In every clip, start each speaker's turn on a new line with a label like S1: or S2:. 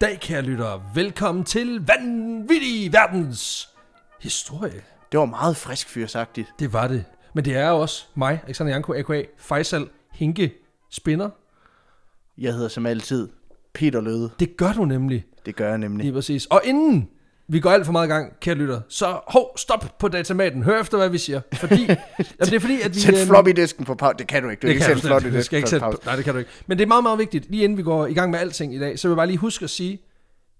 S1: dag, kære lyttere. Velkommen til Vanvittig Verdens Historie.
S2: Det var meget frisk fyrsagtigt.
S1: Det var det. Men det er jo også mig, Alexander Janko, a.k.a. Faisal Hinke Spinner.
S2: Jeg hedder som altid Peter Løde.
S1: Det gør du nemlig.
S2: Det gør jeg nemlig.
S1: Lige præcis. Og inden vi går alt for meget i gang, kære lytter, så hov, stop på datamaten. Hør efter, hvad vi siger. Fordi, jamen, det er fordi, at vi...
S2: Sæt
S1: øhm,
S2: floppy-disken på pause. Det kan du ikke. Du
S1: Det
S2: kan
S1: kan
S2: ikke
S1: du
S2: sætte
S1: slet
S2: floppy
S1: ikke. Du skal ikke
S2: disken
S1: sætte,
S2: på pause.
S1: nej, det kan du ikke. Men det er meget, meget vigtigt. Lige inden vi går i gang med alting i dag, så vil jeg bare lige huske at sige,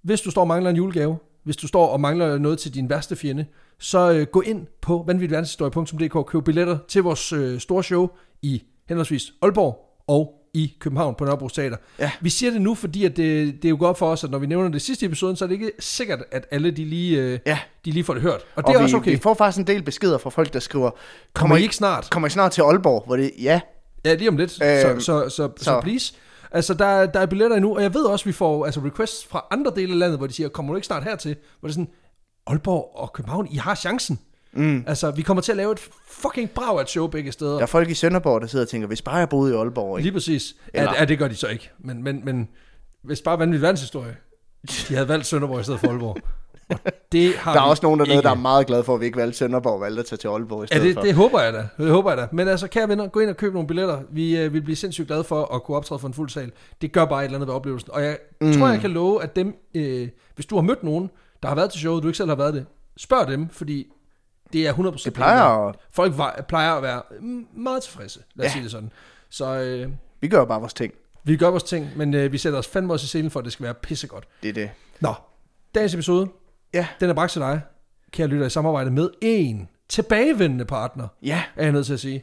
S1: hvis du står og mangler en julegave, hvis du står og mangler noget til din værste fjende, så øh, gå ind på vanvittigverdenshistorie.dk og køb billetter til vores øh, store show i henholdsvis Aalborg og i København på Nørrebro Teater.
S2: Ja.
S1: Vi siger det nu, fordi at det, det er jo godt for os, at når vi nævner det sidste episode, så er det ikke sikkert, at alle de lige, øh,
S2: Ja.
S1: de lige får det hørt. Og
S2: Og
S1: det er
S2: vi,
S1: også okay.
S2: vi får faktisk en del beskeder fra folk, der skriver,
S1: Kommer I ikke snart?
S2: kommer I snart til Aalborg? Hvor det, ja,
S1: Ja, lige om lidt. så,
S2: Øhm,
S1: så, så, så, så
S2: så-
S1: please. Altså, der, er- der er billetter endnu, og jeg ved også, at vi får altså, requests fra andre dele af landet, hvor de siger, kommer du ikke snart hertil? Hvor det er sådan, Aalborg og København, I har chancen. Mm. Altså, vi kommer til at lave et fucking brav af et show begge steder.
S2: der er folk i Sønderborg, der sidder og tænker, hvis bare jeg boede i Aalborg, ikke?
S1: Lige præcis.
S2: Eller-
S1: Ja, ja, det gør de så ikke. Men, men, men hvis bare vanvittig verdenshistorie, de havde valgt Sønderborg i stedet for Aalborg. Og det har
S2: Der er
S1: vi
S2: også nogen dernede,
S1: ikke.
S2: der er meget glade for, at vi ikke valgte Sønderborg og valgte at tage til Aalborg i
S1: Ja,
S2: stedet
S1: det,
S2: for.
S1: det håber jeg da. Det håber jeg da. Men altså, kære venner, gå ind og køb nogle billetter. Vi øh, vil blive sindssygt glade for at kunne optræde for en fuld sal. Det gør bare et eller andet ved oplevelsen. Og jeg mm. tror, jeg kan love, at dem, øh, hvis du har mødt nogen, der har været til showet, du ikke selv har været det, spørg dem, fordi det er 100%
S2: Det plejer at-
S1: Folk var, plejer at være mm, meget tilfredse, lad os ja.
S2: Ja.
S1: sige det sådan. Så øh,
S2: Vi gør bare vores ting.
S1: vi gør vores ting, men øh, vi sætter os fandme også i selen for, at det skal være pissegodt.
S2: Det er det.
S1: Nå, dagens episode,
S2: Ja.
S1: den er bragt til dig, kære lytter, i samarbejde med en tilbagevendende partner,
S2: Ja,
S1: er jeg nødt til at sige.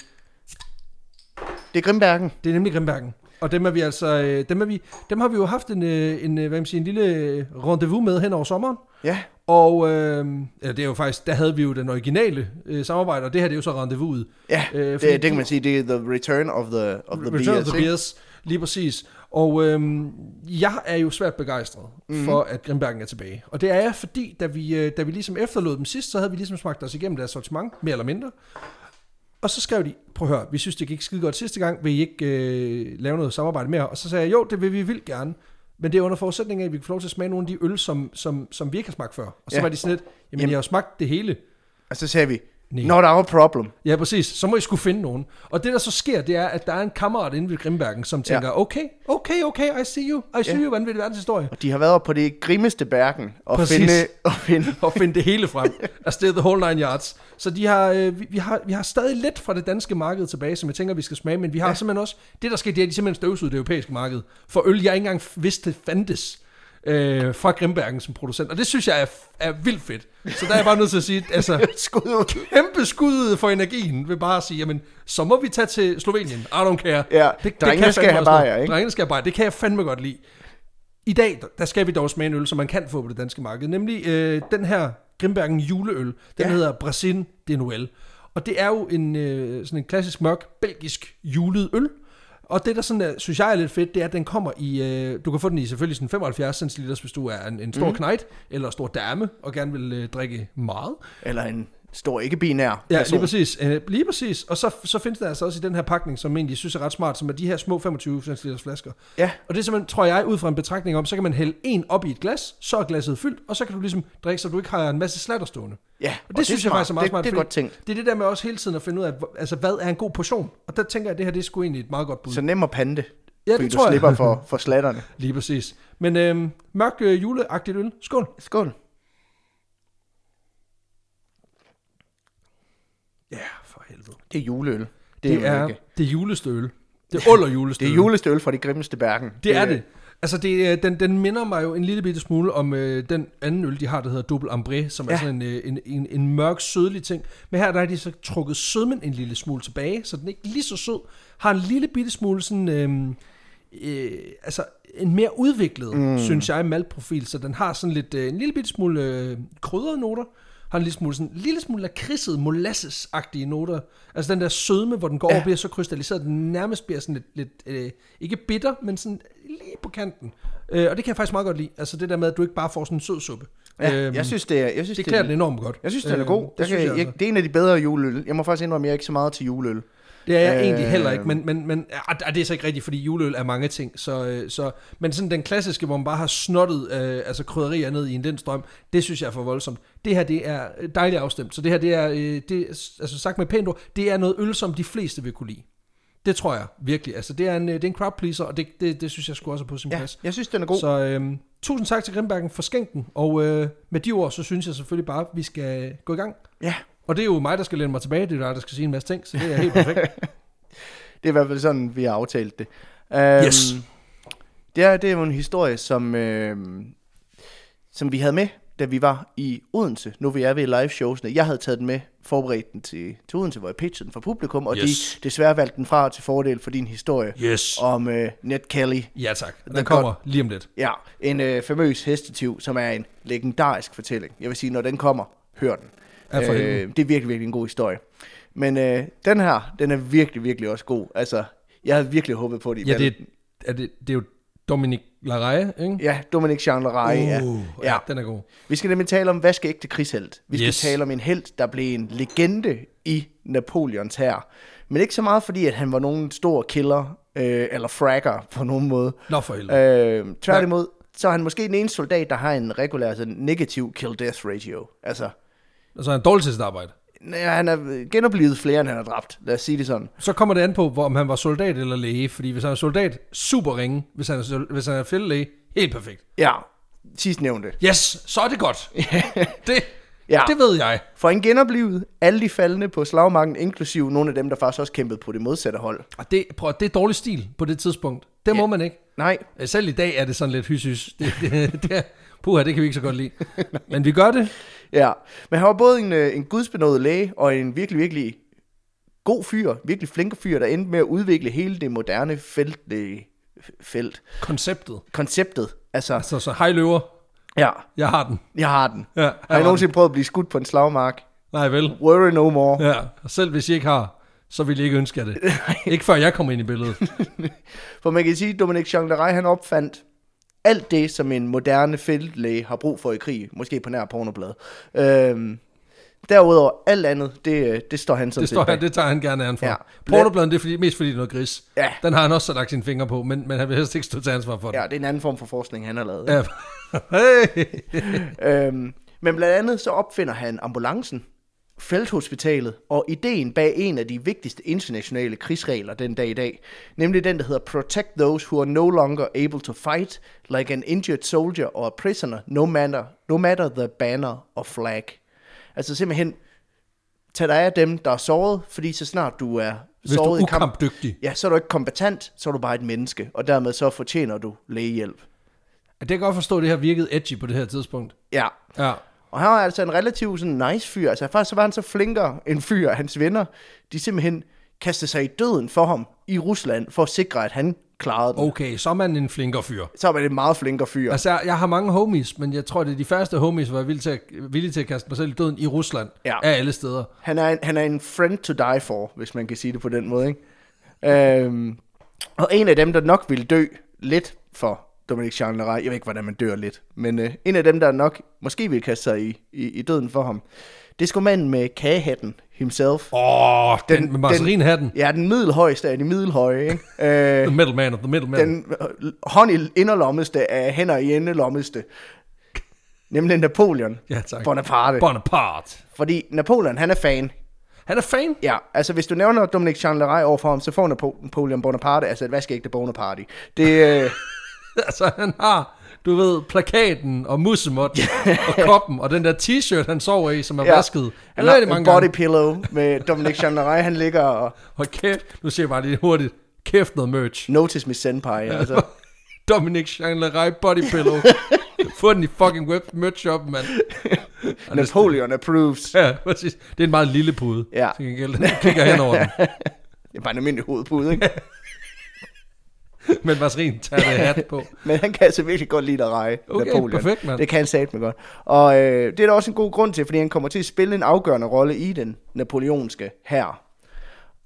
S2: det er Grimbergen.
S1: Det er nemlig Grimbergen. Og dem, er vi altså, øh, dem, er vi, dem har vi jo haft en, øh, en, øh, hvad kan man siger, en lille øh, rendezvous med hen over sommeren.
S2: Ja,
S1: Og øh, ja, det er jo faktisk, der havde vi jo den originale øh, samarbejde, og det her det er jo så rendezvouset.
S2: ja.
S1: Øh,
S2: det,
S1: fordi
S2: det, kan man sige, det er the return of the, of the
S1: Return of
S2: Beers,
S1: the
S2: ikke?
S1: Beers, lige præcis. Og øhm, jeg er jo svært begejstret mm.
S2: Mhm.
S1: for, at Grimbergen er tilbage. Og det er jeg, fordi da vi, øh, da vi ligesom efterlod dem sidst, så havde vi ligesom smagt os igennem deres sortiment, mere eller mindre. Og så skrev de, prøv at høre, vi synes, det gik skide godt sidste gang, vil I ikke øh, lave noget samarbejde mere? Og så sagde jeg, jo, det vil vi vildt gerne, men det er under forudsætning af, at vi kan få lov til at smage nogle af de øl, som, som, som vi ikke har smagt før. Og så ja.
S2: Ja.
S1: var de sådan lidt, jamen, jamen
S2: Jamen.
S1: jeg har jo smagt det hele.
S2: Og så sagde vi,
S1: Nej.
S2: not our problem.
S1: Ja, præcis. Så må I skulle finde nogen. Og det, der så sker, det er, at der er en kammerat inde ved Grimbergen, som tænker, ja. okay, okay, okay, I see you. I see yeah. you, vanvittig verdenshistorie.
S2: Og de har været oppe på det grimmeste Bergen og
S1: Præcis.
S2: finde, og finde
S1: Og finde det hele frem. Altså, det er the whole nine yards. Så de har, øh, vi, vi, har, vi har stadig lidt fra det danske marked tilbage, som jeg tænker, vi skal smage. Men vi har ja. simpelthen også, det der sker, det er, at de simpelthen støvsud det europæiske marked. For øl, jeg ikke engang vidste fandtes. Øh, fra Grimbergen som producent. Og det synes jeg er, er vildt fedt. Så der er jeg bare nødt til at sige, altså,
S2: skud ud.
S1: kæmpe skud for energien ved bare at sige, jamen, så må vi tage til Slovenien. I don't care.
S2: Ja, drengene
S1: kan jeg
S2: skal
S1: fandme
S2: have
S1: også noget.
S2: bajer, ikke?
S1: Drengene skal have bajer, det kan jeg fandme godt lide. I dag, der- der skal vi dog smage en øl, som man kan få på det danske marked, nemlig øh, den her Grimbergen juleøl. Den ja. hedder Brasin de Noël. Og det er jo en, øh, sådan en klassisk mørk belgisk julet øl. Og det, der sådan er, synes jeg er lidt fedt, det er, at den kommer i... Øh, du kan få den i selvfølgelig sådan 75 cl, hvis du er en, en stor mm.
S2: Mhm.
S1: knejt eller stor dame og gerne vil øh, drikke meget.
S2: Eller en stor ikke-binær
S1: Ja,
S2: person.
S1: lige præcis. Øh, lige præcis. Og så, så findes der altså også i den her pakning, som jeg egentlig synes er ret smart, som er de her små 25 cm flasker.
S2: Ja.
S1: Og det er simpelthen, tror jeg, ud fra en betragtning om, så kan man hælde en op i et glas, så er glasset fyldt, og så kan du ligesom drikke, så du ikke har en masse slatter stående.
S2: ja,
S1: Og det, det synes jeg
S2: smart.
S1: faktisk er meget
S2: det,
S1: smart.
S2: Det er
S1: fordi
S2: godt tænkt.
S1: Det er det der med også hele tiden at finde ud af, hvor- altså, hvad er en god portion? Og der tænker jeg, at det her det er sgu egentlig et meget godt bud.
S2: Så nem at pande,
S1: Ja, det
S2: fordi
S1: tror
S2: du
S1: jeg.
S2: slipper for, for slatterne.
S1: Lige præcis. Men øhm, mørk øh, juleagtigt øl. Skål.
S2: Skål.
S1: Ja, for helvede.
S2: Det er juleøl. Det,
S1: Det,
S2: jo
S1: det er
S2: ikke.
S1: det julestøl. Det er under
S2: det
S1: julestøl.
S2: er julestøl fra de grimmeste bergen.
S1: Det er det. Altså, det, øh, den, den minder mig jo en lille bitte smule om øh, den anden øl, de har, der hedder Double Ambré, som ja. er
S2: Ja.
S1: sådan en, øh, en, en, en mørk, sødlig ting. Men her der er de så trukket sødmen en lille smule tilbage, så den ikke er lige så sød. Har en lille bitte smule sådan... Øh, øh, altså, en mere udviklet, mm. synes jeg, maltprofil. Så den har sådan lidt, øh, en lille bitte smule øh, kryddernoter. Har en lille smule, sådan, en lille smule lakridset, molasses-agtige noter. Altså den der sødme, hvor den går ja. og bliver så krystalliseret, at den nærmest bliver sådan lidt, lidt øh, ikke bitter, men sådan lige på kanten. Øh, og det kan jeg faktisk meget godt lide. Altså det der med, at du ikke bare får sådan en sød suppe. Øhm,
S2: Ja, jeg synes, det er... Jeg synes,
S1: det
S2: det,
S1: klæder den
S2: det,
S1: enormt godt.
S2: jeg synes, den er
S1: Øh,
S2: god.
S1: Det,
S2: jeg,
S1: synes
S2: kan,
S1: jeg,
S2: jeg,
S1: altså.
S2: det er en af de bedre juleøl. Jeg må faktisk indrømme, at jeg er ikke så meget til juleøl.
S1: Det er jeg øh, egentlig
S2: Øh,
S1: heller ikke, men, men, men ah, ah, det er så ikke rigtigt, fordi juleøl er mange ting. Så, øh, så, men sådan den klassiske, hvor man bare har snottet øh, altså krydderier ned i en den strøm, det synes jeg er for voldsomt. Det her, det er øh, dejligt afstemt. Så det her, det er, øh, det, er, altså sagt med et pænt ord, det er noget øl, som de fleste vil kunne lide. Det tror jeg virkelig. Altså, det er en, øh, det er en crowd pleaser, og det, det, det synes jeg skulle også er på sin
S2: Ja,
S1: plads.
S2: jeg synes, den er god. Så.
S1: Så øh, tusind tak til Grimbergen for skænken, og øh, med de ord, så synes jeg selvfølgelig bare, at vi skal gå i gang.
S2: Ja,
S1: Og det er jo mig, der skal læne mig tilbage, det er jo dig, der skal sige en masse ting, så det er helt perfekt.
S2: det er i hvert fald sådan, vi har aftalt det. Um,
S1: Yes.
S2: Det er, det er jo en historie, som, øh, som vi havde med, da vi var i Odense. Nu vi er ved live showsene. Jeg havde taget den med, forberedt den til, til Odense, hvor jeg pitchede den for publikum, og
S1: Yes.
S2: de desværre valgte den fra til fordel for din historie
S1: Yes.
S2: om øh, Ned Kelly.
S1: Ja tak, den
S2: Den
S1: kommer lige om lidt.
S2: Ja, en øh, famøs hestetiv, som er en legendarisk fortælling. Jeg vil sige, når den kommer, hør den. Øh,
S1: Ja, for helvede.
S2: det er virkelig, virkelig en god historie. Men øh, den her, den er virkelig, virkelig også god. Altså, jeg havde virkelig håbet på det. i
S1: Ja, det er,
S2: valg.
S1: er, det, det er jo Dominic Laraye, ikke?
S2: Ja, Dominic Jean Leray, ja.
S1: Uh, ja. ja. den er god.
S2: Vi skal nemlig tale om, hvad skal ægte krigshelt? Vi skal
S1: Yes.
S2: yes. tale om en helt, der blev en legende i Napoleons hær. Men ikke så meget, fordi at han var nogen stor killer, øh, eller fragger på nogen måde.
S1: Nå for helvede.
S2: Øh, tværtimod, så er han måske den eneste soldat, der har en regulær sådan, negativ kill-death ratio. Altså,
S1: Øh. Så er han dårlig til sit arbejde.
S2: nej, han er genoplevet flere, end han har dræbt. Lad os sige det sådan.
S1: Så kommer det an på, hvor, om han var soldat eller læge, fordi hvis han er soldat, super ringe. Hvis han er, sol- hvis han er fældelæge, helt perfekt.
S2: Ja, sidst nævnte.
S1: Yes, så er det godt. det, ja.
S2: Ja.
S1: det ved jeg.
S2: For en genoplevet, alle de faldende på slagmarken, inklusive nogle af dem, der faktisk også kæmpede på det modsatte hold.
S1: Og det, prøv, at- det er dårlig stil på det tidspunkt. Det må man ikke.
S2: Nej,
S1: Øh, Selv i dag er det sådan lidt hysys. Det, det, det, er- puha, det kan vi ikke så godt lide. Men vi gør det.
S2: Ja, men han var både en, øh, en gudsbenået læge og en virkelig, virkelig god fyr, virkelig flink fyr, der endte med at udvikle hele det moderne felt, øh, felt
S1: Konceptet.
S2: konceptet. Altså,
S1: Altså, så hej løver.
S2: ja,
S1: Jeg har den.
S2: jeg har den.
S1: Ja, jeg
S2: har
S1: har
S2: I nogensinde prøvet at blive skudt på en slagmark?
S1: Nej vel.
S2: Worry no more.
S1: Ja, og selv hvis I ikke har, så vil I ikke ønske jer det. ikke før jeg kommer ind i billedet.
S2: For man kan sige, at Dominic Jean Leray, han opfandt alt det, som en moderne feltlæge har brug for i krig. Måske på nær pornoblad. Øhm, derudover, alt andet, det, øh, det står han sådan
S1: Det
S2: set
S1: står her,
S2: bag.
S1: det tager han gerne æren for. Ja.
S2: Ja.
S1: Pornobladen, det er fordi, mest fordi det er noget gris.
S2: Ja.
S1: Den har han også så lagt sine fingre på, men, men han vil helst ikke stå til ansvar for det.
S2: Ja, det er en anden form for forskning, han har lavet.
S1: Ja. hey.
S2: Øhm, men blandt andet så opfinder han ambulancen, felthospitalet og ideen bag en af de vigtigste internationale krigsregler den dag i dag, nemlig den, der hedder Protect those who are no longer able to fight, like an injured soldier or a prisoner, no matter, no matter the banner or flag. Altså simpelthen, tag dig af dem, der er såret, fordi så snart du er
S1: Hvis du
S2: såret
S1: er
S2: i kamp,
S1: ukampdygtig.
S2: ja, så er du ikke kompetent, så er du bare et menneske, og dermed så fortjener du lægehjælp.
S1: Det kan jeg godt forstå, at det her virkede edgy på det her tidspunkt.
S2: Ja,
S1: Ja.
S2: Og han var altså en relativt sådan nice fyr. Altså faktisk så var han så flinkere end fyr. Hans venner, de simpelthen kastede sig i døden for ham i Rusland, for at sikre, at han klarede den. Oh.
S1: Okay, så er man en flinkere fyr.
S2: Så var det en meget flinkere fyr. Altså,
S1: Altså, jeg, jeg har mange homies, men jeg tror, det er de første homies, hvor jeg er villig til at, villig til at kaste mig selv i døden i Rusland.
S2: Ja.
S1: Af alle steder.
S2: han, er en, han er en friend to die for, hvis man kan sige det på den måde. Ikke? Øhm, og en af dem, der nok ville dø lidt for Dominic Jean Leray, jeg ved ikke, hvordan man dør lidt, men øh, en af dem, der nok måske ville kaste sig i, i, i døden for ham, det skulle manden med kagehatten
S1: Åh,
S2: himself.
S1: oh, den, den med marcerinhatten.
S2: Ja, den middelhøjeste af de middelhøje, ikke? Øh,
S1: The middle man of the middle man.
S2: den øh, hånd i inderlommeste af hænder i endelommeste. Nemlig Napoleon
S1: ja, tak.
S2: Bonaparte. Bon.
S1: Bonaparte.
S2: Fordi Napoleon, han er fan.
S1: Han er fan.
S2: Ja, altså hvis du nævner Dominic Jean Leray overfor ham, så får Napo- Napoleon Bonaparte, altså et vaskeægte Bonaparte. Det, øh,
S1: Altså, han har, du ved, plakaten og mussemotten og koppen og den der t-shirt, han sover i, som er
S2: Ja.
S1: vasket.
S2: han
S1: Han rigtig
S2: har en
S1: mange
S2: body
S1: gange.
S2: pillow med Dominic Jean Leray, han ligger og
S1: Hold kæft, nu siger jeg bare lige hurtigt. Kæft noget merch.
S2: notice me senpai. Altså.
S1: Dominic Jean body pillow. Få den i fucking web merch shop, mand.
S2: Napoleon approves.
S1: Ja, præcis. Det er en meget lille pude.
S2: Ja.
S1: Til gengæld, den kigger hen over den.
S2: Det er bare en almindelig hovedpude, ikke?
S1: Men Masrin tager det hat på.
S2: Men han kan altså virkelig godt lide at reje
S1: Okay,
S2: Napoleon.
S1: perfekt, mand.
S2: Det kan han satme godt. Og øh, det er der også en god grund til, fordi han kommer til at spille en afgørende rolle i den napoleonske hær.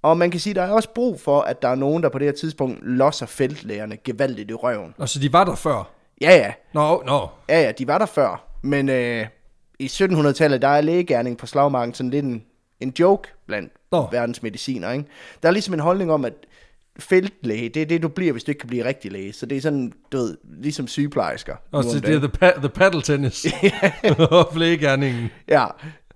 S2: Og man kan sige, der er også brug for, at der er nogen, der på det her tidspunkt losser feltlægerne gevaldigt i røven.
S1: Og så de var der før.
S2: Ja, ja.
S1: Nå, nå.
S2: Ja, ja, de var der før. Men øh, i 1700-tallet, der er lægegærning på slagmarken sådan lidt en, en joke blandt
S1: Nå.
S2: verdens mediciner. Ikke? Der er ligesom en holdning om, at feltlæge, det er det, du bliver, hvis du ikke kan blive rigtig læge. Så det er sådan, du ved, ligesom sygeplejersker.
S1: Og
S2: nu
S1: så
S2: om
S1: det er
S2: dagen.
S1: the, pa- the paddle tennis. og flægegærningen.
S2: Ja,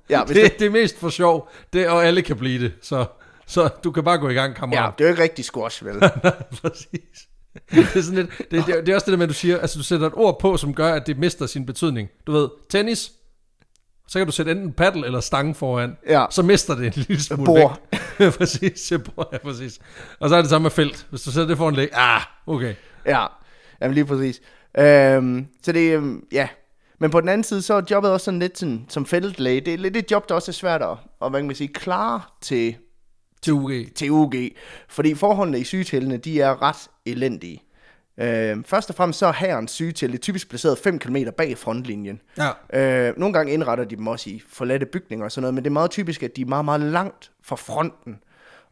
S2: ja, hvis
S1: Det, det er mest for sjov, det, og alle kan blive det. Så, så du kan bare gå i gang,
S2: Ja,
S1: kammerat.
S2: det er jo ikke rigtig squash, vel?
S1: Præcis. Det er, sådan lidt, det, det, det er også det der med, at du siger, altså du sætter et ord på, som gør, at det mister sin betydning. Du ved, tennis, så kan du sætte enten paddle eller stange foran.
S2: Ja.
S1: Så mister det en lille smule
S2: Bor.
S1: vægt. præcis, jeg bor, ja, præcis. Og så er det samme med felt. Hvis du sætter det foran læg, ah, okay.
S2: ja, jamen lige præcis. Øhm, så det, øhm, ja. Men på den anden side, så er jobbet også sådan lidt sådan, som feltlæge. Det er lidt et job, der også er svært at, og hvad kan man sige, klare til,
S1: Til UG.
S2: til UG. Fordi forholdene i sygetællene, de er ret elendige. Øhm, først og fremmest så er herrens sygetælle typisk placeret 5 km bag frontlinjen.
S1: Ja.
S2: Øh, nogle gange indretter de dem også i forladte bygninger og sådan noget, men det er meget typisk, at de er meget, meget langt fra fronten.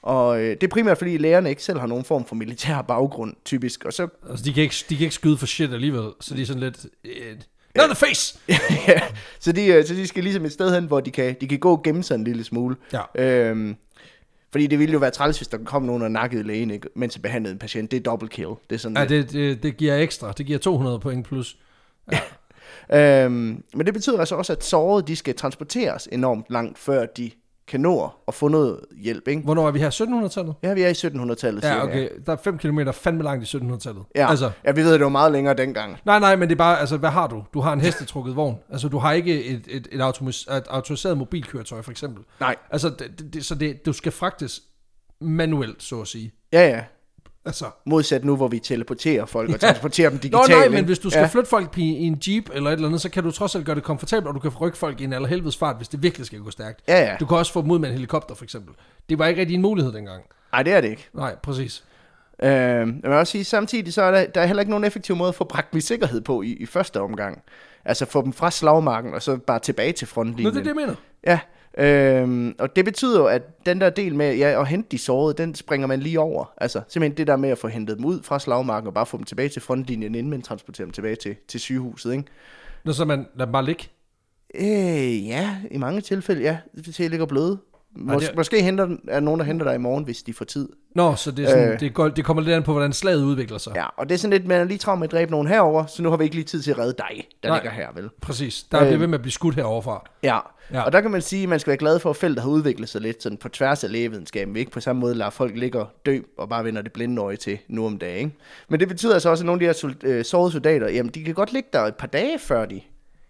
S2: Og øh, det er primært, fordi lærerne ikke selv har nogen form for militær baggrund, typisk. Og så,
S1: Altså, de kan, ikke, de kan ikke skyde for shit alligevel, så de er sådan lidt... Eh, not the face!
S2: ja, så, de, øh, så de skal ligesom et sted hen, hvor de kan, de kan gå og gemme sig en lille smule.
S1: Ja.
S2: Øhm, fordi det ville jo være træls, hvis der kom nogen og nakkede lægen, ikke, mens de behandlede en patient. Det er double kill. Det er sådan
S1: Ja,
S2: lidt.
S1: det, det, det giver ekstra. Det giver 200 point plus.
S2: Øhm, men det betyder altså også, at sårede de skal transporteres enormt langt, før de kan nå at få noget hjælp. Ikke?
S1: Hvornår er vi her? 1700-tallet?
S2: Ja, vi er i 1700-tallet.
S1: Ja,
S2: cirka.
S1: okay. Der er 5 km fandme langt i 1700-tallet.
S2: Ja,
S1: Altså,
S2: altså. ja, vi ved, at det var meget længere dengang.
S1: nej, nej, men det er bare, altså, hvad har du? Du har en hestetrukket vogn. Altså, du har ikke et, et, et, automis- et autoriseret mobilkøretøj, for eksempel.
S2: Nej.
S1: Altså, det, det- det, så det, du skal fragtes manuelt, så at sige.
S2: Ja, ja.
S1: Altså,
S2: Modsat nu, hvor vi teleporterer folk og transporterer dem
S1: Nå
S2: digitalt.
S1: nej,
S2: ikke?
S1: men hvis du skal ja.
S2: Ja,
S1: flytte folk i, i en jeep eller et eller andet, så kan du trods alt gøre det komfortabelt, og du kan rykke folk i en allerhelvedes fart, hvis det virkelig skal gå stærkt.
S2: Ja, ja.
S1: Du kan også få dem ud med en helikopter, for eksempel. Det var ikke rigtig en mulighed dengang.
S2: Nej, det er det ikke.
S1: Nej, præcis.
S2: Øh, jeg vil også sige, samtidig så er der, der er heller ikke nogen effektiv måde at få bragt min sikkerhed på i, i første omgang. Altså få dem fra slagmarken og så bare tilbage til
S1: Nå,
S2: frontlinjen.
S1: det er det, jeg mener.
S2: Ja, øhm, og det betyder jo, at den der del med ja, at hente de sårede, den springer man lige over. Altså simpelthen det der med at få hentet dem ud fra slagmarken og bare få dem tilbage til frontlinjen, inden man transporterer dem tilbage til, til sygehuset, ikke?
S1: Nå, så man lader dem bare ligge.
S2: Øh, ja, i mange tilfælde, ja. Hvis jeg ligger bløde. Mås-
S1: det er-
S2: Måske henter, den- er der nogen, der henter dig i morgen, hvis de får tid.
S1: Nå, så det, er sådan,
S2: Øh.
S1: øh. det, går, det kommer lidt an på, hvordan slaget udvikler sig. Ja.
S2: Ja, og det er sådan lidt, man er lige travlt med at dræbe nogen herover, så nu har vi ikke lige tid til at redde dig, der
S1: Nej.
S2: ligger her, vel?
S1: Præcis. Der øh. bliver ved med at blive skudt heroverfra.
S2: Ja. ja,
S1: Ja.
S2: og der kan man sige, at man skal være glad for, at feltet har udviklet sig lidt sådan på tværs af lægevidenskaben. Vi ikke på samme måde lader folk ligge og dø og bare vender det blinde øje til nu om dagen. Ikke? Men det betyder altså også, at nogle af de her sol- øh, sårede soldater, jamen de kan godt ligge der et par dage, før de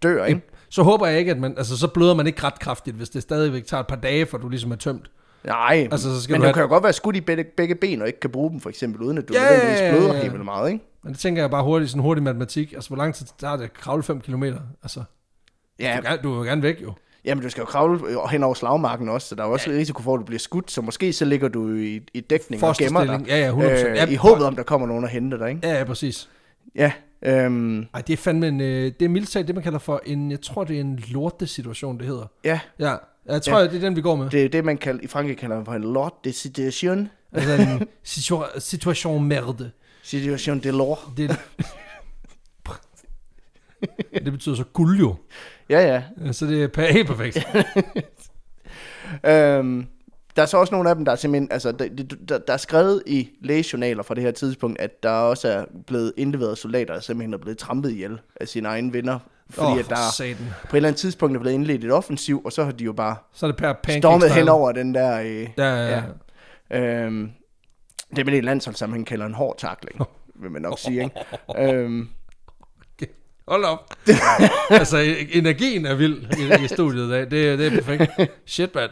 S2: dør, ikke?
S1: Så håber jeg ikke, at man... Altså, så bløder man ikke ret kraftigt, hvis det stadigvæk tager et par dage, for du ligesom er tømt.
S2: Nej,
S1: Altså, så skal
S2: men
S1: du
S2: du
S1: have-
S2: kan jo godt være skudt i begge, begge ben og ikke kan bruge dem, for eksempel, uden at du
S1: Ja,
S2: ja,
S1: ja,
S2: nødvendigvis
S1: ja,
S2: bløder
S1: ja, ja.
S2: helt vildt meget, ikke?
S1: Men det tænker jeg bare hurtigt, sådan hurtig matematik. Altså, hvor lang tid tager det at kravle 5 km? Altså,
S2: Ja,
S1: du, kan, du vil jo gerne væk, jo.
S2: jamen du skal jo kravle øh, hen over slagmarken også, så der er jo også ja. risiko for, at du bliver skudt, så måske så ligger du i, i dækning og gemmer dig. øh,
S1: Fosterstilling. Ja, ja, 100%. Ja,
S2: i håbet om, der kommer nogen og henter dig, ikke?
S1: Ja, ja, præcis.
S2: Ja, øhm,
S1: Ej, det er fandme en... Øh, det er mildtag, det man kalder for en... Jeg tror, det er en lortesituation, det hedder.
S2: ja.
S1: Ja, jeg tror, ja. det er den, vi går med.
S2: Det er det, man kalder, i Frankrig kalder man for en lort de situation.
S1: Altså en situa- situation merde.
S2: Situation de lort.
S1: Det, det betyder så guld jo.
S2: Ja, ja.
S1: Så det er per- helt perfekt.
S2: Øhm, der er så også nogle af dem, der er simpelthen, altså, der, der, der er skrevet i lægejournaler fra det her tidspunkt, at der også er blevet indleveret soldater, der simpelthen er blevet trampet ihjel af sine egne venner. Fordi
S1: Åh,
S2: oh,
S1: oh,
S2: at der
S1: satan.
S2: på et eller andet tidspunkt er blevet indledt et offensiv, og så har de jo bare
S1: Så er det per pancake
S2: stormet
S1: style.
S2: hen over den der... Øh,
S1: Der, ja.
S2: Ja. Øhm, det er vel det landsholdssammenhæng kalder en hård takling, vil man nok sige, ikke? Øhm,
S1: Hold op. altså, e- energien er vild i, i studiet i dag. Det, det er perfekt. Shit, man.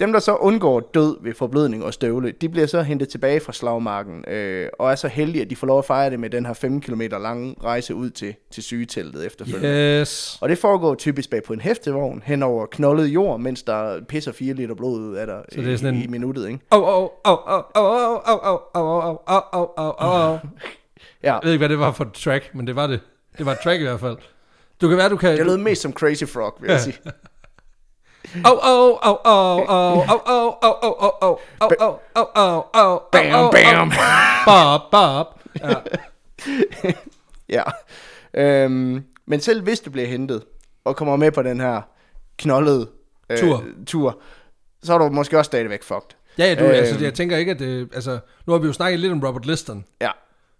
S2: dem, der så undgår død ved forblødning og støvle, de bliver så hentet tilbage fra slagmarken, øh, og er så heldige, at de får lov at fejre det med den her 5 km lange rejse ud til, til sygeteltet efterfølgende. Yeah.
S1: Yes.
S2: Og det foregår typisk bag på en hæftevogn hen over knoldet jord, mens der pisser 4 liter blod ud af dig øh,
S1: Så det er sådan
S2: i,
S1: en-
S2: i minuttet, ikke?
S1: Au, au, au, au, au, au, au, au, au, au, au, au, au, au, au.
S2: Ja,
S1: Jeg ved ikke, hvad det var for et track, men det var det. Det var et track i hvert fald. Du kan være, du kan...
S2: det lød mest som Crazy Frog, vil jeg sige.
S1: Au, au, au, au, au, au, au, au, au, au, au, au, au, au, au, au, au, au,
S2: Bam,
S1: au.
S2: bam!
S1: Bob, bob. Ja.
S2: Ja. Øhm, men selv hvis du bliver hentet og kommer med på den her knoldede øh,
S1: Tur.
S2: tur, så er du måske også stadigvæk fucked.
S1: Ja, ja, du, øh, altså,
S2: Øhm.
S1: jeg tænker ikke, at det, altså, nu har vi jo snakket lidt om Robert Liston,
S2: Ja.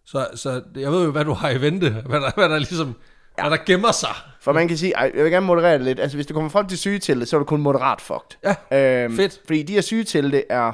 S1: så, så jeg ved jo, hvad du har i vente, hvad der, hvad der ligesom, ja. hvad der gemmer sig.
S2: For man kan sige, ej, jeg vil gerne moderere det lidt. Altså, hvis du kommer frem til sygeteltet, så er du kun moderat fucked.
S1: Ja,
S2: Øhm,
S1: Fedt.
S2: Fordi de her sygetelte er...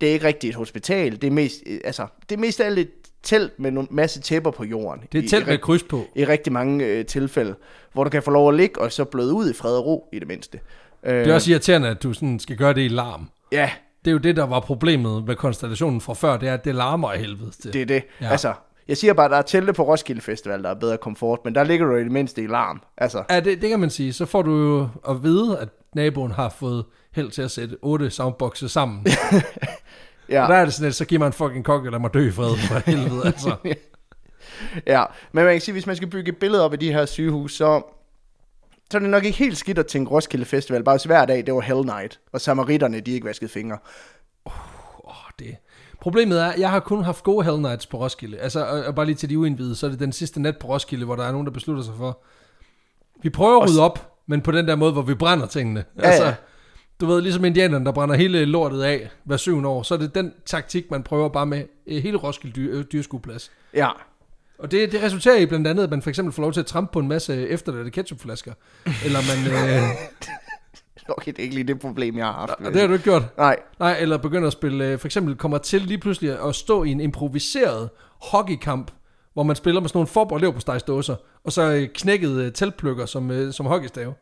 S2: Det er ikke rigtigt et hospital. Det er mest, øh, altså, det er mest af alt et telt med en masse tæpper på jorden.
S1: det er
S2: I-
S1: et telt
S2: i,
S1: med et kryds på.
S2: i, rigtig mange øh, tilfælde. Hvor du kan få lov at ligge og så bløde ud i fred og ro, i det mindste. Øh,
S1: Det er også irriterende, at du sådan skal gøre det i larm.
S2: Ja,
S1: Det er jo det, der var problemet med konstellationen fra før, det er, at det larmer af helvede til.
S2: det er det.
S1: Ja.
S2: Ja. Altså, jeg siger bare, at der er telte på Roskilde Festival, der er bedre komfort, men der ligger du i det mindste i larm. Altså,
S1: Ja, det, det kan man sige. Så får du jo at vide, at naboen har fået held til at sætte otte soundboxe sammen.
S2: ja.
S1: Og der er det sådan lidt, så giver mig en fucking kok, og lad mig dø i fred for helvede, altså.
S2: Ja, men man kan sige, hvis man skal bygge et billede op af de her sygehus, så, så er det nok ikke helt skidt at tænke Roskilde Festival. Bare hvis hver dag, det var Hell Night, og samaritterne, de ikke vaskede fingre.
S1: Åh, det... Problemet er, at jeg har kun haft gode Hell Nights på Roskilde. Altså, og, og bare lige til de uindvidede, så er det den sidste nat på Roskilde, hvor der er nogen, der beslutter sig for. Vi prøver at rydde op, men på den der måde, hvor vi brænder tingene.
S2: Ja,
S1: Altså,
S2: ja.
S1: Du ved, ligesom indianerne, der brænder hele lortet af hver syvende år, så er det den taktik, man prøver bare med øh, hele Roskilde dyr, øh, dyrskueplads.
S2: Ja,
S1: Og det, det resulterer i blandt andet, at man for eksempel får lov til at trampe på en masse efterladte ketchupflasker. Eller man... Øh,
S2: okay, det er ikke lige det problem, jeg har haft.
S1: og det har du ikke gjort.
S2: Nej,
S1: Nej, eller begynder at spille, øh, for eksempel kommer til lige pludselig at stå i en improviseret hockeykamp, hvor man spiller med sådan nogle forb- og leverpostejsdåser, og så øh, knækkede øh, teltplukker som, øh, som hockeystave.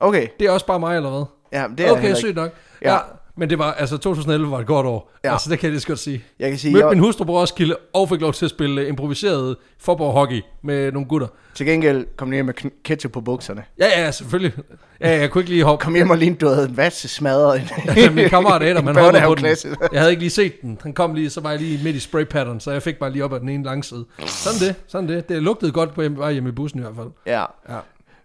S2: okay.
S1: Det er også bare mig, eller hvad?
S2: Ja, men det er okay,
S1: okay,
S2: jeg, heller
S1: sygt nok. Ja.
S2: Ja.
S1: ja. Men det var, altså 2011 var et godt år. Ja.
S2: Ja.
S1: Altså, det kan jeg lige så godt sige.
S2: ikke. jeg kan sige,
S1: Mødte min
S2: jeg,
S1: hustru på Roskilde, og fik lov til at spille øh, improviseret forborg hockey med nogle gutter.
S2: til gengæld kom jeg hjem med kn- ketchup på bukserne.
S1: Ja, ja, selvfølgelig. Ja, jeg kunne ikke lige hoppe.
S2: Kom hjem og lignede, du havde en vasse smadret.
S1: Ja, Altså, min kammerat Adam, han hoppede på
S2: Børnehaveklasse.
S1: den. Jeg havde ikke lige set den. Han kom lige, så var jeg lige midt i spraypattern, så jeg fik bare lige op ad den ene lange side. Sådan det, sådan det. Det lugtede godt på hjem, var hjemme i bussen i hvert fald.
S2: Ja.
S1: Ja.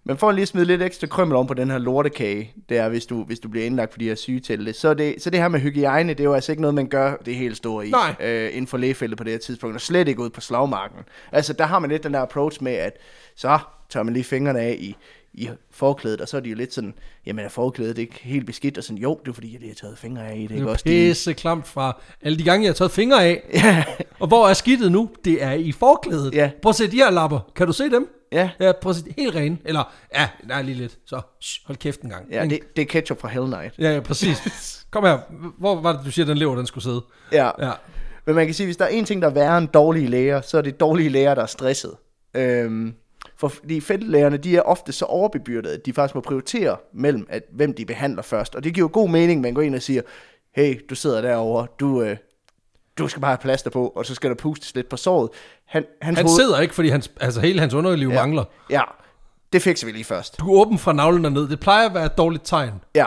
S2: Men for lige at smide lidt ekstra krømmel om på den her lortekage, det er, hvis du, hvis du bliver indlagt for de her sygetelte, så er det, så det her med hygiejne, det er jo altså ikke noget, man gør det helt store i
S1: Nej.
S2: øh, inden for lægefeltet på det her tidspunkt, og slet ikke ud på slagmarken. Altså, der har man lidt den der approach med, at så tør man lige fingrene af i, i forklædet, og så er de jo lidt sådan, jamen er forklædet ikke helt beskidt, og sådan, jo, det er fordi, jeg lige har taget fingre af i det,
S1: Det
S2: ikke
S1: var
S2: også? Det
S1: pisse klamt fra alle de gange, jeg har taget fingre af. Ja. Og hvor er skidtet nu? Det er i forklædet.
S2: Ja.
S1: Prøv at se de her lapper. Kan du se dem?
S2: Ja.
S1: Ja, prøv at se. Helt rene. Eller, ja, nej, lige lidt. Så, shh, hold kæft en gang.
S2: Ja,
S1: Ikke?
S2: det, det er ketchup fra Hell Night.
S1: ja, ja, præcis. Kom her. Hvor var det, du siger, den lever, den skulle sidde?
S2: Ja.
S1: Ja.
S2: Men man kan sige, hvis der er en ting, der er værre end dårlige læger, så er det dårlige læger, der er stresset. Øhm, for fordi feltlægerne, de er ofte så overbebyrdede, at de faktisk må prioritere mellem, at, hvem de behandler først. Og det giver jo god mening, man går ind og siger, hey, du sidder derovre, du, øh, du skal bare have plaster på, og så skal der pustes lidt på såret. Han, hans
S1: Han
S2: hoved,
S1: sidder ikke, fordi hans, altså, hele hans underliv ja. mangler.
S2: Ja, det fikser vi lige først.
S1: Du er åben fra navlen og ned. Det plejer at være et dårligt tegn.
S2: Ja,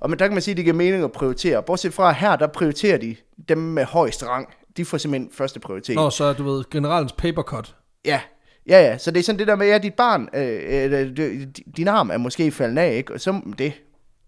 S2: og men der kan man sige, at det giver mening at prioritere. Bortset fra her, der prioriterer de dem med højst rang. De får simpelthen første prioritet.
S1: Nå, så er, du ved, generalens papercut.
S2: Ja, ja, ja. Så det er sådan det der med, at ja, dit barn, øh, øh, øh, øh, din arm er måske faldet af, ikke? Og så det,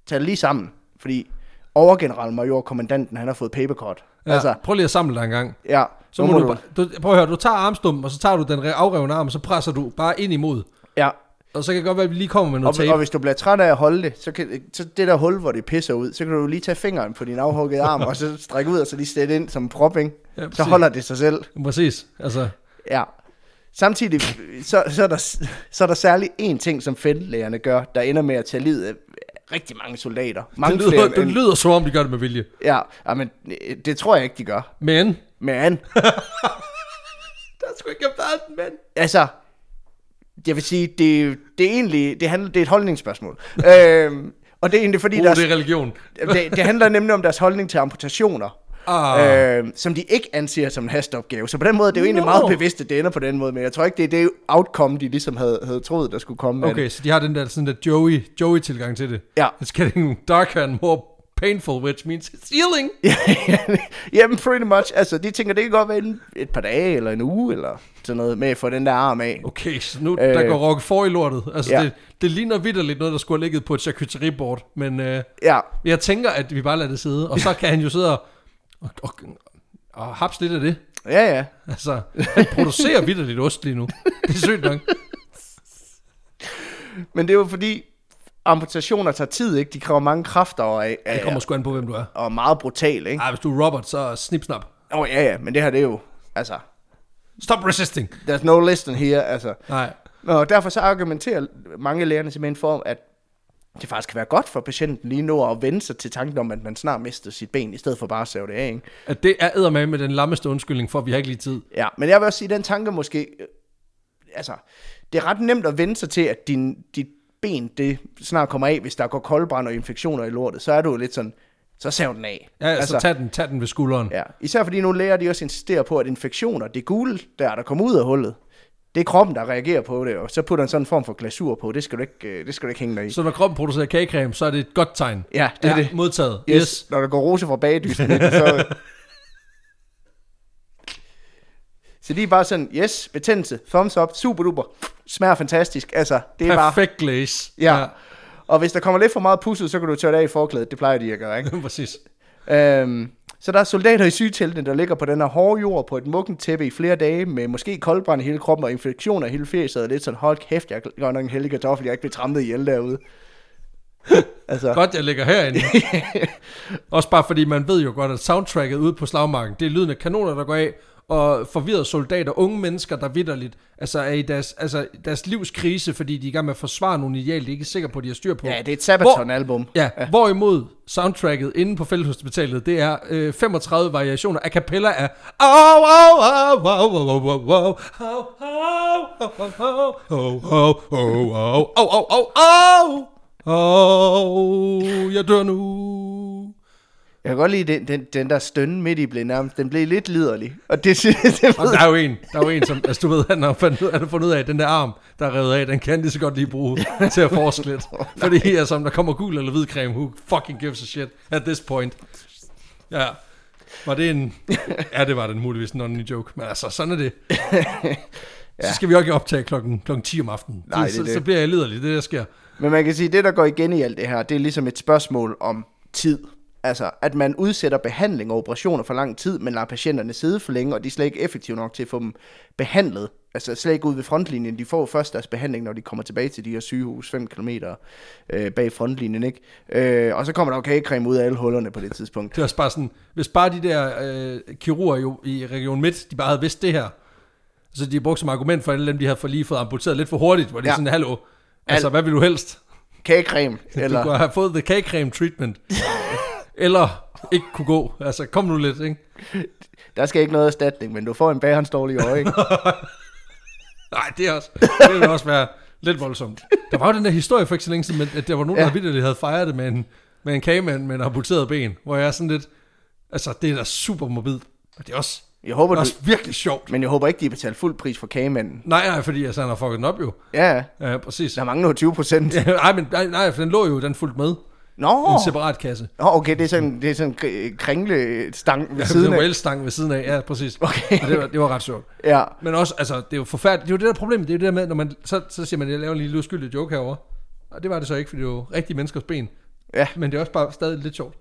S2: tag det lige sammen. Fordi overgeneral major kommandanten, han har fået papercut.
S1: Ja, altså, prøv lige at samle dig en gang.
S2: ja.
S1: Så
S2: nu
S1: må, du, bare, du, prøv at høre, du tager armstumpen, og så tager du den re- afrevne arm, og så presser du bare ind imod.
S2: Ja,
S1: Og så kan det godt være, at vi lige kommer med
S2: og,
S1: noget tape.
S2: og hvis du bliver træt af at holde det, så, kan, så det der hul, hvor det pisser ud, så kan du lige tage fingeren på din afhuggede arm, og så strække ud, og så lige sætte ind som en prop, ikke?
S1: Ja,
S2: så
S1: præcis.
S2: holder det sig selv.
S1: Præcis. Altså,
S2: Ja. Samtidig så, så, er der, så er der særlig én ting, som feltlægerne gør, der ender med at tage livet af rigtig mange soldater. Mange
S1: det, lyder,
S2: flere,
S1: det
S2: end-
S1: lyder som om, de gør det med vilje.
S2: Ja, ja, men øh, det tror jeg ikke, de gør.
S1: Men...
S2: Men,
S1: Der skulle ikke have været en mand.
S2: altså, jeg vil sige, det, det er egentlig, det, handler, det er et holdningsspørgsmål. øhm, og det er egentlig fordi,
S1: Uh,
S2: deres,
S1: det er religion.
S2: det, det handler nemlig om deres holdning til amputationer.
S1: Ah.
S2: Øhm, som de ikke anser som en hasteopgave. Så på den måde er det jo egentlig
S1: Nå.
S2: meget bevidst, at det ender på den måde, men jeg tror ikke, det er det outcome, de ligesom havde, havde troet, der skulle komme. af det.
S1: Okay, så de har den der, sådan der Joey, Joey-tilgang til det.
S2: Ja.
S1: It's getting darker and more painful, which means it's healing.
S2: Jamen, pretty much. Altså, de tænker, det kan godt være en, et par dage, eller en uge, eller sådan noget, med at få den der arm af.
S1: Okay, så nu øh, der
S2: Øh.
S1: går Rock for i lortet. Altså, ja.
S2: Ja.
S1: det, det ligner vidderligt noget, der skulle have ligget på et charcuteriebord. Men øh,
S2: Ja,
S1: jeg tænker, at vi bare lader det sidde. Og så kan han jo sidde og, og, og, og haps lidt af det.
S2: ja, ja.
S1: Altså, han producerer vidderligt ost lige nu. Det er sygt nok.
S2: Men det var fordi, amputationer tager tid, ikke? De kræver mange kræfter og, er-
S1: Det
S2: er-
S1: kommer sgu an på, hvem du er.
S2: og er meget brutale, ikke?
S1: Ej, hvis du er Robert, så snip snap.
S2: Åh, oh, ja, ja, men det her, det er jo, altså,
S1: Stop resisting.
S2: there's no lesson here, altså.
S1: Nej.
S2: Og derfor så argumenterer mange af lægerne simpelthen for, at det faktisk kan være godt for patienten lige nu at vende sig til tanken om, at man snart mister sit ben, i stedet for bare at save det af, ikke?
S1: At det er eddermame med den lammeste undskyldning for, at vi har ikke lige tid.
S2: Ja, men jeg vil også sige, at den tanke måske... Øh, altså, det er ret nemt at vende sig til, at din, dit ben det snart kommer af, hvis der går koldbrand og infektioner i lortet. Så er du jo lidt sådan, så sav den af.
S1: Ja, altså, så tag den, tag den ved skulderen. Ja.
S2: ja. Især fordi nogle læger de også insisterer på, at infektioner, det gule der, der kommer ud af hullet, det er kroppen, der reagerer på det, og så putter en sådan en form for glasur på. Det skal du ikke, øh, det skal du ikke hænge dig i.
S1: Så når kroppen producerer kagecreme, så er det et godt tegn.
S2: Ja, det er det.
S1: Modtaget.
S2: Yes. yes. Når der går rose fra bagdysten, ikke, så... Så de er bare sådan, yes, betændelse, thumbs up, super duper, smager fantastisk, altså, det er bare...
S1: Perfekt glaze.
S2: Ja. ja. Og hvis der kommer lidt for meget pusset, så kan du tørre det af i forklædet, det plejer de at gøre, ikke?
S1: ja. Præcis.
S2: Øhm, så der er soldater i sygeteltene, der ligger på den her hårde jord på et mukken tæppe i flere dage, med måske koldbrand i hele kroppen og infektioner i hele fjeset, og lidt sådan, hold kæft, jeg er godt nok en heldig kartoffel, jeg er ikke blevet trammet ihjel derude. altså,
S1: Godt, jeg ligger herinde. Også bare fordi man ved jo godt, at soundtracket ude på slagmarken, det er lyden af kanoner, der går af, og forvirrede soldater, unge mennesker, der vidderligt altså er i deres, altså, deres livs krise, fordi de er i gang med at forsvare nogle ideal, de er ikke sikre på, at de har styr på.
S2: ja, det er et Sabaton-album.
S1: Ja, ja, hvorimod soundtracket inde på Fælleshospitalet, det er øh, 35 variationer a cappella af au, au, au, au, au, au, au, au, au, au, au, au, au, au, au, au, au, au, au, au, jeg dør nu.
S2: Jeg kan godt lide den, den, den der stønne midt i blev nærmest, den blev lidt liderlig. Og det, det, det
S1: Og der er jo en, der er jo en, som, altså du ved, han har fundet, ud- han har fundet ud af, at den der arm, der er revet af, den kan han lige så godt lige bruge til at forske lidt. Fordi altså, om der kommer gul eller hvid creme, who fucking gives a shit at this point. Ja, var det en... Ja, det var den muligvis en only joke, men altså, sådan er det. Så skal vi jo ikke optage klokken, klokken 10 om aftenen.
S2: Nej, det er
S1: så,
S2: det.
S1: så bliver jeg liderlig, det er det der sker.
S2: men man kan sige, det der går igen i alt det her, det er ligesom et spørgsmål om tid. Altså, at man udsætter behandling og operationer for lang tid, men lader patienterne sidde for længe, og de er slet ikke effektive nok til at få dem behandlet. Altså slet ikke ud ved frontlinjen. De får først deres behandling, når de kommer tilbage til de her sygehus 5 km øh, bag frontlinjen, ikke? Øh, og så kommer der jo kagecreme ud af alle hullerne på det tidspunkt.
S1: Det er også bare sådan, hvis bare de der øh, kirurger jo, i Region Midt, de bare havde vidst det her, så de har brugt som argument for alle dem, de havde for lige fået amputeret lidt for hurtigt, hvor det ja.
S2: Ja.
S1: er sådan, hallo, altså hvad vil du helst?
S2: Kagecreme,
S1: Eller... Du
S2: eller...
S1: kunne have fået the kagecreme treatment, eller ikke kunne gå, altså kom nu lidt, ikke?
S2: Der skal ikke noget erstatning, men du får en bagernsdårlig øje, ikke?
S1: Nej, det er også, det ville også være lidt voldsomt. Der var jo den der historie for ikke så længe siden, men at der var nogen, ja.
S2: Ja.
S1: der vidderligt havde fejret det med en, med en kagemand med en amputeret ben, hvor jeg er sådan lidt, altså det er da super morbid, og det er også,
S2: Jeg håber,
S1: det er
S2: du,
S1: også virkelig sjovt.
S2: Men jeg håber ikke, de har betalt fuld pris for kagemanden.
S1: Nej, nej, fordi altså, han har fucket den op jo.
S2: Ja, ja.
S1: Ja, præcis.
S2: der mangler jo 20 procent. Ja.
S1: nej, men nej, nej, for den lå jo, den fulgte med.
S2: Nå,
S1: Oh. En separat kasse.
S2: Nå, okay, det er sådan, det er sådan en kringlestang ved
S1: Ja,
S2: siden
S1: siden
S2: af.
S1: en stang ved siden af, ja, præcis.
S2: Okay.
S1: Og det var, det var ret sjovt.
S2: Ja,
S1: Men også, altså, det er jo forfærdeligt. Det er jo det der problem, det er jo det der med, når man, så, så siger man, jeg laver en lille uskyldig joke herover. Og det var det så ikke, fordi det var jo rigtige menneskers ben.
S2: Ja.
S1: Men det er også bare stadig lidt sjovt.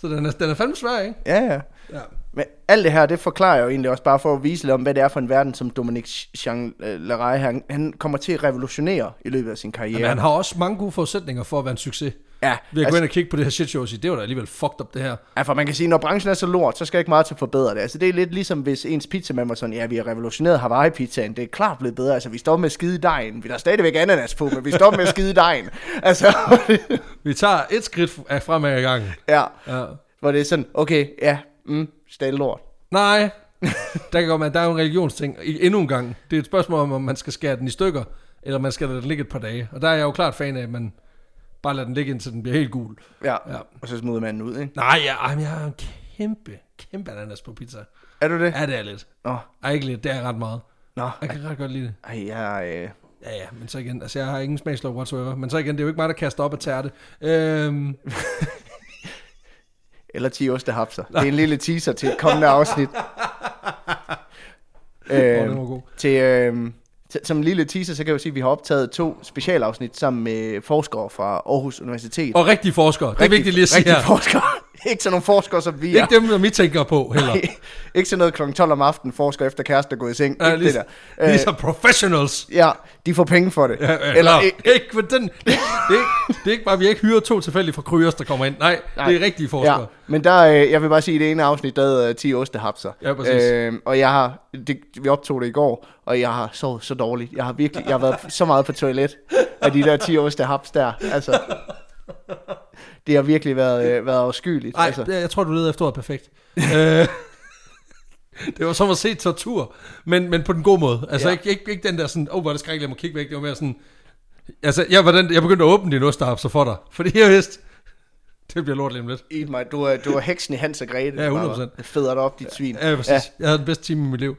S1: Så den er, den er fandme svær, ikke?
S2: ja, ja.
S1: Ja.
S2: Men alt det her, det forklarer jo egentlig også bare for at vise lidt om, hvad det er for en verden, som Dominique Jean øh, Leray, han, han kommer til at revolutionere i løbet af sin karriere.
S1: Men han har også mange gode forudsætninger for at være en succes.
S2: Ja,
S1: Ved at gå
S2: altså-
S1: ind og kigge på det her shit show og sige, det var da alligevel fucked up det her.
S2: Ja, for man kan sige, når branchen er så lort, så skal jeg ikke meget til at forbedre det. Altså, det er lidt ligesom, hvis ens pizzamand var sådan, ja, vi har revolutioneret Hawaii-pizzaen, det er klart blevet bedre. Altså, vi står med at skide i dejen. Vi der er stadigvæk ananas på, men vi står med at skide i dejen. Altså,
S1: Vi tager et skridt af fremad i gangen.
S2: ja.
S1: Ja.
S2: Hvor det er sådan, okay, ja, mm, stadig lort.
S1: Nej, der kan godt være, der er jo en religionsting I- endnu en gang. Det er et spørgsmål om, om man skal skære den i stykker, eller man skal lade den ligge et par dage. Og der er jeg jo klart fan af, at man bare lader den ligge, indtil den bliver helt gul.
S2: Ja.
S1: Ja.
S2: ja. Og så smider man den ud, ikke?
S1: Nej, jeg, ej, men jeg har en kæmpe, kæmpe ananas på pizza.
S2: Er du det?
S1: Ja, det er lidt.
S2: Nå,
S1: Ej, ikke lidt, det er ret meget.
S2: nå.
S1: Jeg kan ret godt lide det.
S2: Ej, jeg, øh,
S1: Ja, ja, men så igen, altså jeg har ingen smagslov whatsoever. Men så igen, det er jo ikke mig, der kaster op af tærte. Øhm,
S2: eller 10 ostehapser. Det er en lille teaser til et kommende afsnit. øh,
S1: den var god.
S2: til, øh, til, som en lille teaser, så kan jeg jo sige, at vi har optaget to specialafsnit sammen med forskere fra Aarhus Universitet.
S1: og rigtige forskere, det er vigtigt lige at sige
S2: rigtige
S1: her.
S2: forskere. ikke sådan nogle forskere, som vi
S1: Ja.
S2: er.
S1: Ikke dem, som vi tænker på heller.
S2: ikke sådan noget kl. 12 om aftenen, forsker efter kæreste er gået i seng.
S1: Ja,
S2: ikke
S1: lige,
S2: det der. Øh,
S1: ligesom professionals.
S2: ja, de får penge for det.
S1: Ja, Eller,
S2: øh,
S1: ikke, ikke, men den, det, er ikke, det er ikke bare, at vi ikke hyrer to tilfældige fra Kryos, der kommer ind. Nej, Nej. det er rigtige forskere. Ja.
S2: men der, øh, jeg vil bare sige, at i det ene afsnit, der øh, havde jeg 10 ostehapser.
S1: Ja, præcis.
S2: Øh, og jeg har, det, vi optog det i går, og jeg har sovet så dårligt. Jeg har virkelig, jeg har været så meget på toilet af de der 10 ostehaps der. Altså, det har virkelig været, øh, været afskyeligt.
S1: Nej,
S2: altså.
S1: altså. jeg tror, du leder efter ordet perfekt. øh, det var som at se tortur, men, men på den gode måde. Altså
S2: Ja.
S1: ja. ikke, ikke, ikke den der sådan, åh, oh, hvor er det skrækkeligt, jeg må kigge væk. Det var mere sådan, altså jeg, var den, jeg begyndte at åbne din ostehapser for dig. Fordi jeg vidste, det bliver lort lige om lidt.
S2: Eat mig. Du er, du er heksen i Hans og Grete.
S1: Ja,
S2: der bare
S1: 100%.
S2: Fedder dig op, dit svin.
S1: Ja, præcis. Ja. Jeg havde den bedste time i mit liv.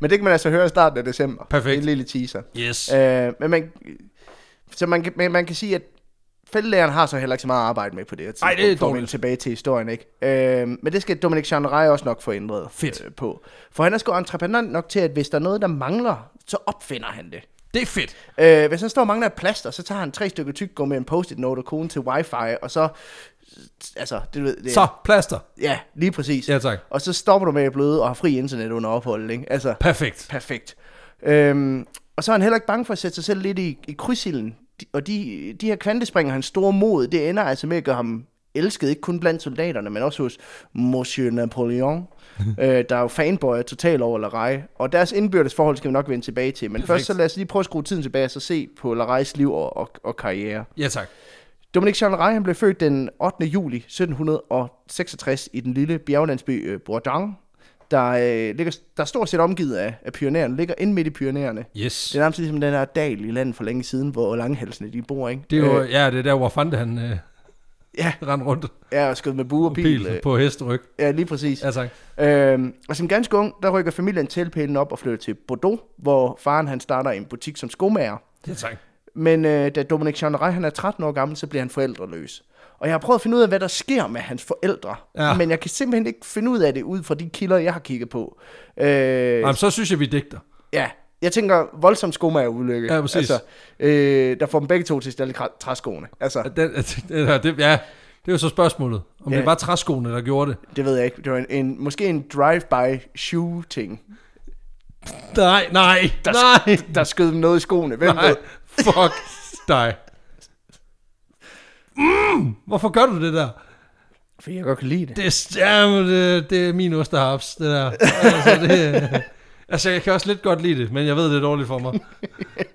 S2: Men det kan man altså høre i starten af december.
S1: Perfekt.
S2: Det er En lille teaser.
S1: Yes.
S2: Øh, men man, så man, kan- men man kan sige, at fældelægeren har så heller ikke så meget at arbejde med på det her
S1: Ej, det er
S2: tidspunkt, for at
S1: dårligt.
S2: vende tilbage til historien, ikke? Øh, men det skal Dominik Chandray også nok få ændret
S1: Fedt.
S2: Øh, på. For han er sgu entreprenør nok til, at hvis der er noget, der mangler, så opfinder han det.
S1: Det er fedt.
S2: Øh, hvis han står og mangler et plaster, så tager han tre stykker tyk, går med en post-it note og koden til wifi, og så... Altså, det, du ved, det,
S1: Så, plaster.
S2: Ja, lige præcis.
S1: Ja, tak.
S2: Og så stopper du med at bløde og har fri internet under opholdet, ikke? Altså,
S1: Perfekt.
S2: perfekt. Øhm, og så er han heller ikke bange for at sætte sig selv lidt i, i krydsilden. De, og de, de her kvantespringer, hans store mod, det ender altså med at gøre ham elsket, ikke kun blandt soldaterne, men også hos Monsieur Napoleon, øh, der er jo fanboyer totalt over Larej. Og deres indbyrdes forhold skal vi nok vende tilbage til. Men Perfekt. først
S1: Perfekt.
S2: så lad os lige prøve at skrue tiden tilbage og så se på Larejs liv og, og, og karriere.
S1: Ja, tak.
S2: Dominik Chandray, han blev født den 8. juli 1766 i den lille bjerglandsby øh, Bourdon, der, øh, ligger, der er stort set omgivet af, af pyrenæerne, ligger inde midt i pyrenæerne.
S1: Yes.
S2: Det er nærmest ligesom den her dal i landet for længe siden, hvor langhalsene de bor, ikke?
S1: Det er jo, ja, det er der, hvor Fante han øh,
S2: ja,
S1: rendte rundt
S2: ja, og skudt med bue og
S1: på
S2: pil.
S1: bil
S2: øh,
S1: på hesteryg.
S2: Ja, lige præcis.
S1: Ja, tak.
S2: Øhm, og som ganske ung, der rykker familien tilpælen op og flytter til Bordeaux, hvor faren han starter en butik som skomager.
S1: Ja, tak.
S2: Men øh, da Dominic Chandray, han er 13 år gammel, så bliver han forældreløs. Og jeg har prøvet at finde ud af, hvad der sker med hans forældre. Ja.
S1: Ja.
S2: Men jeg kan simpelthen ikke finde ud af det, ud fra de kilder, jeg har kigget på. Øh,
S1: Jamen, så synes jeg, vi digter.
S2: ja, jeg tænker voldsomt skomagerulykke.
S1: Ja, præcis.
S2: Altså, øh, der får dem begge to til at stille kra- træskoene. Altså,
S1: Den, det, det, ja, det er jo så spørgsmålet. Om
S2: Ja.
S1: det var træskoene, der gjorde det.
S2: det ved jeg ikke. Det var en, en, måske en drive-by shooting,
S1: Nej, nej,
S2: Der-
S1: nej,
S2: der skød dem noget i skoene. Hvem
S1: nej.
S2: ved?
S1: Fuck dig. Mm, hvorfor gør du det der?
S2: Fordi jeg godt kan lide det.
S1: Det, er- jamen, det, det er min osterhaps, det der. Altså, det, altså, jeg kan også lidt godt lide det, men jeg ved, det er dårligt for mig.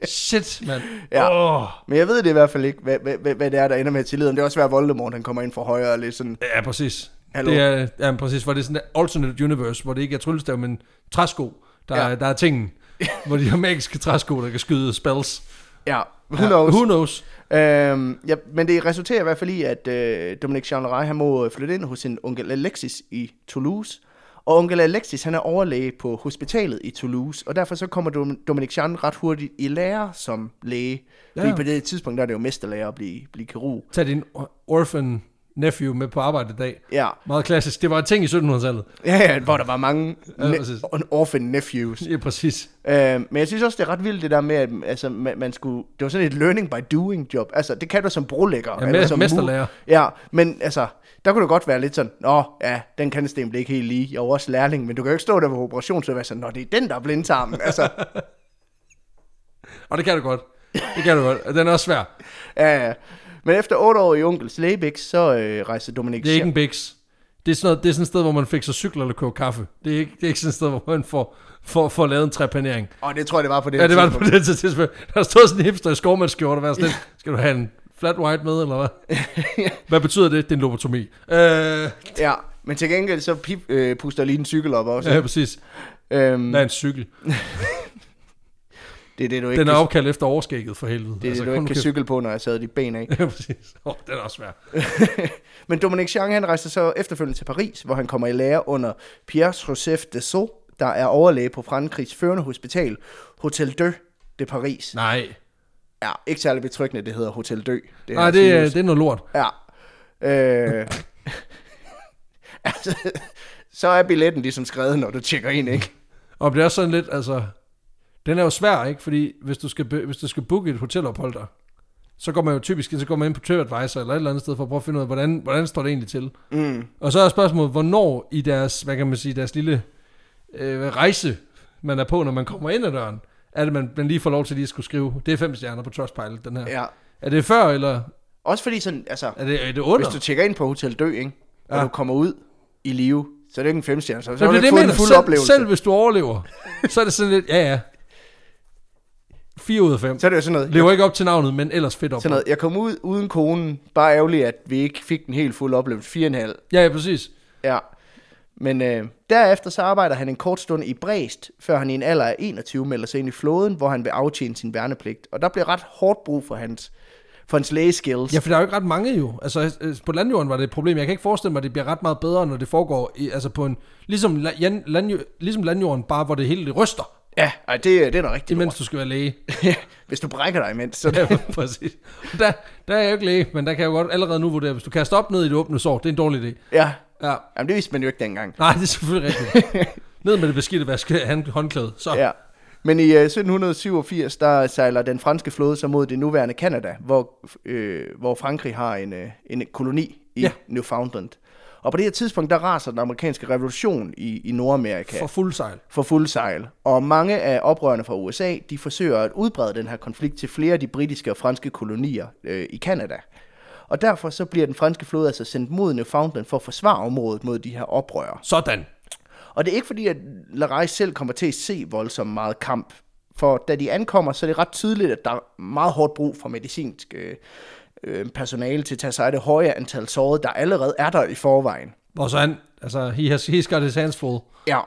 S1: Shit, mand.
S2: Ja.
S1: Oh.
S2: Men jeg ved det i hvert fald ikke, hvad, hvad, hvad, hvad det er, der ender med at tillide. ham. Det er også svært, at Voldemort han kommer ind fra højre og lidt sådan...
S1: Ja, præcis.
S2: Hallo?
S1: Det er, ja, men præcis, hvor det er sådan et alternate universe, hvor det ikke er tryllestav, men træsko, der,
S2: Ja.
S1: ja. der er tingen. hvor de har magiske træsko, der kan skyde spells.
S2: Ja, who knows?
S1: Who knows?
S2: Øhm, ja, men det resulterer i hvert fald i, at øh, Dominic Chandray han må øh, flytte ind hos sin onkel Alexis i Toulouse. Og onkel Alexis han er overlæge på hospitalet i Toulouse, og derfor så kommer Dom- Dominic Chandray ret hurtigt i lære som læge. Ja.
S1: Ja.
S2: Fordi på det tidspunkt der er det jo mesterlæger at blive, blive kirurg.
S1: Tag din or- orphan nephew med på arbejde i dag.
S2: Ja,
S1: Meget klassisk. Det var en ting i 1700-tallet.
S2: ja, ja hvor der var mange
S1: Ja,
S2: ne-
S1: præcis.
S2: orphan nephews.
S1: Ja, præcis.
S2: Øh, men jeg synes også, det er ret vildt det der med, at altså, man, man skulle... Det var sådan et learning by doing job. Altså, det kan du som brolægger.
S1: Ja,
S2: eller
S1: me-
S2: som
S1: mesterlærer.
S2: mur- Ja, men altså, der kunne du godt være lidt sådan, Nå, ja, den kandesten blev ikke helt lige. Jeg var også lærling, men du kan jo ikke stå der ved operation, så være sådan, Nå, det er den, der er blindtarmen. altså,
S1: Og det kan du godt. Det kan du godt. Og Den er også svær.
S2: ja, ja. Men efter otte år i onkels lægebæk, så øh, rejste Dominik
S1: Det er ikke en biks. Det er, sådan noget, det er sådan et sted, hvor man fik så cykler eller koger kaffe. Det er ikke, det er ikke sådan et sted, hvor man får, får, får lavet en trepanering.
S2: Og det tror jeg, det var på det
S1: Ja,
S2: her
S1: det var det på
S2: tidspunkt.
S1: det tidspunkt. Der stod sådan en hipster i skovmandskjorte, og var sådan lidt, skal du have en flat white med, eller hvad? Hvad betyder det? Det er en lobotomi. Øh,
S2: Ja, men til gengæld så pip, øh, puster lige en cykel op også.
S1: ja, præcis.
S2: Øhm,
S1: Hvad er en cykel?
S2: det er det, du ikke,
S1: Den er
S2: kan,
S1: opkaldt efter overskægget, for helvede. Altså,
S2: det er det, du
S1: kom
S2: ikke
S1: nu
S2: kan cykle på, når jeg sad dit ben af.
S1: Ja, præcis. Oh, den er også svær.
S2: Men Dominic Chang, han rejser så efterfølgende til Paris, hvor han kommer i lære under Pierre-Joseph de Saux, der er overlæge på Frankrigs førende hospital, Hotel Dø de Paris. Nej.
S1: Nej,
S2: Ja, ikke særlig betryggende, det hedder Hotel Dø. Det
S1: Nej
S2: her
S1: Ah, det, er,
S2: sygehus.
S1: det er noget lort.
S2: Ja. Øh, altså, så er billetten ligesom skrevet, når du tjekker ind, ikke?
S1: Og det er også sådan lidt, altså... Den er jo svær, ikke? Fordi hvis du skal, be- hvis du skal booke et hotelophold der, så går man jo typisk så går man ind på TripAdvisor eller et eller andet sted for at prøve at finde ud af, hvordan, hvordan står det egentlig til. Mm. Og så er spørgsmålet, hvornår i deres, hvad kan man sige, deres lille øh, rejse, man er på, når man kommer ind ad døren, er det, man, man lige får lov til lige at skulle skrive, det er fem stjerner på Trustpilot, den her.
S2: Ja.
S1: Er det før, eller
S2: Også fordi sådan, altså,
S1: er det, er det
S2: hvis
S1: under?
S2: du tjekker ind på Hotel Dø, ikke? Og
S1: Ja.
S2: du kommer ud i live, så er det ikke en femstjerne, så,
S1: Jamen,
S2: så har
S1: det
S2: du
S1: er det,
S2: ikke
S1: jeg mener.
S2: fået en fuld
S1: selv,
S2: oplevelse.
S1: Selv hvis du overlever, så er det sådan lidt, ja ja. 4 ud af 5.
S2: Så er det jo sådan noget,
S1: Lever ikke op til navnet, men ellers fedt op.
S2: sådan noget, jeg kom ud uden konen, bare ærgerligt, at vi ikke fik den helt fuld oplevelse, fire og en halv.
S1: Ja, ja, præcis.
S2: Ja. Men øh, derefter så arbejder han en kort stund i Brest, før han i en alder af 21 melder sig ind i flåden, hvor han vil aftjene sin værnepligt. Og der bliver ret hårdt brug for hans, for hans lægeskills.
S1: Ja, for der er jo ikke ret mange jo. Altså, øh, på landjorden var det et problem. Jeg kan ikke forestille mig, at det bliver ret meget bedre, når det foregår i, altså på en... Ligesom, la, jan, landjo, ligesom landjorden, bare hvor det hele det ryster,
S2: ja ej, det, det er da rigtigt.
S1: imens du skal være læge.
S2: Hvis du brækker dig imens, så
S1: Ja, præcis. Der, der er jeg jo ikke læge, men der kan jeg jo godt allerede nu vurdere, hvis du kaster op ned i det åbne sår, det er en dårlig idé.
S2: ja.
S1: Ja,
S2: Jamen, det vidste man jo ikke dengang.
S1: nej, det er selvfølgelig rigtigt. Ned med det beskidte vask, han, håndklæde. Så.
S2: Ja. Men i øh, 1787, der sejler den franske flåde så mod det nuværende Kanada, hvor, øh, hvor Frankrig har en, øh, en koloni
S1: Ja.
S2: i ja. Newfoundland. Og på det her tidspunkt, der raser den amerikanske revolution i, i Nordamerika.
S1: For fuld sejl.
S2: for fuld sejl. Og mange af oprørerne fra USA, de forsøger at udbrede den her konflikt til flere af de britiske og franske kolonier øh, i Kanada. Og derfor så bliver den franske flåde altså sendt mod Newfoundland for at forsvare området mod de her oprørere.
S1: Sådan.
S2: Og det er ikke fordi, at Larej selv kommer til at se voldsomt meget kamp. For da de ankommer, så er det ret tydeligt, at der er meget hårdt brug for medicinsk øh, øh, personale til at tage sig af det høje antal sårede, der allerede er der i forvejen.
S1: Og så han, altså, he has, he's got his hands full.
S2: Ja,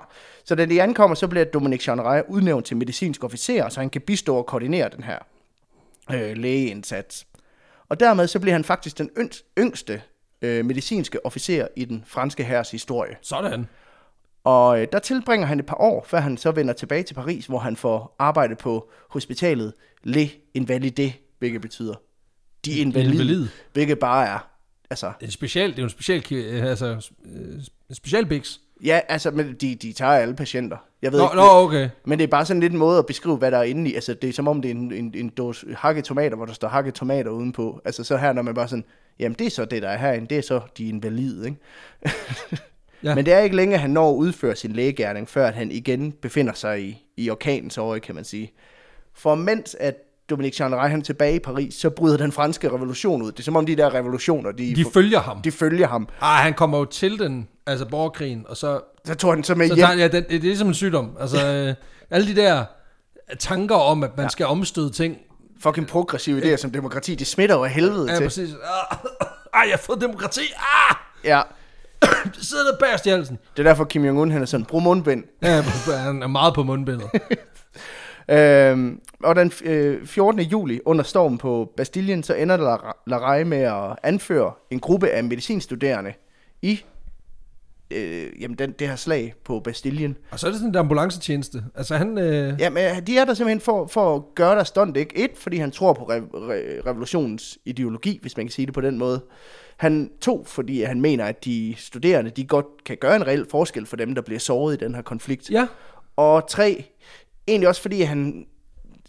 S2: så da de ankommer, så bliver Dominic Chandray udnævnt til medicinsk officer, så han kan bistå og koordinere den her øh, lægeindsats. Og dermed så bliver han faktisk den yng- yngste øh, medicinske officer i den franske hærs historie.
S1: Sådan.
S2: Og øh, der tilbringer han et par år, før han så vender tilbage til Paris, hvor han får arbejde på hospitalet Les Invalides, hvilket betyder de invalide,
S1: Invalide.
S2: hvilket bare er, altså,
S1: Det er, en special, det er jo en special, ki- øh, altså, øh, special biks.
S2: ja, altså, men de, de tager alle patienter. Jeg ved
S1: Nå,
S2: ikke,
S1: nå, okay.
S2: Men det er bare sådan lidt en måde at beskrive, hvad der er inde i. Altså, det er som om, det er en, en, en dåse hakket tomater, hvor der står hakket tomater udenpå. Altså, så her, når man bare sådan, jamen, det er så det, der er herinde. Det er så, de er invalide, ikke?
S1: Ja.
S2: ja. Men det er ikke længe, han når at udføre sin lægegærning, før at han igen befinder sig i, i orkanens øje, kan man sige. For mens at Dominique Chandray, han er tilbage i Paris, så bryder den franske revolution ud. Det er som om, de der revolutioner, de,
S1: De følger ham.
S2: de følger ham.
S1: Ah, han kommer jo til den, altså borgerkrigen, og så...
S2: Så tog han så med
S1: så
S2: hjem.
S1: tager, ja, den, det er ligesom en sygdom. Altså, øh, alle de der tanker om, at man ja. skal omstøde ting.
S2: Fucking progressive idéer som demokrati, det smitter over helvede
S1: Ja,
S2: til.
S1: præcis. Ah, ej, jeg har fået demokrati. Ah,
S2: Ja,
S1: det sidder der bagerst i halsen.
S2: Det er derfor, Kim Jong-un han er sådan, brug mundbind.
S1: Ja, han er meget på mundbindet.
S2: Øhm, og den øh, 14. juli, under stormen på Bastillen, så ender Lar- Larej med at anføre en gruppe af medicinstuderende i øh, jamen den, det her slag på Bastillen.
S1: Og så er det sådan en ambulancetjeneste. Altså, han... Øh,
S2: Jamen, de er der simpelthen for, for at gøre der stund, ikke? Et, fordi han tror på re- re- revolutionens ideologi, hvis man kan sige det på den måde. Han to, fordi han mener, at de studerende, de godt kan gøre en reel forskel for dem, der bliver såret i den her konflikt.
S1: ja.
S2: Og tre, egentlig også fordi han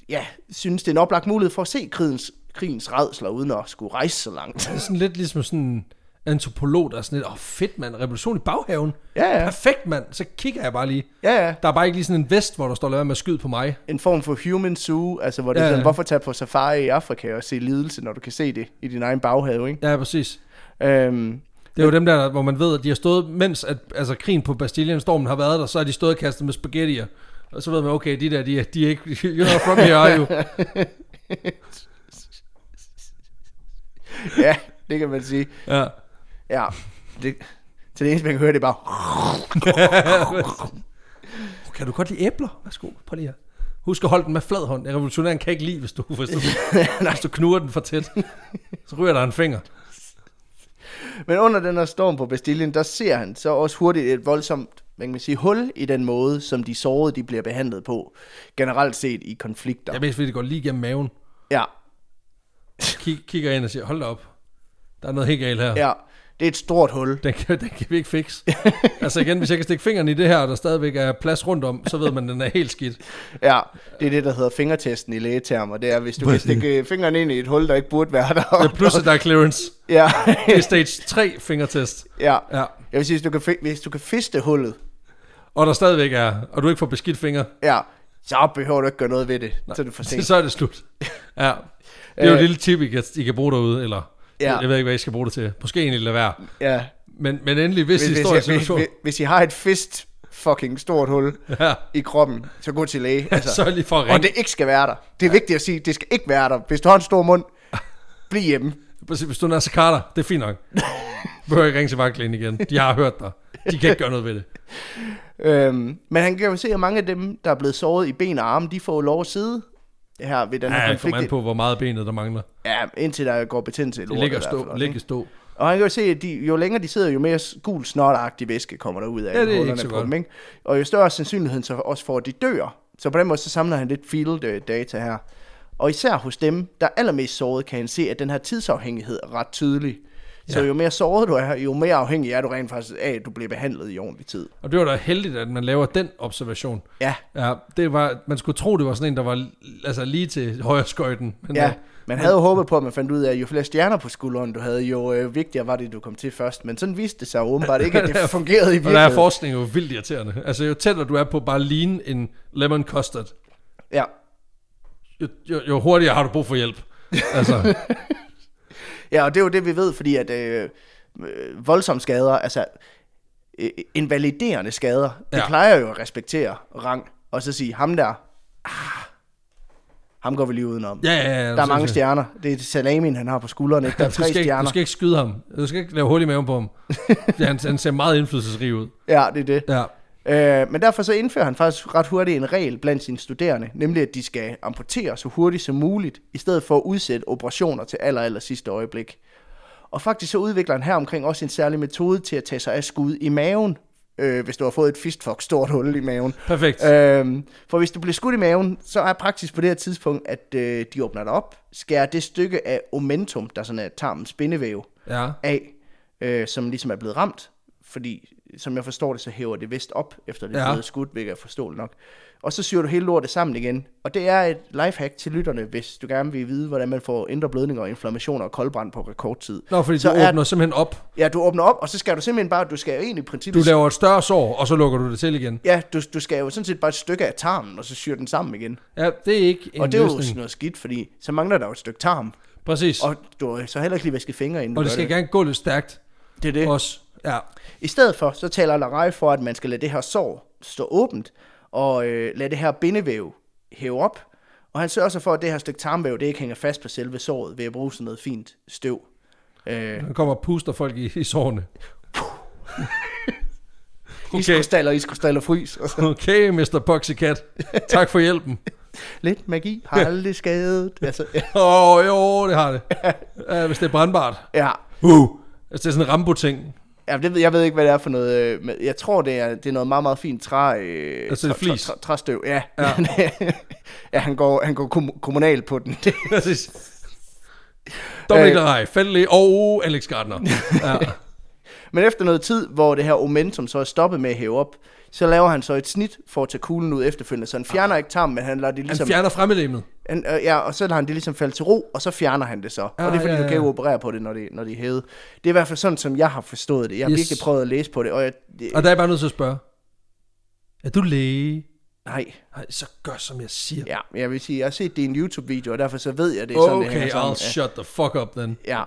S2: ja, synes, det er en oplagt mulighed for at se krigens, krigens redsler, uden at skulle rejse så langt.
S1: Det er sådan lidt ligesom sådan en antropolog, der er sådan lidt, åh oh, fedt mand, revolution i baghaven.
S2: Ja, ja.
S1: Perfekt mand, så kigger jeg bare lige.
S2: Ja, ja.
S1: Der er bare ikke lige sådan en vest, hvor der står, lad være med at skyde på mig.
S2: En form for human zoo, altså hvor det er
S1: Ja,
S2: sådan,
S1: ja.
S2: hvorfor tage på safari i Afrika og se lidelse, når du kan se det i din egen baghave, ikke?
S1: Ja, præcis.
S2: Øhm,
S1: Det er jo dem der, hvor man ved, at de har stået, mens at, altså, krigen på Bastillen stormen har været der, så har de stået og kastet med spaghettier. Og så ved man, okay, de der, de er, de er ikke, you're not from here, are you?
S2: ja, det kan man sige.
S1: Ja.
S2: Ja, det, til det eneste, man kan høre, det er bare...
S1: Kan du godt lide æbler? Værsgo, prøv lige her. Husk at holde den med flad hånd. En revolutionæren kan ikke lide, hvis du, hvis du, hvis du knurrer den for tæt. Så ryger der en finger.
S2: Men under den her storm på Bastillen, der ser han så også hurtigt et voldsomt hvad kan man sige, hul i den måde, som de sårede de bliver behandlet på, generelt set i konflikter.
S1: Jeg ved, fordi det går lige gennem maven.
S2: Ja,
S1: Kig, kigger ind og siger, hold da op. Der er noget helt galt her.
S2: ja. Det er et stort hul.
S1: Den kan, den kan vi ikke fikse. altså igen, hvis jeg kan stikke fingeren i det her, og der stadigvæk er plads rundt om, så ved man, at den er helt skidt.
S2: Ja, det er det, der hedder fingertesten i lægetermer. Det er, hvis du kan stikke fingeren ind i et hul, der ikke burde være der.
S1: Ja, plus at der er clearance.
S2: Ja,
S1: Det er stage 3 fingertest.
S2: ja.
S1: Ja.
S2: Jeg vil sige, hvis du kan, fi- hvis du kan fiste hullet,
S1: Og der stadigvæk er, og du ikke får beskidt finger,
S2: ja, så behøver du ikke gøre noget ved det. Nej. Så er det for sent.
S1: så er det slut. Ja. Det er jo
S2: Øh.
S1: et lille tip, I kan, I kan bruge derude, eller
S2: Ja.
S1: ja. jeg ved ikke, hvad I skal bruge det til. Måske egentlig lade være.
S2: Ja.
S1: Men, men endelig, hvis,
S2: Hvis,
S1: hvis I står i en
S2: hvis, hvis, hvis,
S1: situation,
S2: hvis, hvis I har et fist fucking stort hul
S1: ja,
S2: i kroppen, så gå til læge. Altså.
S1: så lige for at
S2: Og
S1: ringe.
S2: det ikke skal være der. Det er vigtigt at sige, det skal ikke være der. Hvis du har en stor mund, bliv hjemme.
S1: Præcis, Hvis du er Nasser Carter, det er fint nok. Du behøver ikke ringe til vagtlægen igen. De har hørt dig. De kan ikke gøre noget ved det.
S2: Øhm, men han kan jo se, at mange af dem, der er blevet såret i ben og arme, de får jo lov at sidde her ved den her
S1: Ja, det kommer an
S2: konflikt.
S1: på, hvor meget benet der mangler.
S2: Ja, indtil der går betændelse i
S1: Det
S2: lortet.
S1: ligger
S2: i hvert fald
S1: stå.
S2: også,
S1: Ligger
S2: ikke?
S1: stå.
S2: Og han kan jo se, at de, jo længere de sidder, jo mere s- gul snotagtig væske kommer der ud af
S1: Ja, det er
S2: hullerne
S1: ikke så
S2: på
S1: godt.
S2: dem. Ikke? Og jo større sandsynligheden så også for, at de dør. Så på den måde, så samler han lidt field øh, data her. Og især hos dem, der er allermest såret, kan han se, at den her tidsafhængighed er ret tydelig. Så
S1: Ja.
S2: jo mere såret du er, jo mere afhængig er du rent faktisk af, at du bliver behandlet i ordentlig tid.
S1: Og det var da heldigt, at man laver den observation.
S2: Ja,
S1: Ja, det var, man skulle tro, det var sådan en, der var l- altså, lige til højre skøjten. Men
S2: ja.
S1: øh,
S2: Man havde jo håbet på, at man fandt ud af, at jo flere stjerner på skulderen du havde, jo øh, vigtigere var det, du kom til først. Men sådan viste det sig åbenbart ikke, at det fungerede i
S1: og der er
S2: virkeligheden.
S1: forskning jo vildt irriterende. Altså, jo tættere du er på bare at ligne en lemon custard,
S2: Ja.
S1: jo, jo, jo hurtigere har du brug for hjælp. Altså,
S2: Ja, og det er jo det, vi ved, fordi at øh, øh, voldsomme skader, altså øh, invaliderende skader, det
S1: Ja.
S2: plejer jo at respektere rang, og så sige, ham der, ah, ham går vi lige udenom.
S1: ja, ja, ja.
S2: der er mange
S1: sindssygt.
S2: stjerner. Det er salamin, han har på skulderen, ikke? Der er
S1: Du
S2: tre
S1: skal, ikke, du
S2: stjerner.
S1: skal ikke skyde ham. Du skal ikke lave hul i maven på ham. Ja, han, han ser meget indflydelsesrig ud.
S2: Ja, det er det.
S1: Ja.
S2: Øh, men derfor så indfører han faktisk ret hurtigt en regel blandt sine studerende, nemlig at de skal amputere så hurtigt som muligt, i stedet for at udsætte operationer til aller, aller sidste øjeblik. Og faktisk så udvikler han her omkring også en særlig metode til at tage sig af skud i maven, øh, hvis du har fået et fistfuck stort hul i maven.
S1: Perfekt.
S2: Øhm, for hvis du bliver skudt i maven, så er praksis på det her tidspunkt, at øh, de åbner dig op, skærer det stykke af omentum, der sådan er tarmens spindevæv,
S1: Ja.
S2: af, øh, som ligesom er blevet ramt, fordi som jeg forstår det, så hæver det vist op, efter det er
S1: Ja.
S2: blevet skudt, hvilket er forståeligt nok. Og så syr du hele lortet sammen igen. Og det er et lifehack til lytterne, hvis du gerne vil vide, hvordan man får indre blødninger, og inflammationer og koldbrand på rekordtid.
S1: Nå, fordi
S2: Så
S1: så du
S2: er-
S1: åbner simpelthen op.
S2: Ja, du åbner op, og så skal du simpelthen bare, du skal jo egentlig i
S1: Du
S2: princippet...
S1: laver et større sår, og så lukker du det til igen.
S2: Ja, du, du skal jo sådan set bare et stykke af tarmen, og så syr den sammen igen.
S1: Ja, det er ikke en
S2: og det er jo
S1: løsning.
S2: sådan noget skidt, fordi så mangler der jo et stykke tarm.
S1: Præcis. Og,
S2: Og du har så heller ikke lige vasket fingre, inden
S1: og
S2: du
S1: det
S2: gør
S1: skal
S2: det.
S1: gerne gå lidt stærkt
S2: Det er det.
S1: også. Ja.
S2: I stedet for, så taler Larej for, at man skal lade det her sår stå åbent, og øh, lade det her bindevæv hæve op. Og han sørger så for, at det her stykke tarmvæv, det ikke hænger fast på selve såret, ved at bruge sådan noget fint støv. Øh,
S1: Han kommer og puster folk i, i sårene.
S2: okay.
S1: Okay,
S2: Iskrystaller, iskrystaller, frys. Og så.
S1: okay Mr. Poxycat. Tak for hjælpen.
S2: Lidt magi har aldrig skadet. Altså, ja.
S1: Åh, oh, jo, det har det. Uh, hvis det er brandbart.
S2: ja.
S1: Uh. Altså, det er sådan en Rambo-ting.
S2: Ja, det ved, jeg ved ikke, hvad det er for noget. øh, men Jeg tror, det er, det er noget meget, meget fint træ... Øh,
S1: Altså, det er
S2: træ- træ-
S1: flis.
S2: træ- Træstøv, ja. Ja,
S1: Ja.
S2: ja han går, han går kom- kommunal på den. Det,
S1: Præcis. Dominik
S2: Øh.
S1: Leray, Fælde og Alex Gardner. Ja.
S2: Men efter noget tid, hvor det her momentum så er stoppet med at hæve op, så laver han så et snit for at tage kuglen ud efterfølgende. Så han fjerner ikke tarmen, men han lader det
S1: Han
S2: ligesom...
S1: fjerner fremmelæmmet.
S2: Han, øh, ja, og så lader han det ligesom falde til ro, og så fjerner han det så. Ah, og det er fordi,
S1: ja,
S2: ja, ja. du
S1: ja.
S2: kan jo operere på det, når det, når det er hævet. Det er i hvert fald sådan, som jeg har forstået det. Jeg har yes.
S1: Yes.
S2: virkelig prøvet at læse på det, og jeg... Det,
S1: Og der er jeg bare nødt til at spørge. Er du læge?
S2: nej,
S1: Nej, så gør som jeg siger.
S2: ja, jeg vil sige, jeg har set det i en YouTube-video, og derfor så ved jeg, det er sådan, det
S1: Okay,
S2: hænger sammen.
S1: I'll shut the fuck up then.
S2: Ja.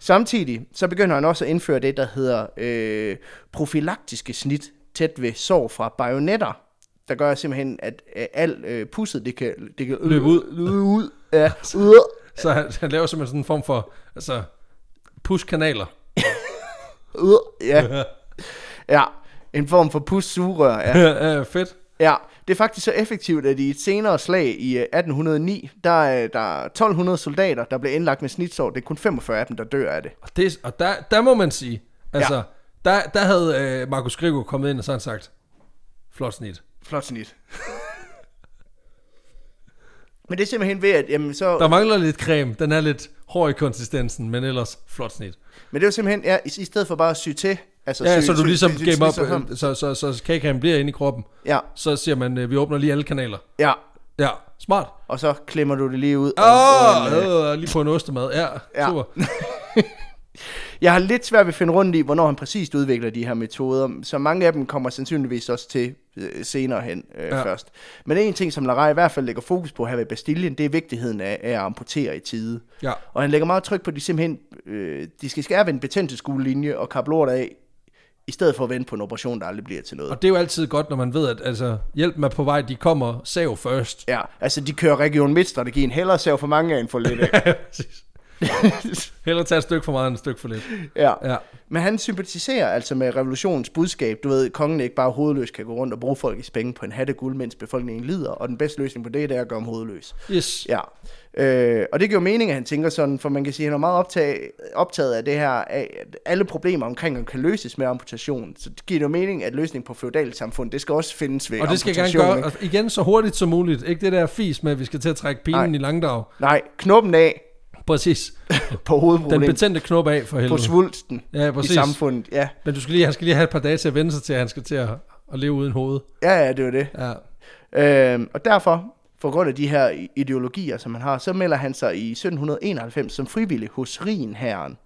S2: Samtidig så begynder han også at indføre det, der hedder øh, profilaktiske snit tæt ved sår fra bajonetter, der gør simpelthen, at øh, al øh, pusset, det kan, det kan
S1: Løbe ud.
S2: Løbe ud. Ja. ud.
S1: Så han, han laver simpelthen sådan en form for, altså, push-kanaler.
S2: ud. Ja. ja. En form for pussugerør, ja.
S1: Ja. fedt.
S2: ja. Det er faktisk så effektivt, at i et senere slag i øh, 1809, der er der er 1200 soldater, der blev indlagt med snitsår. Det er kun 45 af dem, der dør af det.
S1: Og, det, og der, der må man sige, altså, ja. der, der havde øh, Markus Grigo kommet ind og sådan sagt, flot snit.
S2: Flot snit. Men det er simpelthen ved, at jamen, så...
S1: Der mangler lidt creme. Den er lidt hård i konsistensen, men ellers flot snit.
S2: Men det er jo simpelthen, ja, i, i stedet for bare at sy til... Altså,
S1: Ja,
S2: sy-
S1: så du
S2: sy-
S1: ligesom
S2: sy- sy-
S1: gemmer
S2: sy-
S1: op, øh, så, så, så, så kagekagen bliver inde i kroppen.
S2: Ja,
S1: Så siger man, øh, vi åbner lige alle kanaler.
S2: ja.
S1: Ja, smart.
S2: Og så klemmer du det lige ud. og-
S1: Åh,
S2: og en, øh,
S1: oh, øh, lige på en ostemad. Ja,
S2: Ja.
S1: ja. super.
S2: Jeg har lidt svært ved at finde rundt i, hvornår han præcist udvikler de her metoder, så mange af dem kommer sandsynligvis også til øh, senere hen øh, ja.
S1: Ja.
S2: først. Men en ting, som Larej i hvert fald lægger fokus på her ved Bastillen, det er vigtigheden af, af at amputere i tide.
S1: Ja.
S2: Og han lægger meget tryk på, at de simpelthen øh, de skal skære ved en betændelseskuelinje og kappe lort af, i stedet for at vente på en operation, der aldrig bliver til noget.
S1: Og det er jo altid godt, når man ved, at altså, hjælpen er på vej. De kommer sav først.
S2: Ja, altså de kører Region Midt-strategien. Hellere save for mange af end for lidt af.
S1: Hellere tage et stykke for meget end et stykke for lidt.
S2: ja.
S1: Ja.
S2: Men han sympatiserer altså med revolutionens budskab. Du ved, kongen ikke bare hovedløs kan gå rundt og bruge folkets penge på en hat af guld, mens befolkningen lider. Og den bedste løsning på det, det er at gøre dem hovedløs.
S1: Yes.
S2: Ja. Øh, og det giver mening, at han tænker sådan, for man kan sige, at han er meget optaget, optaget af det her, af at alle problemer omkring ham kan løses med amputation. Så det giver jo mening, at løsningen på feudalt samfund, det skal også findes ved
S1: Og det skal jeg gerne
S2: amputation,
S1: gøre
S2: ikke?
S1: og igen så hurtigt som muligt. Ikke det der fis med, at vi skal til at trække pinen
S2: Nej.
S1: i langdrag.
S2: Nej, knoppen af
S1: Præcis.
S2: på
S1: Den
S2: hovedproblemet,
S1: betændte knop af for
S2: på
S1: helvede.
S2: svulsten
S1: Ja,
S2: i
S1: præcis.
S2: samfundet. Ja.
S1: Men du skal lige, han skal lige have et par dage til at vende sig til, at han skal til at, at leve uden hoved.
S2: ja, ja, det var det.
S1: Ja.
S2: Øhm, og derfor, for grund af de her ideologier, som han har, så melder han sig i 1791 som frivillig hos Rhin-herren.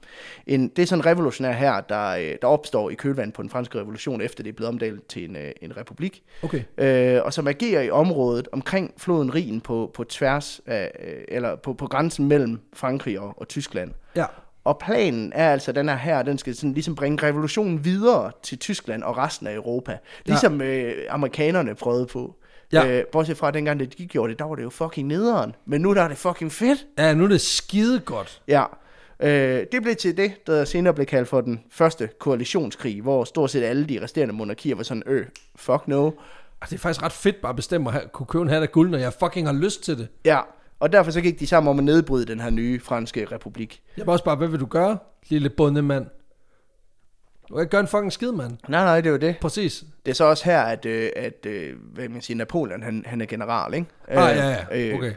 S2: En, det er sådan en revolutionær her, der, øh, der opstår i kølvandet på den franske revolution, efter det er blevet omdelt til en, øh, en republik,
S1: Okay.
S2: øh, og som agerer i området omkring floden Rhin på, på tværs af, øh, eller på, på grænsen mellem Frankrig og, og Tyskland.
S1: Ja.
S2: Og planen er altså, at den her her, den skal sådan ligesom bringe revolutionen videre til Tyskland og resten af Europa. Ligesom øh, amerikanerne prøvede på.
S1: Ja.
S2: Øh, bortset fra at dengang, da de gjorde det, der var det jo fucking nederen. Men nu der er det fucking fedt.
S1: Ja, nu er det skide godt.
S2: Ja. Øh, det blev til det, der senere blev kaldt for den første koalitionskrig, hvor stort set alle de resterende monarkier var sådan, øh, fuck no.
S1: Og det er faktisk ret fedt bare at bestemme at have- kunne købe en hat af guld, når jeg fucking har lyst til det.
S2: Ja. Og derfor så gik de sammen om at nedbryde den her nye franske republik.
S1: Jeg var også bare, hvad vil du gøre, lille bondemand? Du kan ikke gøre en fucking skid, mand.
S2: Nej, nej, det var det.
S1: Præcis.
S2: Det er så også her, at, øh, at øh, hvad kan man sige, Napoleon, han, han er general, ikke?
S1: Ah, ja,
S2: Øh,
S1: ja. Okay.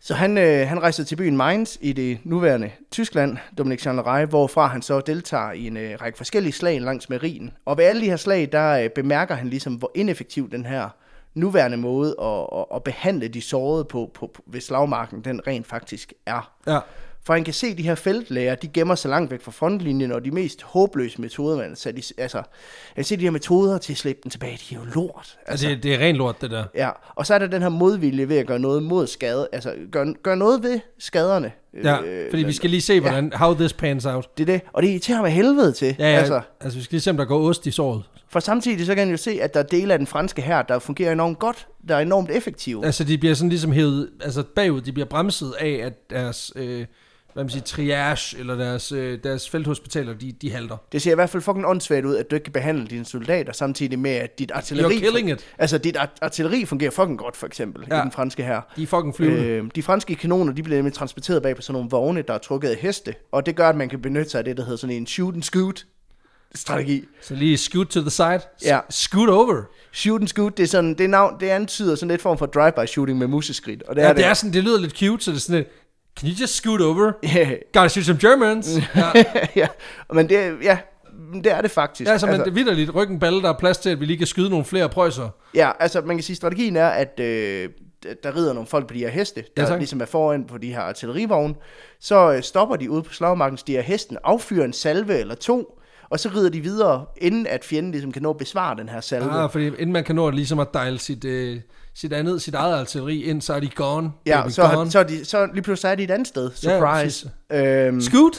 S2: Så han, øh, han rejser til byen Mainz i det nuværende Tyskland, Dominik Jean Leray, hvorfra han så deltager i en øh, række forskellige slag langs med Rhin. Og ved alle de her slag, der øh, bemærker han ligesom, hvor ineffektiv den her nuværende måde at, at, at behandle de sårede på, på, på ved slagmarken, den rent faktisk er.
S1: Ja.
S2: For han kan se, at de her feltlæger, de gemmer sig langt væk fra frontlinjen, og de mest håbløse metoder, man har sat i, altså, han kan se de her metoder til at slippe den tilbage, de er jo lort.
S1: Altså, det, det er ren lort, det der.
S2: Ja, og så er der den her modvilje ved at gøre noget mod skade, altså gøre gør noget ved skaderne. Øh,
S1: Ja, fordi vi skal lige se, hvordan, ja. how this pans out.
S2: Det er det, og det irriterer mig helvede til.
S1: Ja, ja
S2: Altså,
S1: altså. altså, vi skal lige se, om der går ost i såret.
S2: for samtidig så kan han jo se, at der er dele af den franske her, der fungerer enormt godt, der er enormt effektive.
S1: Altså, de bliver sådan ligesom hævet altså bagud, de bliver bremset af, at deres, øh, hvad man siger, triage, eller deres, øh, deres felthospitaler, de, de halter.
S2: Det ser i hvert fald fucking åndssvagt ud, at du ikke kan behandle dine soldater, samtidig med, at dit artilleri...
S1: You're killing it.
S2: Altså, dit art- artilleri fungerer fucking godt, for eksempel, ja. i
S1: Ja.
S2: den franske her.
S1: De er fucking flyvende. Øh.
S2: Øh, de franske kanoner, de bliver nemlig transporteret bag på sådan nogle vogne, der er trukket af heste, og det gør, at man kan benytte sig af det, der hedder sådan en shoot and scoot strategi.
S1: Så lige scoot to the side. S-
S2: Ja.
S1: Scoot over.
S2: Shoot and scoot, det er sådan, det navn, det antyder sådan lidt form for drive-by shooting med museskridt. Og det
S1: Ja,
S2: er
S1: det er sådan, det lyder lidt cute, så det er sådan lidt, can you just scoot over?
S2: det.
S1: Gotta shoot some Germans. Ja,
S2: ja, men det, er- ja, det er det faktisk. Altså,
S1: ja så man, det er vidderligt. Ryggen balle, der er plads til, at vi lige kan skyde nogle flere prøjser.
S2: ja, altså man kan sige, strategien er, at øh, der- der rider nogle folk på de her heste, der ja,
S1: tak.
S2: ligesom er foran på de her artillerivogne. Så øh, stopper de ude på slagmarken, stiger hesten, affyrer en salve eller to, og så rider de videre, inden at fjenden ligesom kan nå at besvare den her salve.
S1: Ah, fordi inden man kan nå at ligesom at dejle sit, øh, sit andet, sit eget artilleri ind, så er de gone.
S2: Ja,
S1: baby,
S2: så, har,
S1: gone.
S2: så, er de, så lige pludselig er de et andet sted.
S1: Ja,
S2: Surprise. Ja, øhm,
S1: Scoot!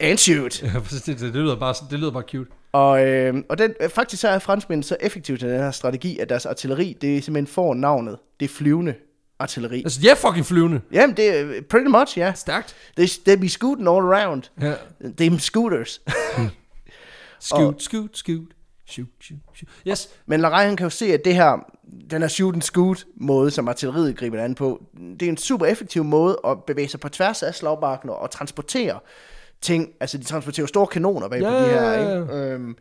S2: and shoot.
S1: Ja, præcis, det, det, det, lyder bare, det lyder bare cute.
S2: Og, øhm, og den, øh, faktisk så er franskmændene så effektive til den her strategi, at deres artilleri, det simpelthen får navnet det flyvende artilleri.
S1: Altså, jeg er fucking flyvende.
S2: Jamen, det er øh, pretty much, ja.
S1: Stærkt.
S2: They, they be scooting all around.
S1: Ja.
S2: They scooters.
S1: Scoot, og... scoot, scoot. Shoot, shoot, shoot. Yes,
S2: Men Larej, han kan jo se, at det her, den her shoot and scoot måde, som artilleriet griber det an på, det er en super effektiv måde at bevæge sig på tværs af slagmarken og transportere ting. Altså, de transporterer jo store kanoner bag på
S1: Ja,
S2: de her,
S1: ja, ja.
S2: ikke? Øhm,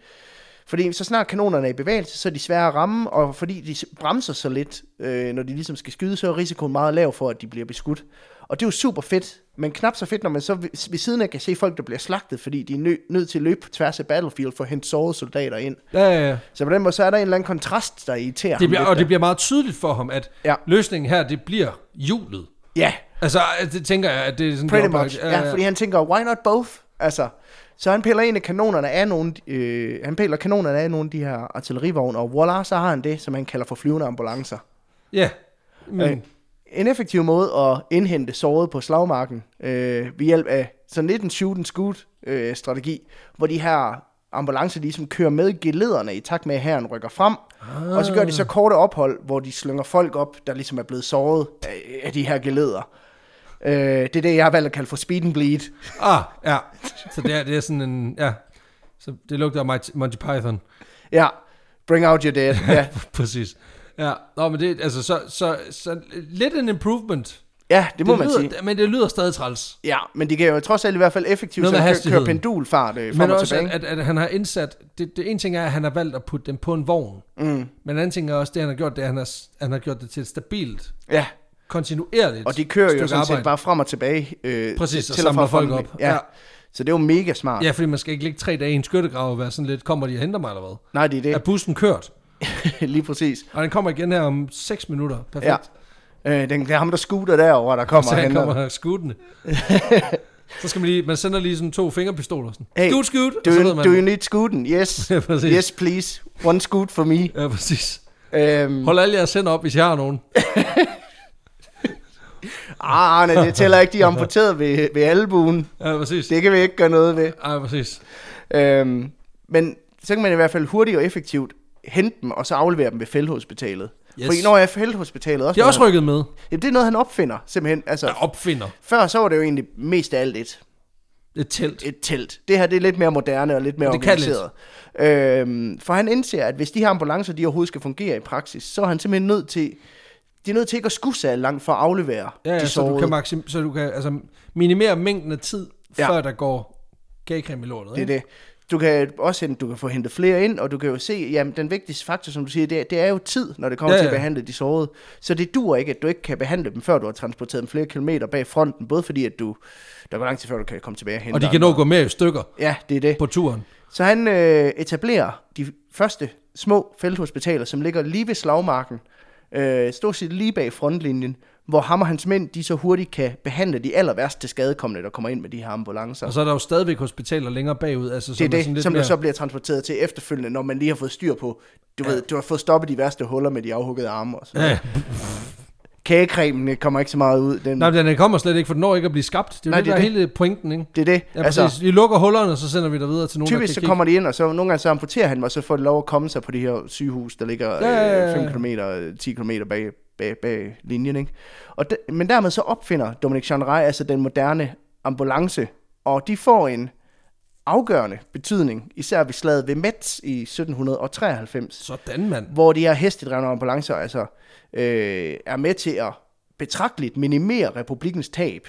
S2: Fordi så snart kanonerne er i bevægelse, så er de svære at ramme, og fordi de s- bremser så lidt, øh, når de ligesom skal skyde, så er risikoen meget lav for, at de bliver beskudt. Og det er jo super fedt, men knap så fedt, når man så ved, ved siden af kan se folk, der bliver slagtet, fordi de er nø- nødt til at løbe på tværs af battlefield for at hente sårede soldater ind.
S1: Ja, ja, ja.
S2: Så på den måde, så er der en eller anden kontrast, der irriterer
S1: Det bliver,
S2: ham
S1: og det
S2: lidt
S1: bliver meget tydeligt for ham, at
S2: Ja.
S1: ja. løsningen her, det bliver hjulet.
S2: der. Ja,
S1: Altså, det tænker jeg, at det er sådan...
S2: Pretty
S1: det er
S2: much,
S1: oplagt.
S2: ja, ja, fordi han tænker, why not both? Altså, så han piller en af kanonerne af nogle, øh, han piller kanonerne af nogle af de her artillerivogne, og voila, så har han det, som han kalder for flyvende ambulancer.
S1: Ja, men...
S2: Øh, en effektiv måde at indhente såret på slagmarken øh, ved hjælp af sådan lidt en shoot and scoot øh, strategi, hvor de her ambulancer de ligesom kører med gelederne i takt med, at herren rykker frem. Ah. Og så gør de så korte ophold, hvor de slynger folk op, der ligesom er blevet såret af, af de her geleder. Øh, det er det, jeg har valgt at kalde for speed and bleed.
S1: Ah, ja. Så det er, det er sådan en... Ja. Så det lugter af Mon- Monty Python.
S2: Ja, bring out your dead. Ja,
S1: Præcis. Ja, Nå, men det, altså, så, så, så lidt en improvement.
S2: ja det må det man
S1: lyder,
S2: sige.
S1: Men det lyder stadig træls.
S2: Ja, men de kan jo trods alt i hvert fald effektivt
S1: Noget
S2: så
S1: med
S2: køre, køre
S1: hastigheden.
S2: pendulfart øh, frem
S1: Men
S2: og
S1: også,
S2: tilbage.
S1: at, at, at han har indsat... Det, det ene ting er, at han har valgt at putte dem på en vogn. Mm. Men en anden ting er også, det han har gjort, det er, at han har, han har gjort det til et stabilt,
S2: Ja,
S1: kontinuerligt
S2: og de kører jo
S1: stykke
S2: sådan set
S1: arbejde.
S2: bare frem og tilbage. Øh,
S1: Præcis, og
S2: fra
S1: samler folk
S2: fronten.
S1: op.
S2: Ja. ja.
S1: Ja.
S2: Så det er jo mega smart.
S1: Ja, fordi man skal ikke ligge tre dage i en skyttegrav og være sådan lidt, kommer de og henter mig eller hvad?
S2: Nej, det er
S1: Er bussen kørt?
S2: det. Lige præcis.
S1: Og den kommer igen her om 6 minutter. Perfekt.
S2: Ja. Øh, den, det er ham, der scooter derovre, der kommer
S1: Så
S2: og
S1: han
S2: henter.
S1: kommer her skudende. så skal man lige, man sender lige sådan to fingerpistoler. Sådan.
S2: Hey,
S1: Hey, skud, skud,
S2: Do
S1: og så
S2: you,
S1: ved man.
S2: do you need scooten? Yes.
S1: Ja, præcis.
S2: yes, please. One scoot for me.
S1: Ja, præcis.
S2: Øhm,
S1: Hold alle jeres hænder op, hvis jeg har nogen.
S2: ah, Arne, det tæller ikke, de er amputeret ved, ved albuen.
S1: Ja, præcis.
S2: Det kan vi ikke gøre noget ved.
S1: Ja, præcis.
S2: Øhm, men så kan man i hvert fald hurtigt og effektivt hente dem, og så aflevere dem ved felthospitalet. Yes.
S1: Yes.
S2: Fordi når jeg er fældhospitalet også...
S1: Det er også rykket med.
S2: jamen, det er noget, han opfinder, simpelthen. Altså,
S1: Jeg opfinder
S2: Før så var det jo egentlig mest af alt et,
S1: et telt.
S2: et telt. Det her det er lidt mere moderne og lidt mere
S1: Det kan lidt.
S2: organiseret. Øhm, for han indser, at hvis de her ambulancer de overhovedet skal fungere i praksis, så er han simpelthen nødt til, de er nødt til ikke at skue sig langt for at aflevere
S1: Ja, ja
S2: de
S1: så, du
S2: sårede.
S1: kan maxim, så du kan altså, minimere mængden af tid,
S2: Ja.
S1: ja. før der går kagecreme i lortet.
S2: Det er
S1: ikke?
S2: det. Du kan også hente, du kan få hentet flere ind, og du kan jo se, jamen den vigtigste faktor, som du siger, det er, det er jo tid, når det kommer ja,
S1: Ja,
S2: til at
S1: ja.
S2: behandle de sårede. Så det dur ikke, at du ikke kan behandle dem, før du har transporteret dem flere kilometer bag fronten, både fordi, at du, der går lang tid før, du kan komme tilbage og hente
S1: Og de kan
S2: andre.
S1: nå at gå mere i stykker
S2: Ja, det er det.
S1: på turen.
S2: Så han øh, etablerer de første små felthospitaler, som ligger lige ved slagmarken, øh, stort set lige bag frontlinjen, hvor ham og hans mænd de så hurtigt kan behandle de aller værst til skadekommende, der kommer ind med de her ambulancer.
S1: Og så er der jo stadigvæk hospitaler længere bagud. Altså,
S2: Det er
S1: som sådan
S2: det, som,
S1: lidt
S2: som der
S1: mere-
S2: så bliver transporteret til efterfølgende, når man lige har fået styr på, du ja. ved, du har fået stoppet de værste huller med de afhuggede arme og sådan
S1: Ja,
S2: noget.
S1: ja.
S2: Kagecremen kommer ikke så meget ud. Den,
S1: Nej, men den kommer slet ikke, for den når ikke at blive skabt. Det er jo
S2: Nej,
S1: Nej, det,
S2: det er
S1: der er hele pointen, ikke?
S2: det er det.
S1: Ja, altså, præcis. Vi lukker hullerne, og så sender vi dig videre til nogen,
S2: Typisk
S1: der
S2: så
S1: kan
S2: kommer de ind, og så nogle gange så amputerer han dem, og så får de lov at komme sig på de her sygehus, der ligger øh,
S1: Ja, ja, ja, ja.
S2: 5 km, 10 km øh, bag, bag, bag linjen. Ikke? Og de, men dermed så opfinder Dominic Chandray altså den moderne ambulance, og de får en afgørende betydning, især ved slaget ved Metz i 1793
S1: kigge. Sådan, mand.
S2: hvor de her hestedrevne ambulancer altså, øh, er med til at betragteligt minimere republikens tab.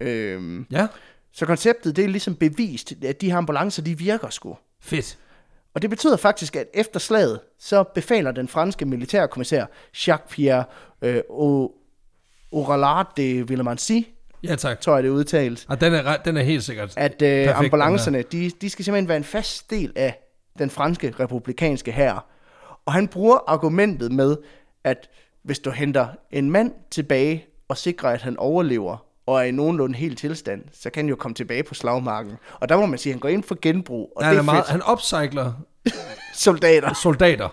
S2: Øh,
S1: Ja,
S2: så konceptet det er ligesom bevist, at de her ambulancer de virker sgu.
S1: fedt.
S2: Og det betyder faktisk, at efter slaget, så befaler den franske militærkommissær Jacques-Pierre øh, O- Oralard de Villemancy,
S1: Ja, tak.
S2: tror jeg det er udtalt,
S1: Og den er, ret- den er helt sikkert.
S2: at øh,
S1: den
S2: ambulancerne, de, de skal simpelthen være en fast del af den franske republikanske hær. Og han bruger argumentet med, at hvis du henter en mand tilbage og sikrer, at han overlever, og er i nogenlunde helt tilstand, så kan han jo komme tilbage på slagmarken. Og der må man sige, at han går ind for genbrug, og
S1: Ja,
S2: det
S1: han,
S2: er
S1: er meget,
S2: fedt.
S1: han opcykler
S2: Soldater.
S1: soldater.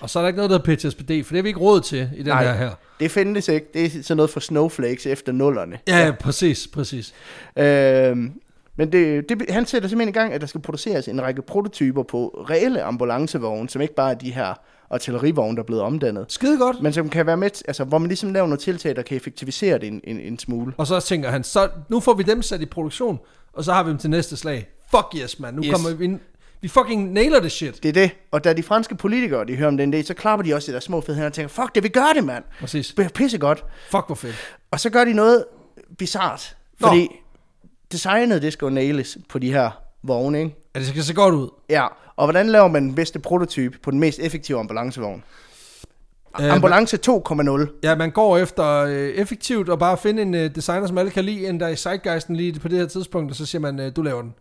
S1: Og så er der ikke noget, der hedder PTSD, for det har vi ikke råd til i den
S2: Nej.
S1: her her.
S2: Det findes ikke. Det er sådan noget for snowflakes efter nullerne.
S1: Ja, ja, præcis, præcis.
S2: Øhm, men det, det, han sætter simpelthen i gang, at der skal produceres en række prototyper på reelle ambulancevogne, som ikke bare er de her artillerivogne, der er blevet omdannet,
S1: Skide godt.
S2: men som kan være med, t- altså, hvor man ligesom laver nogle tiltag, der kan effektivisere det en, en, en smule.
S1: Og så tænker han, så nu får vi dem sat i produktion, og så har vi dem til næste slag. Fuck yes, mand. Nu
S2: Yes.
S1: yes. kommer vi ind. Vi fucking nailer det shit.
S2: Det er det. Og da de franske politikere, de hører om den idé, så klapper de også i deres små fede hænder og tænker, fuck det, vi gør det, mand.
S1: Præcis.
S2: Det er pissegodt.
S1: Fuck, hvor fedt.
S2: Og så gør de noget bizart,
S1: Nå.
S2: fordi designet, det skal jo nailes på de her vogne, ikke?
S1: Ja, det skal se godt ud.
S2: Ja, og hvordan laver man den bedste prototype på den mest effektive ambulancevogn?
S1: Øh,
S2: Ambulance 2,0.
S1: Ja, man går efter øh, effektivt og bare finde en øh, designer, som alle kan lide, end der er i Zeitgeisten lige på det her tidspunkt, og så siger man, øh, du laver den.